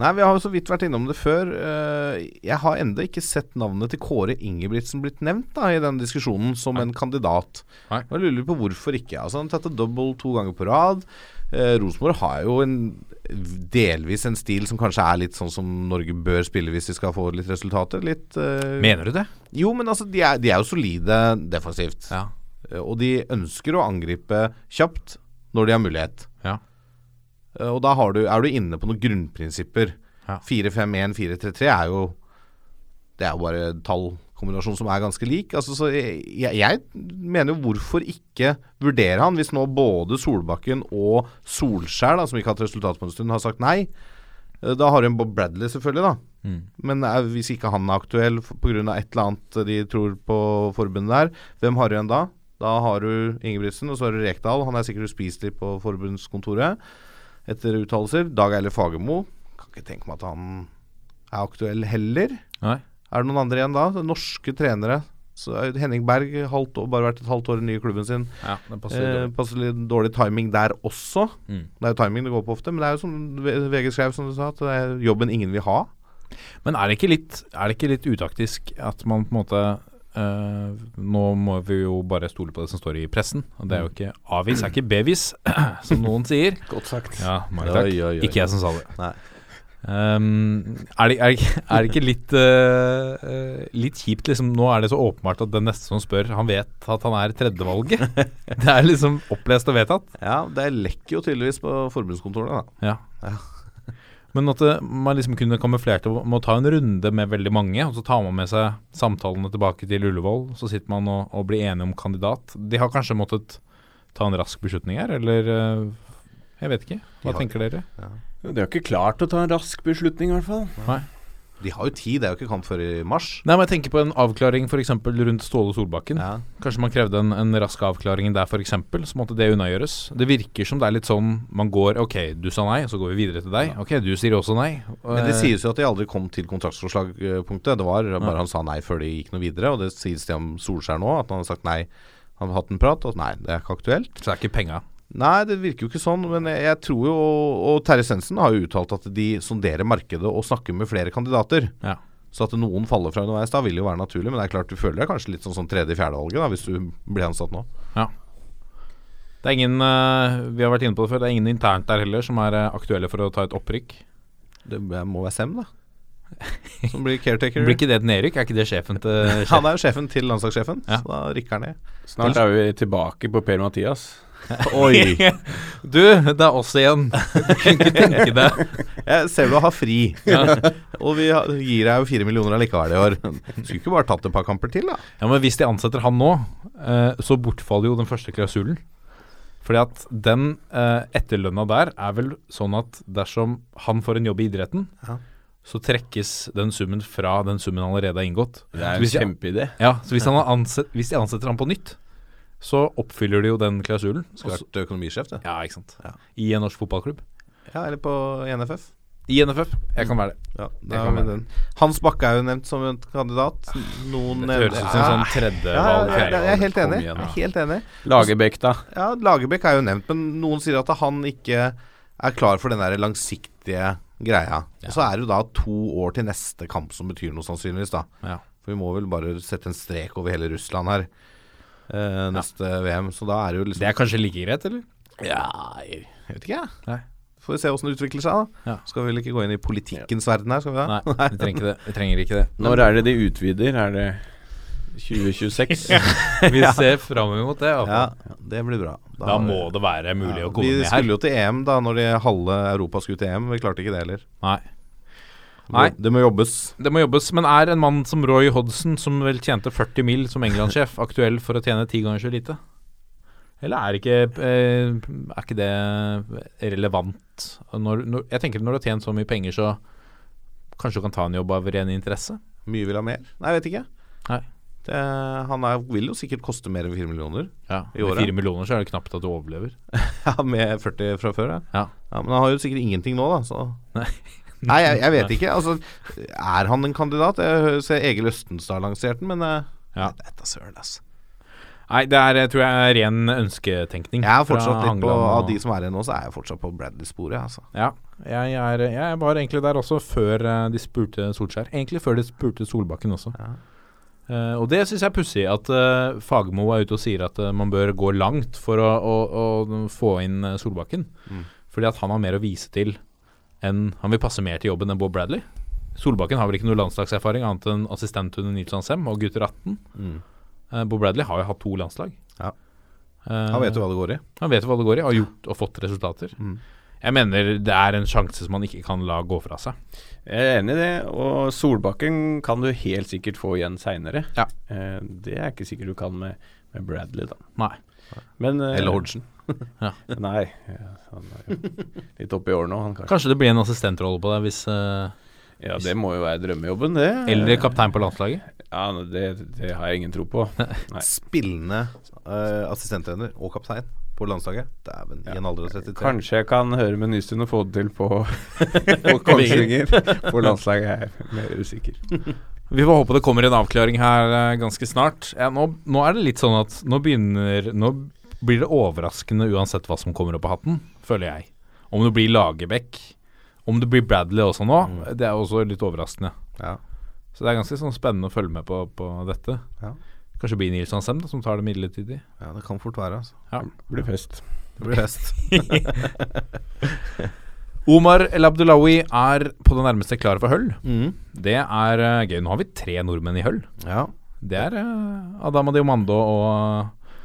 Speaker 3: Nei, vi har jo så vidt vært innom det før. Eh, Jeg har enda ikke sett navnet til Kåre Ingebrigtsen blitt nevnt da i den diskusjonen som en kandidat.
Speaker 2: Nei.
Speaker 3: Og Jeg lurer på hvorfor ikke. Altså Han har tatt et double to ganger på rad. Eh, Rosenborg har jo en, delvis en stil som kanskje er litt sånn som Norge bør spille hvis de skal få litt resultater. Litt eh,
Speaker 2: Mener du det?
Speaker 3: Jo, men altså, de er, de er jo solide defensivt.
Speaker 2: Ja.
Speaker 3: Eh, Og de ønsker å angripe kjapt når de har mulighet.
Speaker 2: Ja.
Speaker 3: Eh, Og da har du, er du inne på noen grunnprinsipper.
Speaker 2: Ja.
Speaker 3: 4-5-1, 4-3-3 er jo Det er jo bare en tallkombinasjon som er ganske lik. Altså, så jeg, jeg- jeg mener jo hvorfor ikke vurdere han, hvis nå både Solbakken og Solskjær, da, som ikke har hatt resultat på en stund, har sagt nei. Eh, Da har du en Bob Bradley, selvfølgelig, da. Men er, hvis ikke han er aktuell pga. et eller annet de tror på forbundet der, hvem har du igjen da? Da har du Ingebrigtsen, og så har du Rekdal. Han er sikkert uspiselig på forbundskontoret etter uttalelser. Dag Eiler Fagermo. Kan ikke tenke meg at han er aktuell heller.
Speaker 2: Nei.
Speaker 3: Er det noen andre igjen da? Norske trenere. Så er Henning Berg halvt år, bare vært et halvt år i den nye klubben sin.
Speaker 2: Ja, det passer
Speaker 3: Eh,
Speaker 2: dårlig.
Speaker 3: passer litt dårlig timing der også.
Speaker 2: Mm.
Speaker 3: Det er jo timing det går på ofte, men det er jo som V- VG skrev, som du sa, at det er jobben ingen vil ha.
Speaker 2: Men er det ikke litt, er det ikke litt utaktisk at man på en måte eh, Nå må vi jo bare stole på det som står i pressen. Og det er jo ikke avis, er ikke bevis, <clears throat> som noen sier.
Speaker 4: Godt sagt.
Speaker 2: Ja, mange takk.
Speaker 3: Oi, oi, oi.
Speaker 2: Ikke jeg som sa det.
Speaker 3: Nei.
Speaker 2: Ehm, er, det, er, det ikke- er det ikke litt eh, eh, Litt kjipt, liksom? Nå er det så åpenbart at den neste som spør, han vet at han er
Speaker 3: <laughs>
Speaker 2: tredjevalget. det er liksom opplest og vedtatt.
Speaker 3: Ja, det lekker jo tydeligvis på forbundskontorene, da.
Speaker 2: Ja. <laughs> Men at eh, man liksom kunne kamuflert det med å ta en runde med veldig mange, og så tar man med seg samtalene tilbake til Ullevål. Så sitter man og, og blir enige om kandidat. De har kanskje måttet ta en rask beslutning her, eller eh, Jeg vet ikke. Hva tenker dere?
Speaker 4: De har ikke klart å ta en rask beslutning, i hvert fall.
Speaker 3: De har jo tid, det er jo ikke kamp før i mars.
Speaker 2: Nei, men jeg tenker på en avklaring f.eks. rundt Ståle Solbakken.
Speaker 3: Ja.
Speaker 2: Kanskje man krevde en, en rask avklaring der f.eks., så måtte det unnagjøres. Det virker som det er litt sånn man går Ok, du sa nei, så går vi videre til deg. Ok, du sier også nei.
Speaker 3: Men det sies jo at de aldri kom til kontraktsforslagpunktet. Det var bare han sa nei før de gikk noe videre, og det sies det om Solskjær nå, at han har sagt nei. Han har hatt en prat, og nei, det er ikke aktuelt.
Speaker 2: Så er ikke penga
Speaker 3: Nei, det virker jo ikke sånn, men jeg, jeg tror jo Og Terje Sensen har jo uttalt at de sonderer markedet og snakker med flere kandidater.
Speaker 2: Ja.
Speaker 3: Så at noen faller fra underveis da, vil jo være naturlig, men det er klart du føler deg kanskje litt sånn, sånn tredje-fjerdevalget da, hvis du blir ansatt nå.
Speaker 2: Det er ingen eh, Vi har vært inne på det før, det er ingen internt der heller som er eh, aktuelle for å ta et opprykk.
Speaker 3: Det må være Sem, da. Som blir caretaker.
Speaker 2: Blir ikke det et nedrykk? Er ikke det sjefen til sjefen?
Speaker 3: <laughs> Han er jo sjefen til landslagssjefen,
Speaker 2: Ja.
Speaker 3: så da rykker han ned.
Speaker 4: Snart er vi tilbake på Per-Mathias.
Speaker 3: Oi!
Speaker 2: Du, det er oss <laughs> igjen. Kunne ikke tenke deg
Speaker 3: Jeg ser du har fri, <laughs> og vi har- gir deg jo fire millioner allikevel i år. Skulle ikke bare tatt et par kamper til, da?
Speaker 2: Ja, Men hvis de ansetter han nå, eh, så bortfaller jo den første klausulen. Fordi at den eh, etterlønna der er vel sånn at dersom han får en jobb i idretten,
Speaker 3: Ja.
Speaker 2: så trekkes den summen fra den summen han allerede har inngått.
Speaker 4: Det er
Speaker 2: Så
Speaker 4: en
Speaker 2: hvis de-
Speaker 4: kjempeidé.
Speaker 2: Ja, så hvis, han har anset, hvis de ansetter han på nytt, så oppfyller de jo den klausulen.
Speaker 3: Skulle
Speaker 2: Og så-
Speaker 3: vært økonomisjef, det.
Speaker 2: Ja, ikke sant.
Speaker 3: Ja.
Speaker 2: I en norsk fotballklubb.
Speaker 3: Ja, eller på NFF.
Speaker 2: I NFF. Jeg kan være det.
Speaker 3: Ja, det
Speaker 2: kan
Speaker 3: er med
Speaker 2: være.
Speaker 3: den. Hans Bakke er jo nevnt som en kandidat. Noen
Speaker 2: Det høres ut som en sånn
Speaker 3: ja,
Speaker 2: tredjevalg.
Speaker 3: ja, ja, jeg er helt
Speaker 2: Kom
Speaker 3: enig.
Speaker 2: igjen,
Speaker 3: Jeg
Speaker 2: da.
Speaker 3: er helt enig.
Speaker 4: Lagerbäck, da.
Speaker 3: Ja, Lagerbäck er jo nevnt, men noen sier at han ikke er klar for den der langsiktige greia. Og så er det jo da to år til neste kamp som betyr noe, sannsynligvis, da.
Speaker 2: Ja.
Speaker 3: For vi må vel bare sette en strek over hele Russland her eh, neste VM. Så da er det jo liksom
Speaker 2: Det er kanskje like greit, eller?
Speaker 3: Ja, jeg vet ikke, jeg.
Speaker 2: Nei.
Speaker 3: Får vi se åssen det utvikler seg, da.
Speaker 2: Ja.
Speaker 3: Skal vi vel ikke gå inn i politikkens verden her, skal vi det?
Speaker 2: Nei,
Speaker 3: <laughs>
Speaker 2: vi trenger ikke det. Vi trenger ikke det.
Speaker 4: Når er det de utvider? Er det 2026?
Speaker 3: <laughs>
Speaker 2: Vi ser fram imot det. i hvert fall.
Speaker 3: Ja, det blir bra.
Speaker 2: Da må det være mulig å komme
Speaker 3: Vi
Speaker 2: ned her.
Speaker 3: skulle jo til EM da, når de halve Europa skulle til EM. Vi klarte ikke det heller.
Speaker 2: Nei.
Speaker 3: Det må-
Speaker 2: Nei.
Speaker 3: Det må jobbes.
Speaker 2: Det må jobbes. Men er en mann som Roy Hodgson, som vel tjente 40 mil som England-sjef, aktuell for å tjene ti ganger så lite? Eller er ikke, eh, er ikke det relevant? Når, når, jeg tenker når du har tjent så mye penger, så kanskje du kan ta en jobb av ren interesse?
Speaker 3: Mye vil ha mer. Nei, jeg vet ikke.
Speaker 2: Nei.
Speaker 3: Det, han er, vil jo sikkert koste mer enn 4 millioner.
Speaker 2: Ja,
Speaker 3: I året.
Speaker 2: Med fire millioner så er det knapt at du overlever.
Speaker 3: <laughs> Ja, Med 40 fra før, ja.
Speaker 2: Ja.
Speaker 3: Men han har jo sikkert ingenting nå, da. Så.
Speaker 2: Nei.
Speaker 3: <laughs> Nei, jeg, jeg vet ikke. Altså, er han en kandidat? Jeg ser Egil Østenstad lanserte den, men eh,
Speaker 2: Ja.
Speaker 3: Nei, dette søren, ass.
Speaker 2: Nei, det er, eh, tror jeg er ren ønsketenkning.
Speaker 3: Jeg er
Speaker 2: fra
Speaker 3: fortsatt litt på
Speaker 2: Hangeland og-
Speaker 3: Av de som er igjen nå, så er jeg fortsatt på Bradley-sporet. Altså.
Speaker 2: Ja, jeg, er, jeg var egentlig der også før eh, de spurte Solskjær. Egentlig før de spurte Solbakken også. Eh, og det syns jeg er pussig, at eh, Fagermo er ute og sier at eh, man bør gå langt for å, å, å få inn eh, Solbakken.
Speaker 3: Mm.
Speaker 2: Fordi at han har mer å vise til enn Han vil passe mer til jobben enn Bob Bradley. Solbakken har vel ikke noe landslagserfaring annet enn assistent under Nilsson Sem og gutter 18. Eh, Bob Bradley har jo hatt to landslag.
Speaker 3: Mm. Ja.
Speaker 2: Eh,
Speaker 3: Han vet jo hva det går i.
Speaker 2: han vet hva det går i, har gjort og fått resultater. Jeg mener det er en sjanse som man ikke kan la gå fra seg.
Speaker 4: Jeg er enig i det, og Solbakken kan du helt sikkert få igjen seinere.
Speaker 2: Ja.
Speaker 4: Eh, det er ikke sikkert du kan med, med Bradley, da.
Speaker 2: Nei.
Speaker 4: Men, eh,
Speaker 3: Eller Hodgson.
Speaker 4: <laughs> Nei, ja, han er jo litt oppi året nå, han kanskje.
Speaker 2: Kanskje det blir en assistentrolle på deg hvis eh,
Speaker 4: Ja, det må jo være drømmejobben, det.
Speaker 2: Eller kaptein på landslaget.
Speaker 4: Ja, det, det har jeg ingen tro på. Nei.
Speaker 3: Spillende eh, assistenttrener og kaptein på landslaget. Dæven, i en alder av 33.
Speaker 4: Kanskje jeg kan høre med Nystuen og få det til
Speaker 3: <laughs>
Speaker 4: på, på Kongsvinger. <laughs> På landslaget er jeg mer usikker.
Speaker 2: Vi får håpe det kommer en avklaring her eh, ganske snart. Ja, nå, nå er det litt sånn at nå begynner Nå blir det overraskende uansett hva som kommer opp av hatten, føler jeg. Om det blir Lagerbäck, om det blir Bradley også nå, det er også litt overraskende.
Speaker 3: Ja.
Speaker 2: Så det er ganske sånn spennende å følge med på, på dette.
Speaker 3: Ja.
Speaker 2: Kanskje det blir Nils Hansem da, som tar det midlertidig.
Speaker 3: Ja, det kan fort være. Altså.
Speaker 4: Blir fest.
Speaker 3: Det blir fest.
Speaker 2: <laughs> Omar El Abdullawi er på det nærmeste klar for høll. Det er eh, gøy. Nå har vi tre nordmenn i høll.
Speaker 3: Ja.
Speaker 2: Det er uh, Adama Diomando og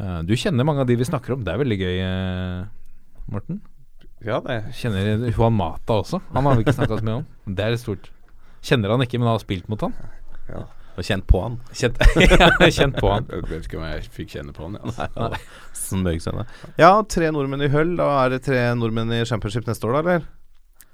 Speaker 2: eh, Du kjenner mange av de vi snakker om. Det er veldig gøy, eh, Morten.
Speaker 4: Ja, det er
Speaker 2: Kjenner Juan Mata også. Han har vi ikke snakka så mye om. Det er stort. Kjenner han ikke, men har spilt mot han.
Speaker 3: Og kjent på han.
Speaker 2: Kjent, <laughs> ja, kjent på han.
Speaker 4: Jeg vet ikke om jeg fikk kjenne på han. Ja.
Speaker 3: Sånn bøygscene. Ja, tre nordmenn i høll. Da er det tre nordmenn i championship neste år, da, eller?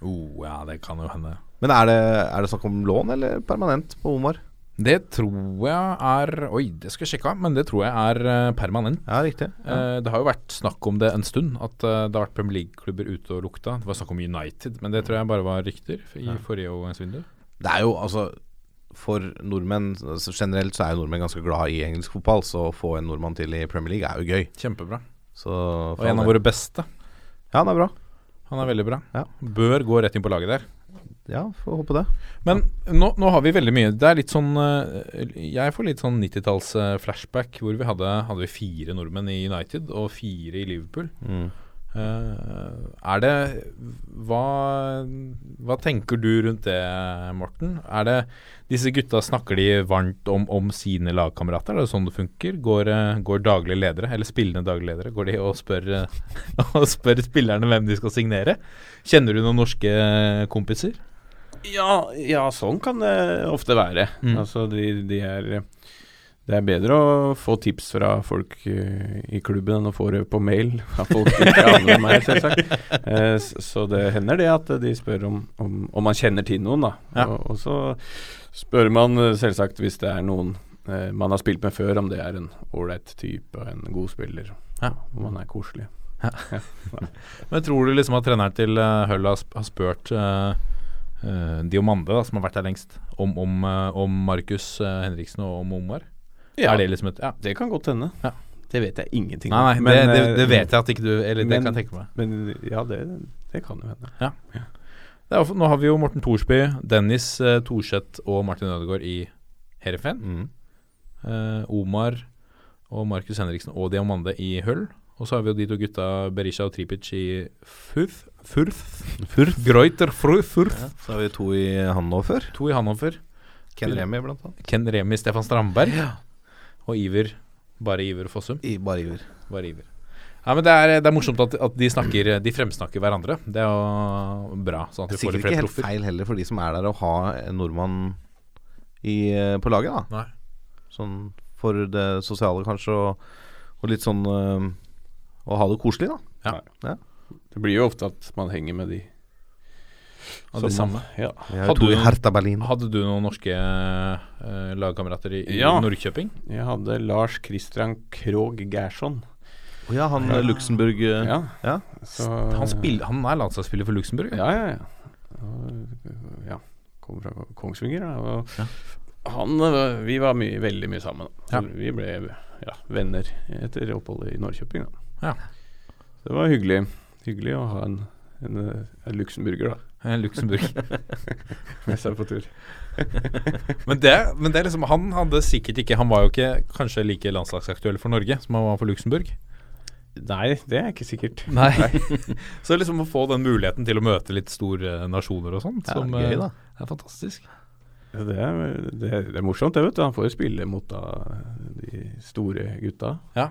Speaker 2: Oh, ja, det kan jo hende.
Speaker 3: Men er det, er det snakk om lån eller permanent på Omar?
Speaker 2: Det tror jeg er Oi, det skal jeg sjekke av, men det tror jeg er eh, permanent.
Speaker 3: Ja, riktig.
Speaker 2: Eh, Det har jo vært snakk om det en stund, at eh, det har vært Premier League-klubber ute og lukta. Det var snakk om United, men det tror jeg bare var rykter f- i forrige overgangsvindu.
Speaker 3: Det er jo altså For nordmenn altså, generelt så er jo nordmenn ganske glad i engelsk fotball, så å få en nordmann til i Premier League er jo gøy.
Speaker 2: Kjempebra.
Speaker 3: Så for
Speaker 2: Og en
Speaker 3: all
Speaker 2: av
Speaker 3: del.
Speaker 2: våre beste.
Speaker 3: Ja, det er bra.
Speaker 2: Han er veldig bra.
Speaker 3: Ja.
Speaker 2: Bør gå rett inn på laget der.
Speaker 3: Ja, får håpe det.
Speaker 2: Men nå, nå har vi veldig mye. Det er litt sånn eh, Jeg får litt sånn 90-talls-flashback hvor vi hadde, hadde vi fire nordmenn i United og fire i Liverpool. Eh, er det hva, hva tenker du rundt det, Morten? Er det Disse gutta snakker de varmt om, om sine lagkamerater? Er det sånn det funker? Går, eh, går daglige ledere, eller spillende daglige ledere, går de og spør, eh, <laughs> og spør spillerne hvem de skal signere? Kjenner du noen norske eh, kompiser?
Speaker 4: Ja, ja, sånn kan det ofte være.
Speaker 2: Mm.
Speaker 4: Altså, de, de er Det er bedre å få tips fra folk eh, i klubben enn å få det på mail. Av folk som ikke aner om meg,
Speaker 2: <laughs>
Speaker 4: selvsagt. Eh, s- Så det hender det at de spør om, om, om man kjenner til noen, da.
Speaker 2: Ja.
Speaker 4: Og, og så spør man eh, selvsagt hvis det er noen eh, man har spilt med før, om det er en ålreit type og en god spiller.
Speaker 2: Ja.
Speaker 4: Om han er koselig.
Speaker 2: Men tror du liksom at treneren til eh, Høll har, sp har spurt eh, eh, Diomande, da, som har vært der lengst, om, om, eh, om Markus eh, Henriksen og om Omar?
Speaker 4: Ja.
Speaker 2: Er det liksom et Ja.
Speaker 4: Det kan godt hende.
Speaker 2: Ja.
Speaker 4: Det vet jeg ingenting
Speaker 2: Nei, nei,
Speaker 4: Men,
Speaker 2: det, det,
Speaker 4: eh,
Speaker 2: det vet jeg at ikke du Eller det
Speaker 4: men-
Speaker 2: kan jeg tenke meg.
Speaker 4: Men ja, det, det kan jo hende.
Speaker 2: Det er, nå har vi jo Morten Thorsby, Dennis eh, Thorseth og Martin Ødegaard i Heerenveen.
Speaker 4: Mm.
Speaker 2: Eh, Omar og Markus Henriksen og Diamande i Høll. Og så har vi jo de to gutta Berisha og Tripic i Furth. Furth. Greuter Fru- Furth.
Speaker 3: Så har vi to i Hannover.
Speaker 2: To i Hannover.
Speaker 3: Ken Remi, blant annet.
Speaker 2: Ken Remi, Stefan Strandberg. Og Iver. Bare Iver Fossum.
Speaker 3: I bare iver.
Speaker 2: Bare Iver. Nei, men det er, det er morsomt at, at de, snakker, de fremsnakker hverandre. Det er jo bra. Sånn at
Speaker 3: Det er
Speaker 2: vi får litt
Speaker 3: sikkert ikke
Speaker 2: flere
Speaker 3: helt
Speaker 2: proffer.
Speaker 3: feil heller for de som er der, å ha en nordmann i, eh, på laget, da.
Speaker 2: Nei.
Speaker 3: Sånn for det sosiale, kanskje, og, og litt sånn eh, Å ha det koselig, da.
Speaker 4: Det blir jo ofte at man henger med de
Speaker 2: Av de
Speaker 4: Som-
Speaker 2: samme.
Speaker 4: Ja.
Speaker 3: Vi er
Speaker 2: Hadde
Speaker 3: jo to
Speaker 2: du
Speaker 3: i
Speaker 2: noen-
Speaker 3: Hertha Berlin.
Speaker 2: Hadde du noen norske eh, lagkamerater i, i
Speaker 4: Ja.
Speaker 2: Nordkjøping?
Speaker 4: Jeg hadde Lars Christian Krogh Gerson.
Speaker 3: Å ja, han eh, Luxemburg eh,
Speaker 4: Ja.
Speaker 3: ja.
Speaker 4: Så,
Speaker 2: Han, spill, han er landslagsspiller for Luxembourg.
Speaker 4: Ja, ja, ja. Og, ja. Kommer fra Kongsvinger. da, Og han eh, Vi var mye, veldig mye sammen. da.
Speaker 2: Ja.
Speaker 4: Vi ble ja, venner etter oppholdet i Norrköping. da.
Speaker 2: Ja.
Speaker 4: Så det var hyggelig. Hyggelig å ha en, en, eh, en luxemburger da, <laughs>
Speaker 2: Eh, <laughs> Luxembourg.
Speaker 4: med seg på tur.
Speaker 2: Men det, men det er liksom Han hadde sikkert ikke Han var jo ikke kanskje like landslagsaktuell for Norge som han var for Luxembourg.
Speaker 4: Nei, det er ikke sikkert.
Speaker 2: Nei. <laughs> så liksom å få den muligheten til å møte litt store eh, nasjoner og sånt,
Speaker 3: Ja,
Speaker 2: som
Speaker 3: gøy
Speaker 2: eh,
Speaker 3: da.
Speaker 2: er fantastisk.
Speaker 4: Ja, Det er, det, er- det er morsomt, det, vet du. Han får jo spille mot da, de store gutta.
Speaker 2: Ja.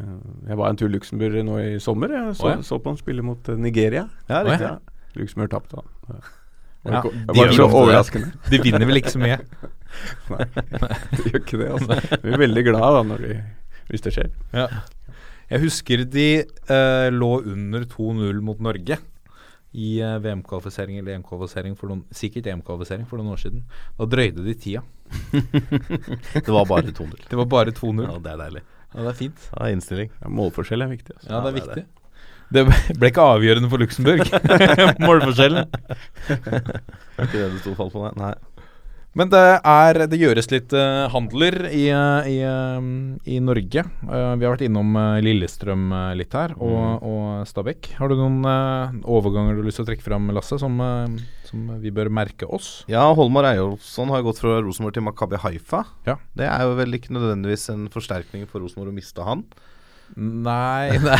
Speaker 4: Eh, Jeg var en tur i Luxembourg nå i sommer. Jeg så,
Speaker 2: Å, ja.
Speaker 4: så på han spille mot eh, Nigeria.
Speaker 3: Ja,
Speaker 2: riktig.
Speaker 4: Ja. Luxembourg tapte, da. Ja. Var
Speaker 2: Ja,
Speaker 4: ikke-
Speaker 2: de
Speaker 4: det var
Speaker 2: gjør
Speaker 4: ikke så
Speaker 2: ofte det.
Speaker 4: overraskende.
Speaker 2: <laughs> De vinner vel ikke så mye.
Speaker 4: De gjør ikke det, altså. Vi er veldig glad da, når de, hvis det skjer.
Speaker 2: Jeg husker de eh, lå under 2-0 mot Norge i eh, VM-kvalifisering eller EM-kvalifisering for noen Sikkert EM-kvalifisering for noen år siden. Da drøyde de tida.
Speaker 3: <laughs> Det var bare 2-0.
Speaker 2: Det var bare 2-0.
Speaker 3: Ja,
Speaker 2: Ja.
Speaker 3: det er deilig.
Speaker 2: det er fint.
Speaker 3: Ja, innstilling.
Speaker 4: Ja, målforskjell er viktig. Altså.
Speaker 2: Ja, det er
Speaker 3: det er
Speaker 2: viktig. Det ble ikke avgjørende for Luxembourg, <laughs> målforskjellen.
Speaker 3: Ikke det det sto fall på, nei. nei.
Speaker 2: Men det er Det gjøres litt eh, handler i, eh, i, eh, i Norge. Eh, vi har vært innom eh, Lillestrøm eh, litt her, og, og Stabæk. Har du noen eh, overganger du har lyst til å trekke fram, Lasse, som, eh, som vi bør merke oss?
Speaker 3: Ja, Holmar Eyolfsson har gått fra Rosenborg til Makabi Haifa.
Speaker 2: Ja.
Speaker 3: Det er jo vel ikke nødvendigvis en forsterkning for Rosenborg å miste han.
Speaker 2: Nei, <laughs> nei,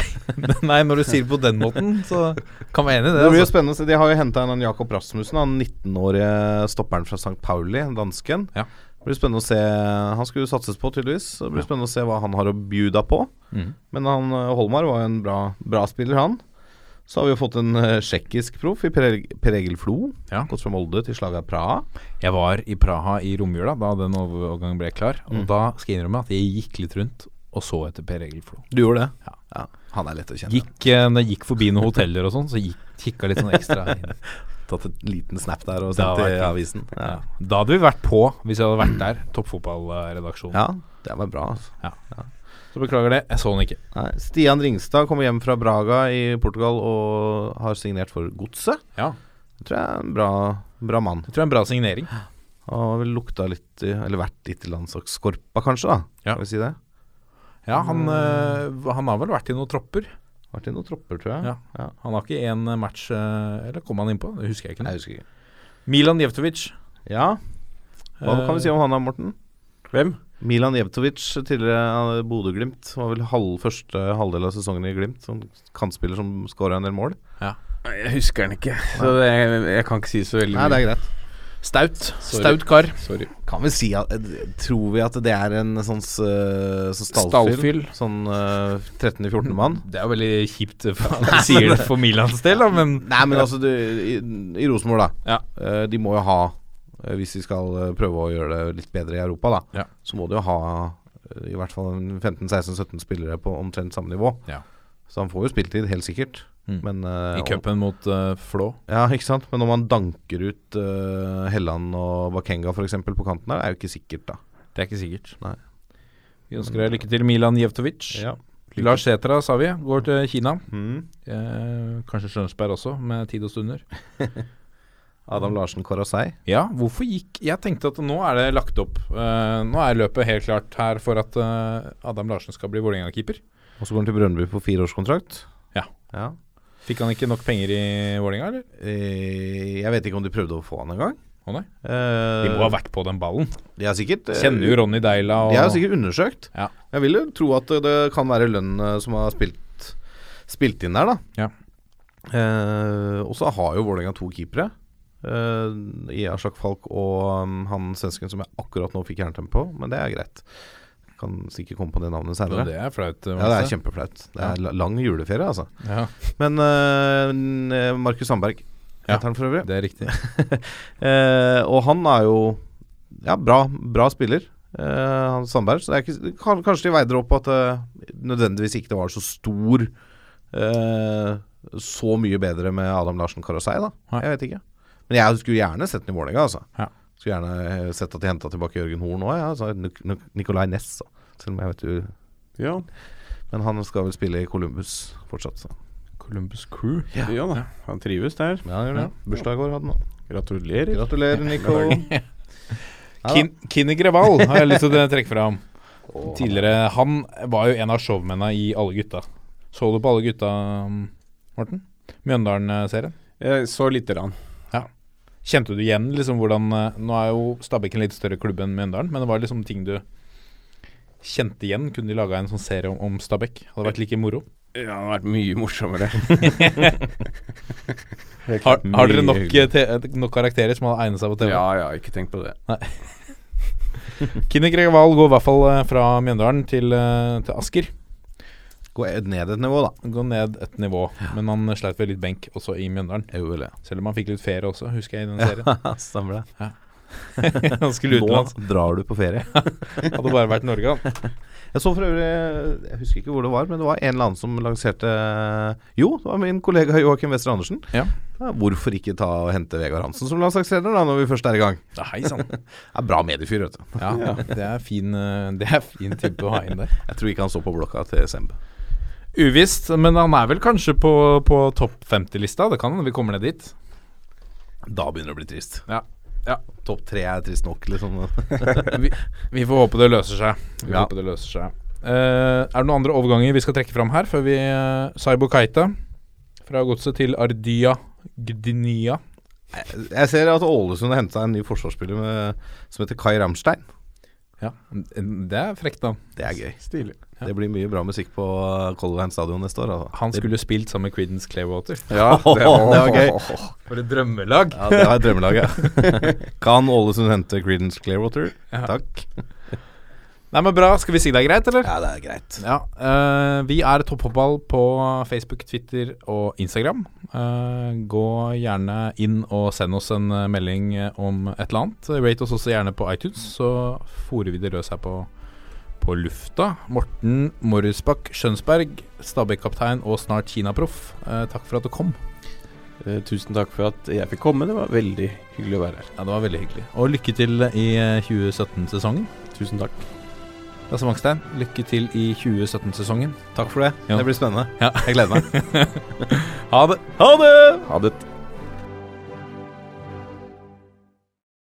Speaker 2: nei når du sier det på den måten, så kan vi være enig i det.
Speaker 3: Det blir jo
Speaker 2: Altså.
Speaker 3: spennende å se. De har jo henta en Jakob Rasmussen, han 19-årige stopperen fra St. Pauli, dansken.
Speaker 2: Ja.
Speaker 3: Det blir spennende å se Han skulle jo satses på, tydeligvis. Så Det blir spennende å se hva han har å bjuda på.
Speaker 2: Mhm.
Speaker 3: Men han eh, Holmar var jo en bra, bra spiller, han. Så har vi jo fått en eh, tsjekkisk proff i Per Egil- Per Egil Flo.
Speaker 2: Ja.
Speaker 3: Gått fra Molde til Slaga Praha.
Speaker 2: Jeg var i Praha i romjula da den overgangen ble klar, og da skal jeg innrømme at jeg gikk litt rundt og så etter Per Egil Flo.
Speaker 3: Du gjorde det?
Speaker 2: Ja.
Speaker 3: Han er lett å kjenne.
Speaker 2: Gikk, eh, når jeg gikk forbi noen hoteller og sånn, så gikk, kikka litt sånn ekstra inn.
Speaker 3: Tatt en liten snap der og
Speaker 2: Det har
Speaker 3: sendt i
Speaker 2: vært fint.
Speaker 3: avisen. Ja.
Speaker 2: Ja. Da hadde vi vært på, hvis jeg hadde vært der, toppfotballredaksjonen.
Speaker 3: ja, det var bra. Altså.
Speaker 2: Så beklager det, jeg så den ikke.
Speaker 3: Nei, Stian Ringstad kommer hjem fra Braga i Portugal og har signert for Godset.
Speaker 2: Ja.
Speaker 3: Det tror jeg er en bra, bra mann.
Speaker 2: Jeg tror det er en bra signering.
Speaker 3: Han har vel lukta litt i, Eller vært litt i landslagsskorpa, kanskje, da.
Speaker 2: Ja.
Speaker 3: Skal vi si det?
Speaker 2: Ja, han, eh, han har vel vært i noen tropper.
Speaker 3: Vært i noen tropper, tror jeg.
Speaker 2: Ja. Han har ikke én match eh, Eller kom han innpå? Det husker jeg ikke.
Speaker 3: Nei,
Speaker 2: nå.
Speaker 3: jeg husker ikke.
Speaker 2: Milan Jevtovic.
Speaker 3: Ja, hva kan vi si om han da, Morten?
Speaker 4: Hvem?
Speaker 3: Milan Jevtovic, tidligere eh, Bodø-Glimt. Var vel halv, første halvdel av sesongen i Glimt. Sånn kantspiller som skåra en del mål.
Speaker 4: Nei, Jeg husker den ikke, så det, jeg, jeg kan ikke si så veldig
Speaker 3: Nei, det
Speaker 4: mye.
Speaker 3: er greit.
Speaker 2: Staut.
Speaker 4: Sorry.
Speaker 2: Staut kar.
Speaker 4: Sorry.
Speaker 3: Kan vi si at eh, Tror vi at det er en sånn, s- eh, sånn stallfyr?
Speaker 2: Stallfyll.
Speaker 3: Sånn eh, 13.-14-mann?
Speaker 2: Det er jo veldig kjipt <laughs> for han som sier det for Milans del, da, men
Speaker 3: Nei, men altså, du, i, i Rosenborg, da.
Speaker 2: Ja.
Speaker 3: Eh, de må jo ha eh, Hvis de skal eh, prøve å gjøre det litt bedre i Europa, da,
Speaker 2: Ja.
Speaker 3: så må de jo ha eh, i hvert fall en 15-16-17 spillere på omtrent samme nivå.
Speaker 2: Ja.
Speaker 3: Så han får jo spilletid, helt sikkert.
Speaker 2: Mm.
Speaker 3: Men, eh,
Speaker 2: I cupen mot eh, Flå.
Speaker 3: om- Ja, ikke sant? Men om han danker ut eh, Helland og Bakenga f.eks. på kanten der, det er jo ikke sikkert, da.
Speaker 2: Det er ikke sikkert.
Speaker 3: Nei.
Speaker 2: Vi ønsker deg lykke til, Milan Jevtovic. Lars Sætra, sa vi, går til Kina.
Speaker 3: Mm.
Speaker 2: Eh, kanskje Skjønsberg også, med tid og stunder.
Speaker 3: Adam Larsen Korasei.
Speaker 2: Ja, hvorfor gikk Jeg tenkte at nå er det lagt opp. eh, nå er løpet helt klart her for at eh, Adam Larsen skal bli Vålerenga-keeper.
Speaker 3: Og så går han til Brønnby på fireårskontrakt.
Speaker 2: Ja.
Speaker 3: ja.
Speaker 2: Fikk han ikke nok penger i Vålerenga, eller?
Speaker 3: Eh, jeg vet ikke om de prøvde å få han en gang.
Speaker 2: Å nei.
Speaker 3: Eh,
Speaker 2: De må ha vært på den ballen.
Speaker 3: De har sikkert eh,
Speaker 2: Kjenner jo Ronny Deila og
Speaker 3: De har jo sikkert undersøkt.
Speaker 2: Ja.
Speaker 3: Jeg vil jo tro at det kan være lønn eh, som har spilt, spilt inn der, da.
Speaker 2: Ja.
Speaker 3: Eh, og så har jo Vålerenga to keepere. Eh, I Ashak Falk og um, han svensken som jeg akkurat nå fikk jernteppe på, men det er greit. Kan sikkert komme på det navnet
Speaker 2: Jo,
Speaker 3: senere.
Speaker 2: Det er flaut.
Speaker 3: Ja, det er kjempeflaut. Det er la- lang juleferie, altså.
Speaker 2: Ja,
Speaker 3: Men eh, Markus Sandberg
Speaker 2: Ja.
Speaker 3: heter han for øvrig.
Speaker 2: det er riktig.
Speaker 3: <laughs> Eh, og han er jo ja, bra, bra spiller, eh, han Sandberg. Så det er ikke, kan- kanskje de veide det opp at eh, nødvendigvis ikke det var så stor eh, så mye bedre med Adam Larsen Karasei, da.
Speaker 2: Nei.
Speaker 3: Jeg vet ikke. Men jeg skulle gjerne sett den i Vålerenga, altså.
Speaker 2: Ja.
Speaker 3: Skulle gjerne eh, sett at de henta tilbake Jørgen Horn òg, ja. altså, Nic- Nic- Nicolai Næss, da. selv om jeg vet jo
Speaker 4: Ja,
Speaker 3: Men han skal vel spille i Columbus fortsatt, så.
Speaker 2: Columbus Crew.
Speaker 4: ja. da. Han trives der.
Speaker 3: Ja, gjør det. Bursdag i går hadde han da.
Speaker 4: Gratulerer.
Speaker 3: Gratulerer, Nico. Ja da.
Speaker 2: Kin Kinni Greval har jeg lyst til å <laughs> trekke fram. Tidligere Han var jo en av showmennene i Alle gutta. Så du på Alle gutta, Morten? Mjøndalen-serien?
Speaker 4: Jeg så lite grann.
Speaker 2: Kjente du igjen liksom hvordan eh, Nå er jo Stabæk en litt større klubb enn Mjøndalen, men det var liksom ting du kjente igjen? Kunne de laga en sånn serie om, om Stabæk? Hadde vært like moro?
Speaker 4: Ja, det har vært mye <laughs> morsommere.
Speaker 2: Har, har dere nok, eh, te- nok karakterer som hadde egnet seg på TV?
Speaker 4: Ja, ja, ikke tenk på det.
Speaker 2: Kinni Greval går i hvert fall eh, fra Mjøndalen til, eh, til Asker.
Speaker 3: Gå ned et nivå, da.
Speaker 2: Gå ned et nivå, men han sleit ved litt benk også i Mjøndalen. Selv om han fikk litt ferie også, husker jeg, i den serien.
Speaker 3: Stemmer det.
Speaker 2: <laughs>
Speaker 3: <laughs>
Speaker 2: han skulle utenlands.
Speaker 3: Nå drar du på ferie.
Speaker 2: <laughs> Hadde bare vært Norge, han.
Speaker 3: Jeg så for øvrig Jeg husker ikke hvor det var, men det var en eller annen som lanserte Jo, det var min kollega Joakim Wester Andersen.
Speaker 2: Ja.
Speaker 3: Ja, Hvorfor ikke ta og hente Vegard Hansen som landslagstrener, da, når vi først er i gang?
Speaker 2: <laughs> Ja, Hei sann.
Speaker 3: Det er bra mediefyr, vet du.
Speaker 2: Ja, det er fin, eh, det er fin type å ha inn der.
Speaker 3: Jeg tror ikke han så på blokka til Semb.
Speaker 2: Uvisst, men han er vel kanskje på, på topp 50-lista. Det kan hende vi kommer ned dit.
Speaker 3: Da begynner det å bli trist.
Speaker 2: Ja.
Speaker 3: Topp tre er trist nok, liksom.
Speaker 2: Vi, vi får håpe det løser seg. Vi
Speaker 3: Ja.
Speaker 2: håper det løser seg. Eh, er det noen andre overganger vi skal trekke fram her, før vi uh, Saibo Keita fra godset til Ardia Gdynia?
Speaker 3: Jeg ser at Ålesund har henta en ny forsvarsspiller med, som heter Kai Ramstein.
Speaker 2: Ja, det er frekt navn.
Speaker 3: Det er gøy.
Speaker 4: Stilig.
Speaker 3: Det blir mye bra musikk på uh, Color Line Stadion neste år. Altså.
Speaker 2: Han skulle spilt sammen med Creedence Clearwater.
Speaker 4: Ja,
Speaker 3: det, det var <laughs> gøy.
Speaker 2: For et drømmelag!
Speaker 3: Ja, det var et drømmelag, ja. <laughs> kan Ålesund hente Creedence Clearwater? Takk.
Speaker 2: Nei, men bra. Skal vi si det er greit, eller?
Speaker 3: Ja, det er greit.
Speaker 2: Ja. eh, vi er Toppfotball på Facebook, Twitter og Instagram. Eh, gå gjerne inn og send oss en eh, melding eh, om et eller annet. Rate oss også gjerne på iTunes, så fòrer vi det løs her på, på lufta. Morten Morrisbakk Skjønsberg, Stabæk-kaptein og snart Kinaproff, eh, takk for at du kom.
Speaker 4: Eh, Tusen takk for at jeg fikk komme. Det var veldig hyggelig å være her.
Speaker 2: Ja, Det var veldig hyggelig. Og lykke til i eh, 2017-sesongen.
Speaker 4: Tusen takk.
Speaker 2: Lasse Mangstein, lykke til i 2017-sesongen.
Speaker 3: Takk for det.
Speaker 2: Ja.
Speaker 3: Det blir spennende.
Speaker 2: Ja.
Speaker 3: Jeg gleder meg.
Speaker 2: Ha det!
Speaker 4: Ha det.